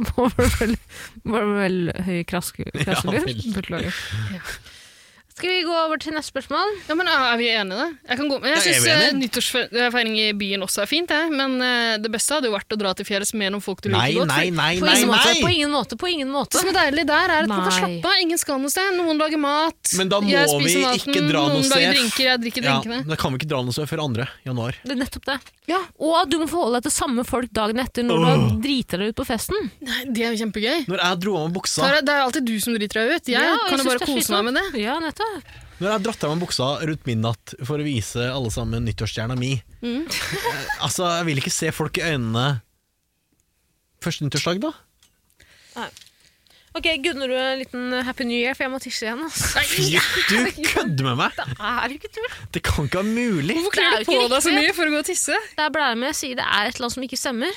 S2: Var det vel, var det vel høy kraske-
S1: Ja,
S2: krasselyd?
S1: vel.
S2: Beklager. Skal vi gå over til neste spørsmål?
S3: ja, men ah, Er er vi enige i det? Jeg, kan gå med. jeg
S1: Ja, er
S3: eh, syns
S1: vi enige?
S3: nyttårsfeiring i byen også er fint, jeg. Men eh, det beste hadde jo vært å dra til fjellet med noen folk du
S1: Nei,
S3: liker godt.
S1: nei, nei,
S2: På
S1: nei!
S2: ingen måte, på
S1: nei.
S2: ingen måte, på ingen
S3: Det
S2: måte.
S3: som er deilig der, er at man kan
S2: Nei.
S3: slappe av. Ingen skal noe sted. Noen lager mat.
S1: Men da må
S3: jeg spiser
S1: vi
S3: maten,
S1: ikke dra noe
S3: Noen lager
S1: sted.
S3: drinker, jeg drikker
S1: Ja,
S3: drinkene.
S1: da kan vi ikke dra noe sted før 2. januar.
S2: Det er nettopp det.
S3: Ja.
S2: Og du må forholde deg til samme folk dagen etter når du
S1: Åh.
S2: driter deg ut på festen.
S3: Nei, det er jo kjempegøy.
S1: Når jeg dro av meg buksa
S3: Tara, det er alltid du som driter deg ut. Jeg
S2: Ja, og
S3: kan jo
S2: synes
S3: bare
S2: det er
S3: kose meg med det.
S2: slitsomt. Ja, nettopp.
S1: Når jeg har dratt av meg buksa rundt midnatt for å vise alle sammen nyttårsstjerna mi
S2: Mm.
S1: eh, Altså, jeg vil ikke se folk i øynene første nyttårsdag, da.
S2: Ok, Gunnarud, en liten happy new year, for jeg må tisse igjen. ass.
S1: Fy, du kødder med meg!
S2: Det er ikke tull.
S1: Det kan ikke være mulig!
S3: Hvorfor
S2: Det er
S3: kler
S2: jo
S3: du på
S2: ikke
S3: deg så
S2: riktig.
S3: mye for å gå og tisse?
S2: Det er blære med jeg sier det er et eller annet som ikke stemmer.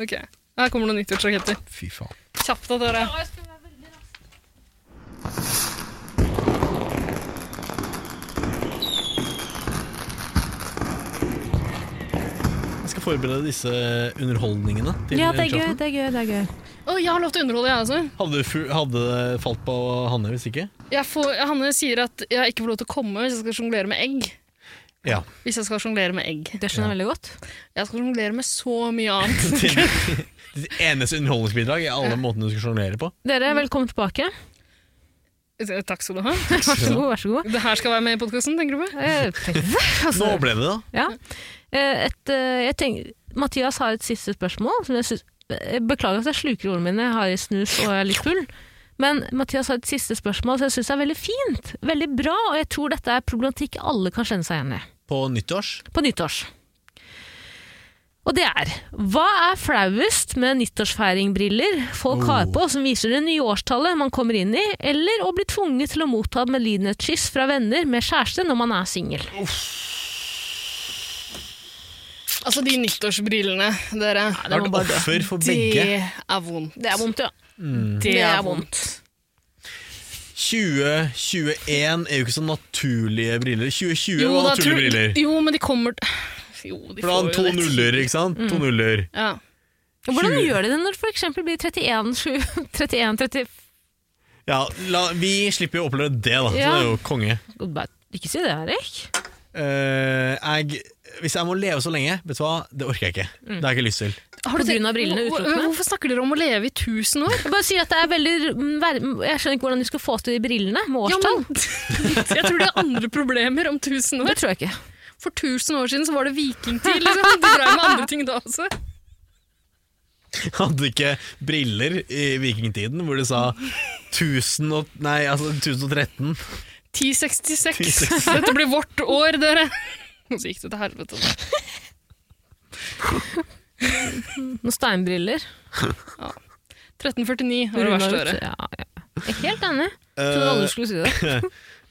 S3: Ok, Her kommer noen nyttårsraketter.
S1: Fy faen.
S3: Kjapt da, Tara.
S1: Jeg skal forberede disse underholdningene. Til
S2: Ja, det er gøy,
S1: nyttårsaften.
S2: det er gøy, det er gøy.
S3: Å, jeg har lov til å underholde, jeg også.
S1: Hadde, det fu- hadde det falt på Hanne hvis ikke?
S3: Jeg får, Hanne sier at jeg ikke får lov til å komme hvis jeg skal sjonglere med egg.
S1: Ja.
S3: Hvis jeg skal sjonglere med egg.
S2: Det skjønner jeg veldig godt.
S3: Jeg skal sjonglere med så mye annet.
S1: Til ditt eneste underholdningsbidrag i alle måtene du skal sjonglere på.
S2: Dere, velkommen tilbake.
S3: Takk skal du ha.
S2: Vær så god, vær så god.
S3: Det her skal være med i podkasten, tenker du på?
S2: Eh, tenk-
S1: Nå
S2: altså,
S1: ble det det, da.
S2: ja. Eh, Et, eh, jeg tenker, Mathias har et siste spørsmål. Som jeg synes, jeg beklager at jeg sluker ordene mine, jeg har i snus og jeg er litt full. Men Mathias har et siste spørsmål som jeg syns er veldig fint. Veldig bra, og jeg tror dette er problematikk alle kan kjenne seg igjen i.
S1: På nyttårs.
S2: på nyttårs. Og det er Hva er flauest med nyttårsfeiringbriller folk
S1: Oh.
S2: har på som viser det nye årstallet man kommer inn i, eller å bli tvunget til å motta medlidenhetskyss fra venner med kjæreste når man er singel?
S3: Altså, de nyttårsbrillene, dere.
S1: Da er du offer for begge. Mm.
S3: Det er vondt.
S2: Det er vondt, ja.
S3: Det er vondt.
S1: er jo ikke så naturlige briller. 2020
S3: Jo,
S1: var
S3: da,
S1: naturlige
S3: tror-
S1: briller.
S3: Jo, men de kommer Jo, de
S1: For da
S3: får
S1: hadde
S3: jo
S1: to
S3: rett.
S1: nuller, ikke sant?
S2: Mm.
S1: To nuller.
S3: Ja.
S2: Hvordan
S1: Tjue.
S2: gjør de det når det for eksempel blir 31, 7, 31, 30
S1: Ja, la, vi slipper jo å oppleve det, da. Så det
S2: Ja.
S1: er jo konge.
S2: Bare Ikke si det, Erik.
S1: Eh, jeg, hvis jeg må leve så lenge, vet du hva, det orker jeg ikke.
S2: Mm.
S1: Det har jeg ikke lyst til.
S3: Har
S2: På
S3: tenkt-
S2: grunn av brillene
S3: Hvor-
S2: utelukkende?
S3: Hvorfor snakker dere om å leve i tusen år?
S2: Jeg bare sier at det er veldig mm, ver- Jeg skjønner ikke hvordan de skal få til de brillene med årstall.
S3: jeg tror de har andre problemer om tusen
S2: det
S3: år.
S2: tror jeg ikke.
S3: For tusen år siden så var det vikingtid, liksom. De drev med andre ting da også.
S1: Hadde ikke briller i vikingtiden hvor det sa 1000 og, nei, altså 1013.
S3: 1066. Dette blir vårt år, dere. Og så gikk det til helvete.
S2: Noen steinbriller.
S3: 1349 var det verste året.
S2: Ja, ja. Jeg er helt enig. Jeg trodde
S1: Eh,
S2: alle skulle si det.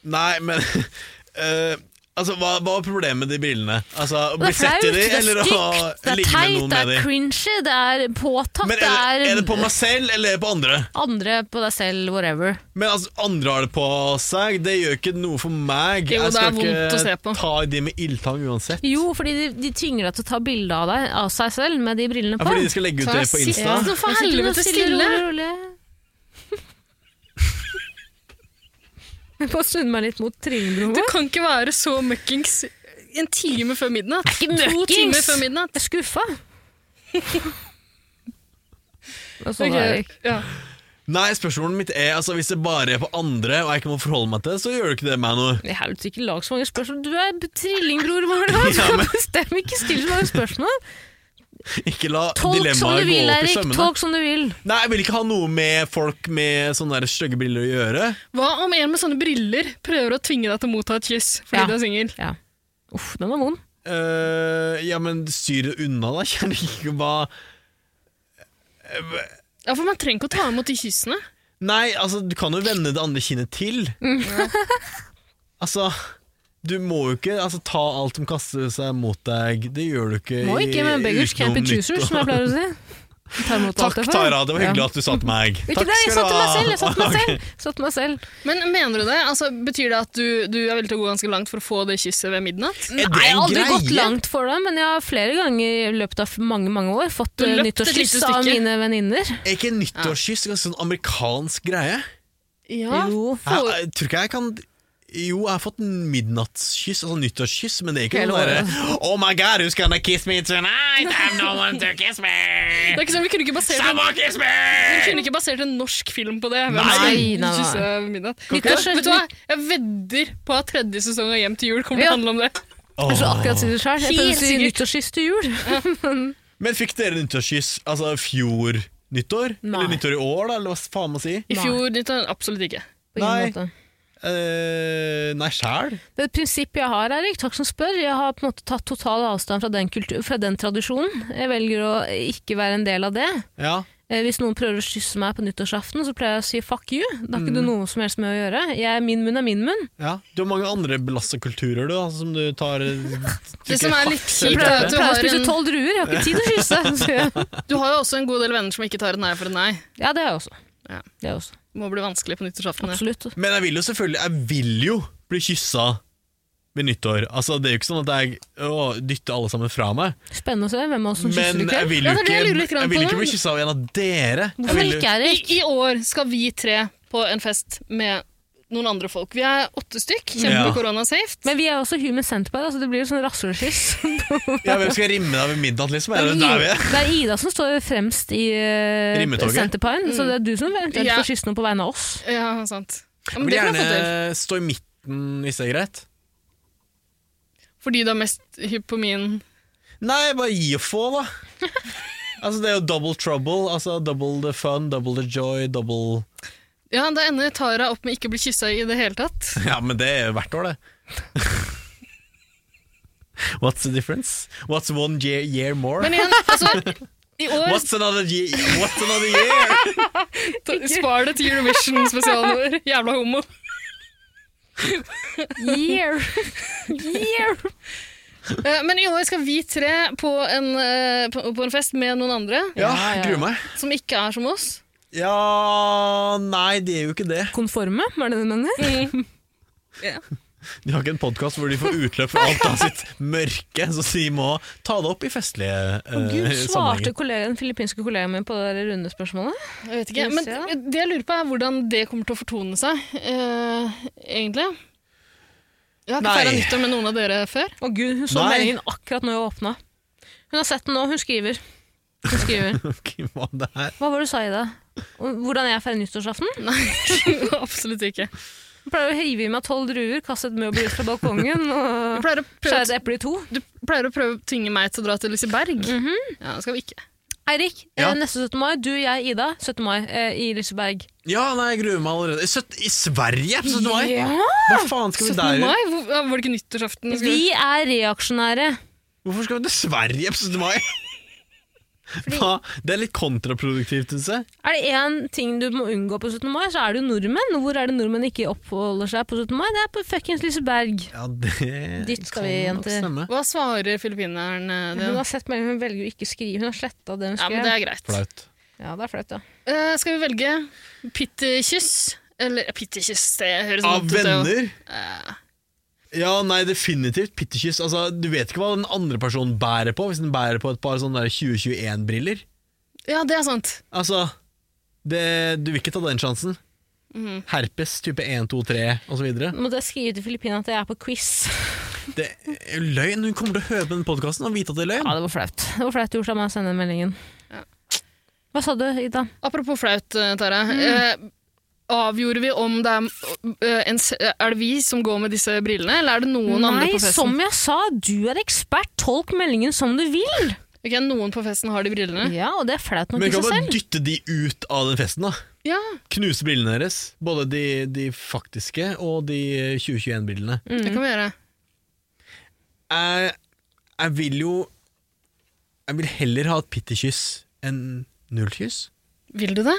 S1: Nei, men eh, Altså, hva, hva var problemet med de brillene? Altså, å
S2: Det
S1: bli
S2: er
S1: flaut,
S2: flaut,
S1: i de,
S2: det er
S1: eller å
S2: stygt, det er
S1: ligge med
S2: teit,
S1: noen
S2: det
S1: med
S2: er
S1: de?
S2: cringy, det er påtatt,
S1: Men er
S2: det
S1: det,
S2: er,
S1: er det på meg selv, eller er det på andre?
S2: andre på deg selv, whatever.
S1: Men altså, andre har det på seg, det gjør ikke noe for meg.
S3: Jo,
S1: Jeg
S3: det er
S1: skal ikke
S3: vondt å se på.
S1: ta de med ildtang uansett.
S2: Jo, fordi de, de tvinger deg til å ta bilde av deg, av seg selv, med de brillene
S1: Ja,
S2: på.
S1: fordi de skal legge ut
S3: Ta
S1: det på
S3: sitt-
S1: Insta.
S3: Ja.
S2: Nå sitter
S3: for
S2: hun
S3: helvete,
S2: stille,
S3: stille.
S2: rolig, rolig. Jeg bare snudde meg litt mot
S3: Du
S2: Trillebroa.
S3: kan ikke være så møkkings en time før midnatt.
S2: Ikke
S3: To
S2: møkkings!
S3: timer før midnatt.
S2: Jeg er skuffa. Det er sånn
S3: Ok,
S2: det er.
S3: ja.
S1: Nei, spørsmålet mitt er altså, hvis det bare er på andre, og jeg ikke må forholde meg til det, så gjør det ikke det meg noe.
S2: Jeg har jo ikke lag så mange spørsmål. Du er b- trillingbror, Marlon. Du
S1: Ja,
S2: kan
S1: men-
S2: bestemme ikke stille så mange spørsmål.
S1: Ikke la
S2: Tolk som
S1: dilemmaet gå
S2: du vil,
S1: opp i
S2: Erik.
S1: sømmene.
S2: Tolk som du vil.
S1: Nei, jeg vil ikke ha noe med folk med sånne der stygge briller å gjøre.
S3: Hva om en med sånne briller prøver å tvinge deg til å motta et kyss fordi
S2: Ja.
S3: du er singel?
S2: Ja. Uff, den var vond.
S1: Eh, ja, men styr det unna, da. Kjenner ikke hva
S3: Ja, for man trenger ikke å ta imot de kyssene.
S1: Nei, altså, du kan jo vende det andre kinnet til.
S2: Mm.
S1: altså, du må jo ikke altså, ta alt som kaster seg mot deg. Det gjør du ikke.
S2: Må
S1: i-
S2: ikke, men beggars can't be
S1: utenom
S2: choosers,
S1: nytt
S2: som jeg pleier å si. Tar imot alt
S1: Takk,
S2: jeg får.
S1: Tara. Det var hyggelig
S2: Ja.
S1: at du sa til meg.
S2: Ikke
S1: Takk
S2: det, jeg
S1: skal
S2: satt
S1: du
S2: til meg
S1: ha.
S2: selv. Jeg satt til meg
S1: Ok.
S2: selv. Satt til meg selv.
S3: Men mener du det? Altså, betyr det at du, du er villig til å gå ganske langt for å få det kysset ved midnatt?
S1: Er det
S2: Mm. Nei, jeg har
S1: en
S2: aldri gått
S1: greie?
S2: langt for det, men jeg har flere ganger i løpet av mange mange år fått
S3: Du
S2: eh,
S3: løpte et
S2: nyttårskyss
S3: lite
S2: av
S3: stykke.
S2: mine venninner.
S1: Er ikke nyttårskyss ganske sånn amerikansk greie?
S3: Ja.
S2: Jo.
S1: Jeg,
S3: Får-
S1: jeg tror ikke jeg kan Jo, jeg har fått midnattskyss, altså nyttårskyss, men det er ikke
S2: Hele
S1: noe derre Oh my god, who's gonna kiss me tonight? I'm no one to kiss me!
S3: Det er ikke sånn, vi kunne ikke basert en,
S1: Someone kiss me!
S3: vi kunne ikke basert en norsk film på det. Hvem
S1: Nei.
S3: skal
S2: Nei, nei, nei.
S3: kysse ved midnatt?
S2: Kan ikke det?
S3: Vet du- Vet du hva? Jeg vedder på at tredje sesong av Hjem til jul kommer
S2: Ja.
S3: til å handle om det.
S2: Jeg tror akkurat si det selv. Jeg prøvde å
S3: Helt
S2: si
S3: sikkert.
S2: nyttårskyss til jul.
S1: Men fikk dere nyttårskyss altså fjor nyttår?
S2: Nei.
S1: Eller nyttår i år, da? Eller hva faen man sier?
S3: I
S2: Nei.
S3: fjor nyttår absolutt ikke.
S2: På ingen
S1: Nei.
S2: måte.
S1: Eh, nei, sjæl?
S2: Det er et prinsipp jeg har, Erik. Takk som spør. Jeg har på en måte tatt total avstand fra den, kultu- fra den tradisjonen. Jeg velger å ikke være en del av det.
S1: Ja.
S2: Eh, Hvis noen prøver å kysse meg på nyttårsaften, så pleier jeg å si fuck you. Det har ikke
S3: Mm.
S2: du noe som helst med å gjøre. Jeg, min munn er min munn.
S1: ja. Du har mange andre belasta kulturer, du, altså, som du tar
S3: Det som er litt
S2: Jeg
S3: kjipt,
S2: pleier,
S3: er
S2: jeg
S3: at du
S2: pleier å
S3: har,
S2: spise
S3: en,
S2: tolv druer, jeg har ikke tid til å kysse. Så jeg-
S3: du har jo også en god del venner som ikke tar et nei for et nei.
S2: Ja, det har jeg også.
S3: Ja.
S2: Det er også.
S3: Det må bli vanskelig på nyttårsaften. det.
S2: Absolutt.
S1: Men jeg vil jo selvfølgelig Jeg vil jo bli kyssa ved nyttår. Altså, det er jo ikke sånn at jeg å, dytter alle sammen fra meg.
S2: Spennende å se hvem av oss som kysser
S1: Men
S2: i
S1: jeg
S2: kveld.
S1: vil
S3: Ja,
S1: jo
S3: det er
S1: ikke,
S3: det jeg lurer litt grann
S1: jeg vil
S3: på,
S1: ikke bli
S3: da.
S1: kyssa av en av dere. Jeg
S2: Hvorfor
S1: vil, jo-
S2: ikke,
S3: I,
S2: Erik?
S3: I år skal vi tre på en fest med noen andre folk. Vi er åtte stykk, kjempe
S1: Ja.
S3: koronasafe.
S2: Men vi er også human centipede, altså det blir jo sånn rasshølkyss.
S1: ja, hvem skal rimme deg ved midnatt, liksom? Er det der vi
S2: Ida-
S1: er?
S2: det er Ida som står fremst i uh,
S1: Rimmetoget.
S2: centerpine, så det er du som eventuelt
S3: Ja.
S2: får kysse noen på vegne av oss.
S3: Ja, sant. Ja,
S1: Jeg
S3: men
S1: vil
S3: det kan jeg få til.
S1: gjerne stå i midten, hvis det er greit.
S3: Fordi du er mest hypp på min
S1: Nei, bare gi og få, da. Altså, det er jo double trouble. Altså, double the fun, double the joy, double
S3: Ja, da ender Tara opp med ikke å bli kyssa i det hele tatt.
S1: Ja, men det er jo hvert år, det. What's the difference? What's one year, year more?
S3: Men igjen, altså i år
S1: What's another year? What's another year?
S3: ta- Spar det til Eurovision-spesialen vår. Jævla homo.
S2: Year! Year!
S3: Eh, Men i år skal vi tre på en, eh, på på en fest med noen andre
S1: Ja,
S2: Ja, ja.
S1: gruer meg.
S3: som ikke er som oss.
S1: Ja Nei, de er jo ikke det.
S2: Konforme, var det det du mener?
S1: De har ikke en podkast hvor de får utløp for alt av sitt mørke, så de må ta det opp i festlige eh,
S2: Gud, svarte
S1: sammenhenger.
S2: kollega, den filippinske kollegaen min på det der runde spørsmålet?
S3: Jeg vet ikke,
S2: Skal vi
S3: men
S2: se,
S3: det jeg lurer på er hvordan det kommer til å fortone seg, eh, egentlig. Jeg har ikke
S1: Nei.
S3: feira nyttår med noen av dere før.
S2: Å gud, hun så
S1: Nei.
S2: meldingen akkurat når jeg åpna. Hun har sett den nå, hun skriver. Hun skriver.
S1: Ok, Hva det er?
S2: Hva var det du sa, Ida? Og Hvordan jeg feirer nyttårsaften?
S3: Absolutt ikke.
S2: Hun pleier å hive i meg tolv druer, kaste et møbel ut fra balkongen
S3: Du
S2: og
S3: pleier å
S2: skjære
S3: prøve,
S2: et eple i to.
S3: du pleier å prøve å tvinge meg til å dra til Liseberg.
S1: Mhm.
S3: Ja, det skal vi ikke.
S2: Eirik,
S1: Ja.
S2: eh, neste 17. mai. Du, jeg, Ida. 17. mai eh, i Liseberg.
S1: Ja, nei, jeg gruer meg allerede. Søtt, I Sverige? Så du var-
S2: Ja.
S1: Hva faen skal vi
S3: 17.
S1: der gjøre?
S3: mai? Hvor, ja, var det ikke nyttårsaften?
S2: Vi er reaksjonære.
S1: Hvorfor skal vi til Sverige på 17. mai?
S2: Fordi-
S1: Hva? Det er litt kontraproduktivt, syns jeg.
S2: Er det én ting du må unngå på 17. mai, så er det jo nordmenn. Hvor er det nordmenn ikke oppholder seg på 17. mai? Det er på fuckings Liseberg.
S1: Ja, det
S2: Dit skal
S1: kan
S2: vi,
S1: nok
S2: jenter.
S1: stemme.
S3: Hva svarer filippineren eh,
S2: Hun
S3: det?
S2: har sett meldingen, hun velger jo ikke å skrive. Hun har sletta det hun
S3: Ja,
S2: skrev.
S3: men det er greit.
S1: Flaut.
S2: Ja, det er flaut, ja.
S3: Eh, skal vi velge pittekyss? Eller eh, pittekyss, det høres
S1: Av
S3: vondt ut. det Eh, også.
S1: venner? Ja, nei, definitivt. Pitterkyss. Altså, du vet ikke hva den andre personen bærer på, hvis den bærer på et par sånne 2021-briller.
S3: Ja, det er sant.
S1: Altså, det, du vil ikke ta den sjansen.
S2: Mhm.
S1: Herpes type 1, 2, 3 osv.
S2: Nå måtte jeg skrive til Filippina at jeg er på quiz.
S1: Det er jo løgn! Hun kommer til å høre på den podkasten og vite at det er løgn.
S2: Ja, det var flaut. Det var flaut gjort av meg å sende den meldingen.
S3: Ja.
S2: Hå, Hva sa du, Ida?
S3: Apropos flaut, eh, Tara.
S2: Mm.
S3: Eh, avgjorde vi om det er, eh, en, s- er det vi som går med disse brillene, eller er det noen andre
S2: Nei,
S3: på
S2: som
S3: festen?
S2: jeg sa, du er ekspert. Tolk meldingen som du vil.
S3: Ok, Noen på festen har de brillene?
S2: Ja, og det er flaut nok
S1: Men
S2: i
S1: vi kan
S2: seg
S1: bare
S2: selv.
S1: dytte de ut av den festen, da.
S3: Ja.
S1: Knuse brillene deres. Både de, de faktiske og de 2021-brillene.
S3: det
S2: Mm.
S3: kan vi gjøre.
S1: Jeg, jeg vil jo Jeg vil heller ha et pitterkyss enn nullkyss.
S3: Vil du det?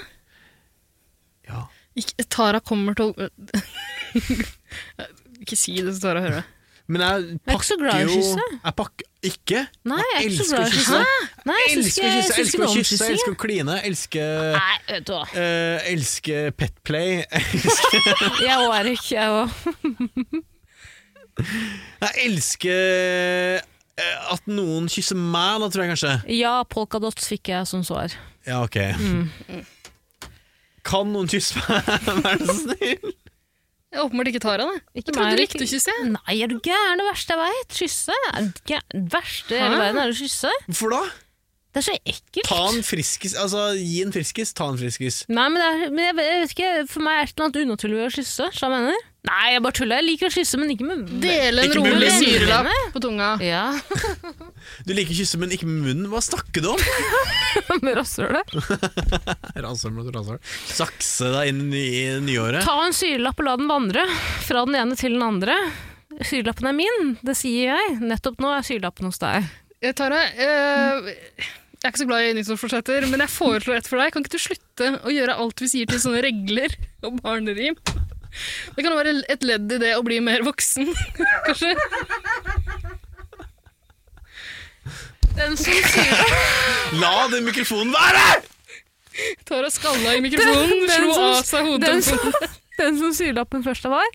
S1: Ja.
S3: Ikke, Tara kommer til å Ikke si det så Tara hører det.
S1: Men jeg
S2: er ikke så glad i
S1: pakker
S2: å
S1: jo
S2: kysse.
S1: Jeg pakker Ikke?
S2: Nei, jeg er ikke
S1: elsker
S2: så glad i å kysse. Nei, jeg syns
S1: Elsker å
S2: ikke
S1: kysse,
S2: jeg syns ikke
S1: elsker
S2: noe
S1: å
S2: om
S1: kysse,
S2: kyssing.
S1: elsker å kline, elsker
S2: Nei, vet du hva.
S1: eh, elsker petplay.
S2: Jeg og Erik, jeg og
S1: Jeg elsker eh, at noen kysser meg, da tror jeg kanskje.
S2: Ja, polkadots fikk jeg som svar.
S1: Ja, ok. Mm. Kan noen kysse meg, vær så snill?
S3: Det er Åpenbart ikke Tara, da.
S2: Ikke
S3: jeg trodde
S2: meg,
S3: du
S2: ikke-
S3: likte å kysse. jeg.
S2: Nei, er du gæren? Det verste jeg veit? Kysse? Er du gæren? Det verste i hele
S3: Hæ?
S2: verden er å kysse.
S1: Hvorfor da?
S2: Det er så ekkelt.
S1: Ta en friskis, altså gi en friskis, ta en friskis.
S2: Nei, men, det er, men jeg, jeg vet ikke, for meg er det noe annet unaturlig ved å kysse. skjønner du hva jeg mener. Nei, jeg bare tuller. Jeg liker å kysse, men ikke med
S3: Dele en
S1: Ikke med
S3: rolig
S1: munnen.
S3: syrelapp på tunga.
S2: Ja,
S1: Du liker å kysse, men ikke med munnen. Hva snakker du om?
S2: med rasshølet.
S1: Rasshøl mot rasshøl. Sakse deg inn i i nyåret.
S2: Ta en syrelapp og la den vandre fra den ene til den andre. Syrelappen er min, det sier jeg. Nettopp nå er syrelappen hos deg.
S3: Eh, Tara, eh, jeg er ikke så glad i nyttårsforsetter, men jeg foreslår et for deg. Kan ikke du slutte å gjøre alt vi sier til sånne regler og barnerim? Det kan være et ledd i det å bli mer voksen, kanskje.
S2: Den som sier
S1: La den mikrofonen være!
S3: Tara skalla i mikrofonen,
S2: Den- den
S3: slo
S2: som-
S3: av
S2: den
S3: seg hodet.
S2: som, den som syrelappen først var,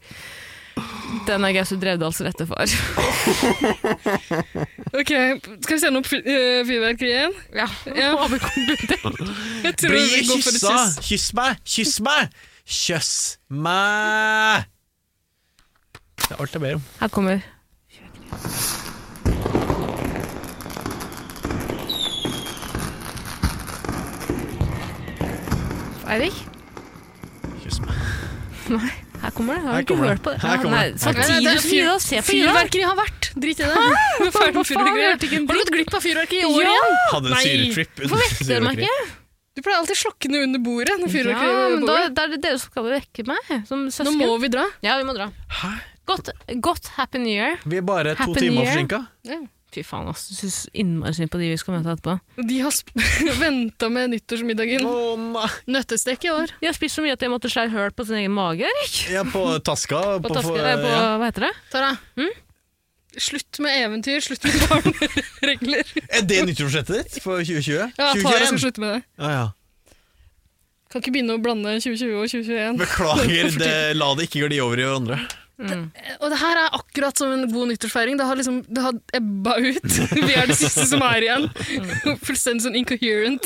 S2: den er Gausut Drevdals rette far.
S3: Ok, Skal vi sende opp fyr- eh, fyrverkeriet igjen?
S2: Ja,
S3: Ja.
S2: og vi konkluderer.
S3: Jeg tror
S1: Bli
S3: vi går for et
S1: kyssa!
S3: kyss.
S1: Kyss meg! Kyss meg! Kjøss meg! Det er alt jeg ber om.
S2: Her kommer Eirik,
S1: Kyss meg.
S2: her kommer det. Har
S1: Her
S2: du ikke
S1: kommer det.
S2: hørt på det?
S1: Her kommer
S2: nei,
S1: det. Her kommer
S3: Nei, det
S2: Samtidig
S3: er
S2: som
S3: fyr-
S2: vi da ser på Ida.
S3: Fyrverkeri har vært! Drit i det. Vi er ferdig
S2: Hva
S3: med
S2: faen, hørte ikke
S3: fyrverkeriet.
S2: en
S3: Har du gått glipp av fyrverkeri i år igjen?
S1: Hadde en
S3: Nei.
S1: syretripp
S2: Hvorfor vekket dere meg ikke?
S3: Du pleier alltid å slokke den under bordet. når
S2: Ja,
S3: fyrverkeriet
S2: men da,
S3: bordet.
S2: da er det dere som skal vekke meg, som
S3: Nå
S2: søsken.
S3: må vi dra.
S2: Ja, vi må dra.
S1: Hæ?
S2: Godt, godt Happy New Year.
S1: Vi er bare to
S2: Happy
S1: timer
S2: New Year.
S1: forsinka.
S2: Fy faen, ass. Jeg syns innmari synd på de vi skal møte etterpå.
S3: De har venta med nyttårsmiddagen.
S1: Å nei!
S3: Nøttestek i år.
S2: De har spist så mye at de måtte skjære høl på sin egen mage, Erik.
S1: Jeg er på taska.
S2: På, taske,
S1: for-
S2: eh, på
S1: ja.
S2: hva heter det?
S3: Tara, slutt med eventyr, slutt med barneregler.
S1: Er det nyttårsforsettet ditt for 2020?
S3: Ja, Tara
S1: 2021?
S3: skal slutte med det.
S1: Ja, ja.
S3: Kan ikke begynne å blande 2020 og 2021.
S1: Beklager, det, la det ikke gli over i hverandre.
S3: Og det her er akkurat som en god nyttårsfeiring. Det har liksom det har ebba ut. Vi er det siste som er igjen. Fullstendig sånn incoherent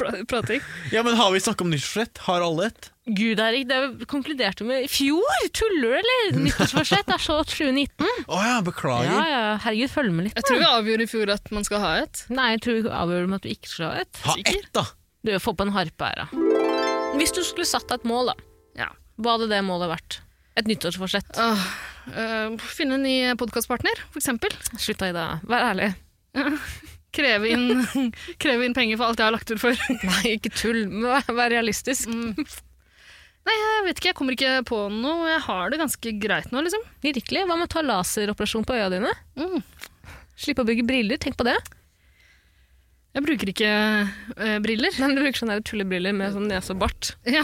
S3: pra- prating.
S1: Ja, men Har vi snakka om nyttårsforsett? Har alle et?
S2: Gud, Erik, det konkluderte vi med i fjor! Tuller du, eller? Nyttårsforsett er så 2019.
S1: Å ja, beklager.
S2: Ja, ja, herregud, følg med litt.
S3: Jeg tror vi avgjorde i fjor at man skal ha et.
S2: Nei, jeg tror vi avgjorde med at vi ikke skal ha et.
S1: Ha ett, da!
S2: Du, få på en harpe her, da. Hvis du skulle satt deg et mål, da.
S3: Ja.
S2: Hva hadde det målet vært? Et nyttårsforsett.
S3: Åh, øh, finne en ny podkastpartner, for eksempel.
S2: Slutt da, Ida. Vær ærlig.
S3: Kreve inn, kreve inn penger for alt jeg har lagt ut for. Mm.
S2: Nei, ikke tull. men Vær vær realistisk.
S3: Nei, jeg vet ikke, jeg kommer ikke på noe. Jeg har det ganske greit nå, liksom.
S2: Virkelig. Hva med å ta laseroperasjon på øya dine?
S3: Mm.
S2: Slippe å bruke briller, tenk på det.
S3: Jeg bruker ikke eh, briller.
S2: Men du bruker sånne der tullebriller med sånn nese og bart.
S3: Ja.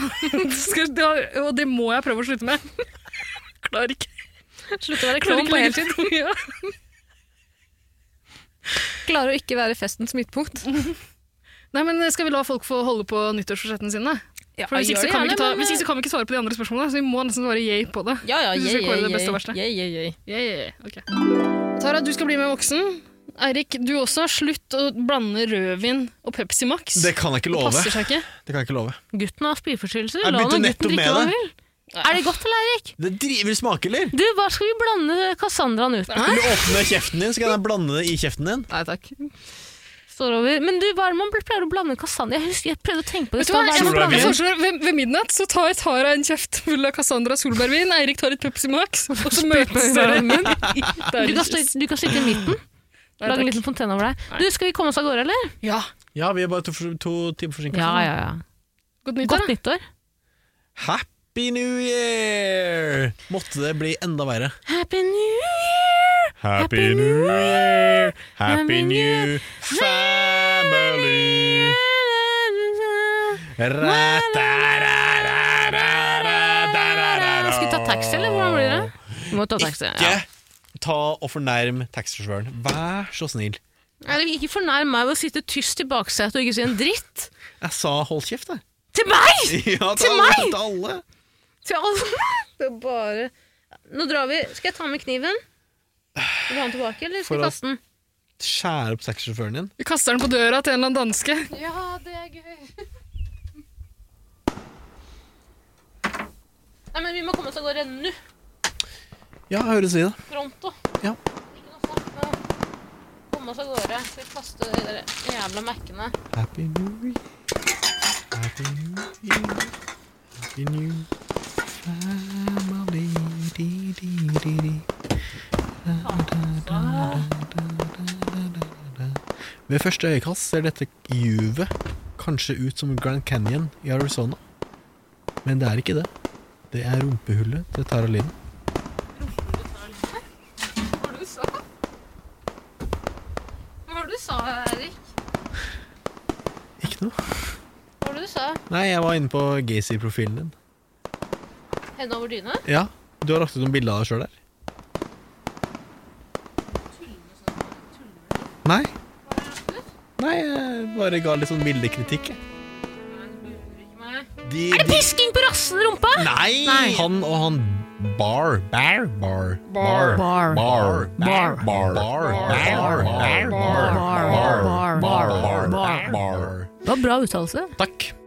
S3: Skal, det, og det må jeg prøve å slutte med. Klarer ikke.
S2: Slutt å være klovn
S3: Klarer ikke
S2: på
S3: lenger
S2: heltid.
S3: til. Ja.
S4: Klarer å ikke være festens midtpunkt.
S3: Mm. Nei, men eh, Skal vi la folk få holde på nyttårsforsettene sine?
S2: Ja,
S3: For hvis,
S2: gjør
S3: ikke, så
S2: det
S3: kan vi
S2: gjerne,
S3: ikke ta,
S2: men- eh,
S3: hvis ikke så kan vi ikke svare på de andre spørsmålene, så vi må nesten svare yay på det.
S2: Ja, ja,
S3: Hvis vi
S2: jeg,
S3: skal kåre det
S2: jeg,
S3: beste og verste.
S2: jeg, jeg, jeg, jeg.
S3: Yeah, yeah, yeah. Ok. Tara, du skal bli med voksen. Eirik, du også. Slutt å blande rødvin og Pepsi Max.
S1: Det kan jeg ikke love.
S3: passer seg ikke.
S1: Det kan jeg ikke love.
S2: Gutten har spyforstyrrelser.
S1: Jeg
S2: La
S1: begynte
S2: nå
S1: nettopp
S2: gutten drikke
S1: med
S2: hva han
S1: det.
S2: vil. Er det godt, eller, Eirik?
S1: Det driver smake, eller?
S2: Du, hva skal vi blande Cassandraen ut med?
S1: Vil du åpne kjeften din, så kan jeg blande det i kjeften din?
S4: Nei takk.
S2: Står over. Men du, hva er det man pleier å blande Cassandra? Jeg husker jeg prøvde å tenke på det.
S3: Vet du hva,
S2: i
S3: jeg
S2: stad. Hva er det man
S1: Solbergvin?
S3: jeg
S2: blander?
S3: foreslår, ved, ved midnatt så tar Tara en kjeft full av Cassandra solbærvin, Eirik tar litt Pepsi Max, og så møtes dere. Det er
S2: Du kan,
S3: ikke-
S2: stå- du kan sitte i midten.
S3: Nei,
S2: Lage en
S3: takk.
S2: liten fontene over deg. Du, skal vi komme oss av gårde, eller?
S3: Ja.
S1: Ja, vi er bare to, to timer forsinket.
S2: Ja, ja, ja.
S3: Godt nytt,
S2: Godt
S3: Tara.
S2: nyttår.
S1: Happy New Year! Måtte det bli enda verre.
S2: Happy New Year! Happy New
S1: Year!
S2: Happy
S1: New Family!
S2: Skal vi ta taxi, eller hvordan blir det? Vi må ta taxi. Ja.
S1: Ikke ta og fornærm taxisjåføren. Vær så snill.
S2: Eller Ikke fornærm meg ved å sitte tyst i baksetet og ikke si en dritt.
S1: Jeg sa hold kjeft, jeg.
S2: Til meg!
S1: Ja,
S2: Til
S1: alle,
S2: meg?
S1: Til alle.
S2: Til alle. Det er bare Nå drar vi. Skal jeg ta med kniven? Vil du ha den tilbake, eller skal
S1: For
S2: jeg
S1: å-
S2: kaste den?
S1: Skjære opp taxisjåføren din.
S3: Vi kaster den på døra til en eller annen danske.
S4: Ja, det er gøy.
S2: Nei, men vi må komme oss av gårde nå.
S1: Ja, høres vi, da.
S2: Pronto.
S1: Ja.
S2: Ikke noe snakk nå. Komme oss av gårde. Skal vi kaste de der jævla Mac-ene.
S1: Happy New Year. Happy New Year. Happy New Family. Di, di, di, di. Ved første øyekast ser dette juvet kanskje ut som Grand Canyon i Arizona. Men det er ikke det. Det er rumpehullet til Tara Linn.
S2: Hva var det du sa? Hva var det du sa, Erik?
S1: Ikke noe.
S2: Hva var det du sa?
S1: Nei, jeg var inne på Gacy-profilen din.
S2: Henda over dyna?
S1: Ja, du har lagt ut noen bilder av deg sjøl der. Nei. Nei, jeg bare ga litt sånn bildekritikk. jeg. De,
S2: Er det pisking på rassen rumpa?
S1: Nei.
S2: Nei.
S1: Han og han Bar. Bar. Bar. Bar.
S4: Bar.
S1: Bar.
S4: Bar.
S1: Bar. Bar. Bar. Bar. Bar. Bar. Bar.
S4: Bar.
S1: Bar.
S2: Det var bra uttalelse.
S1: Takk.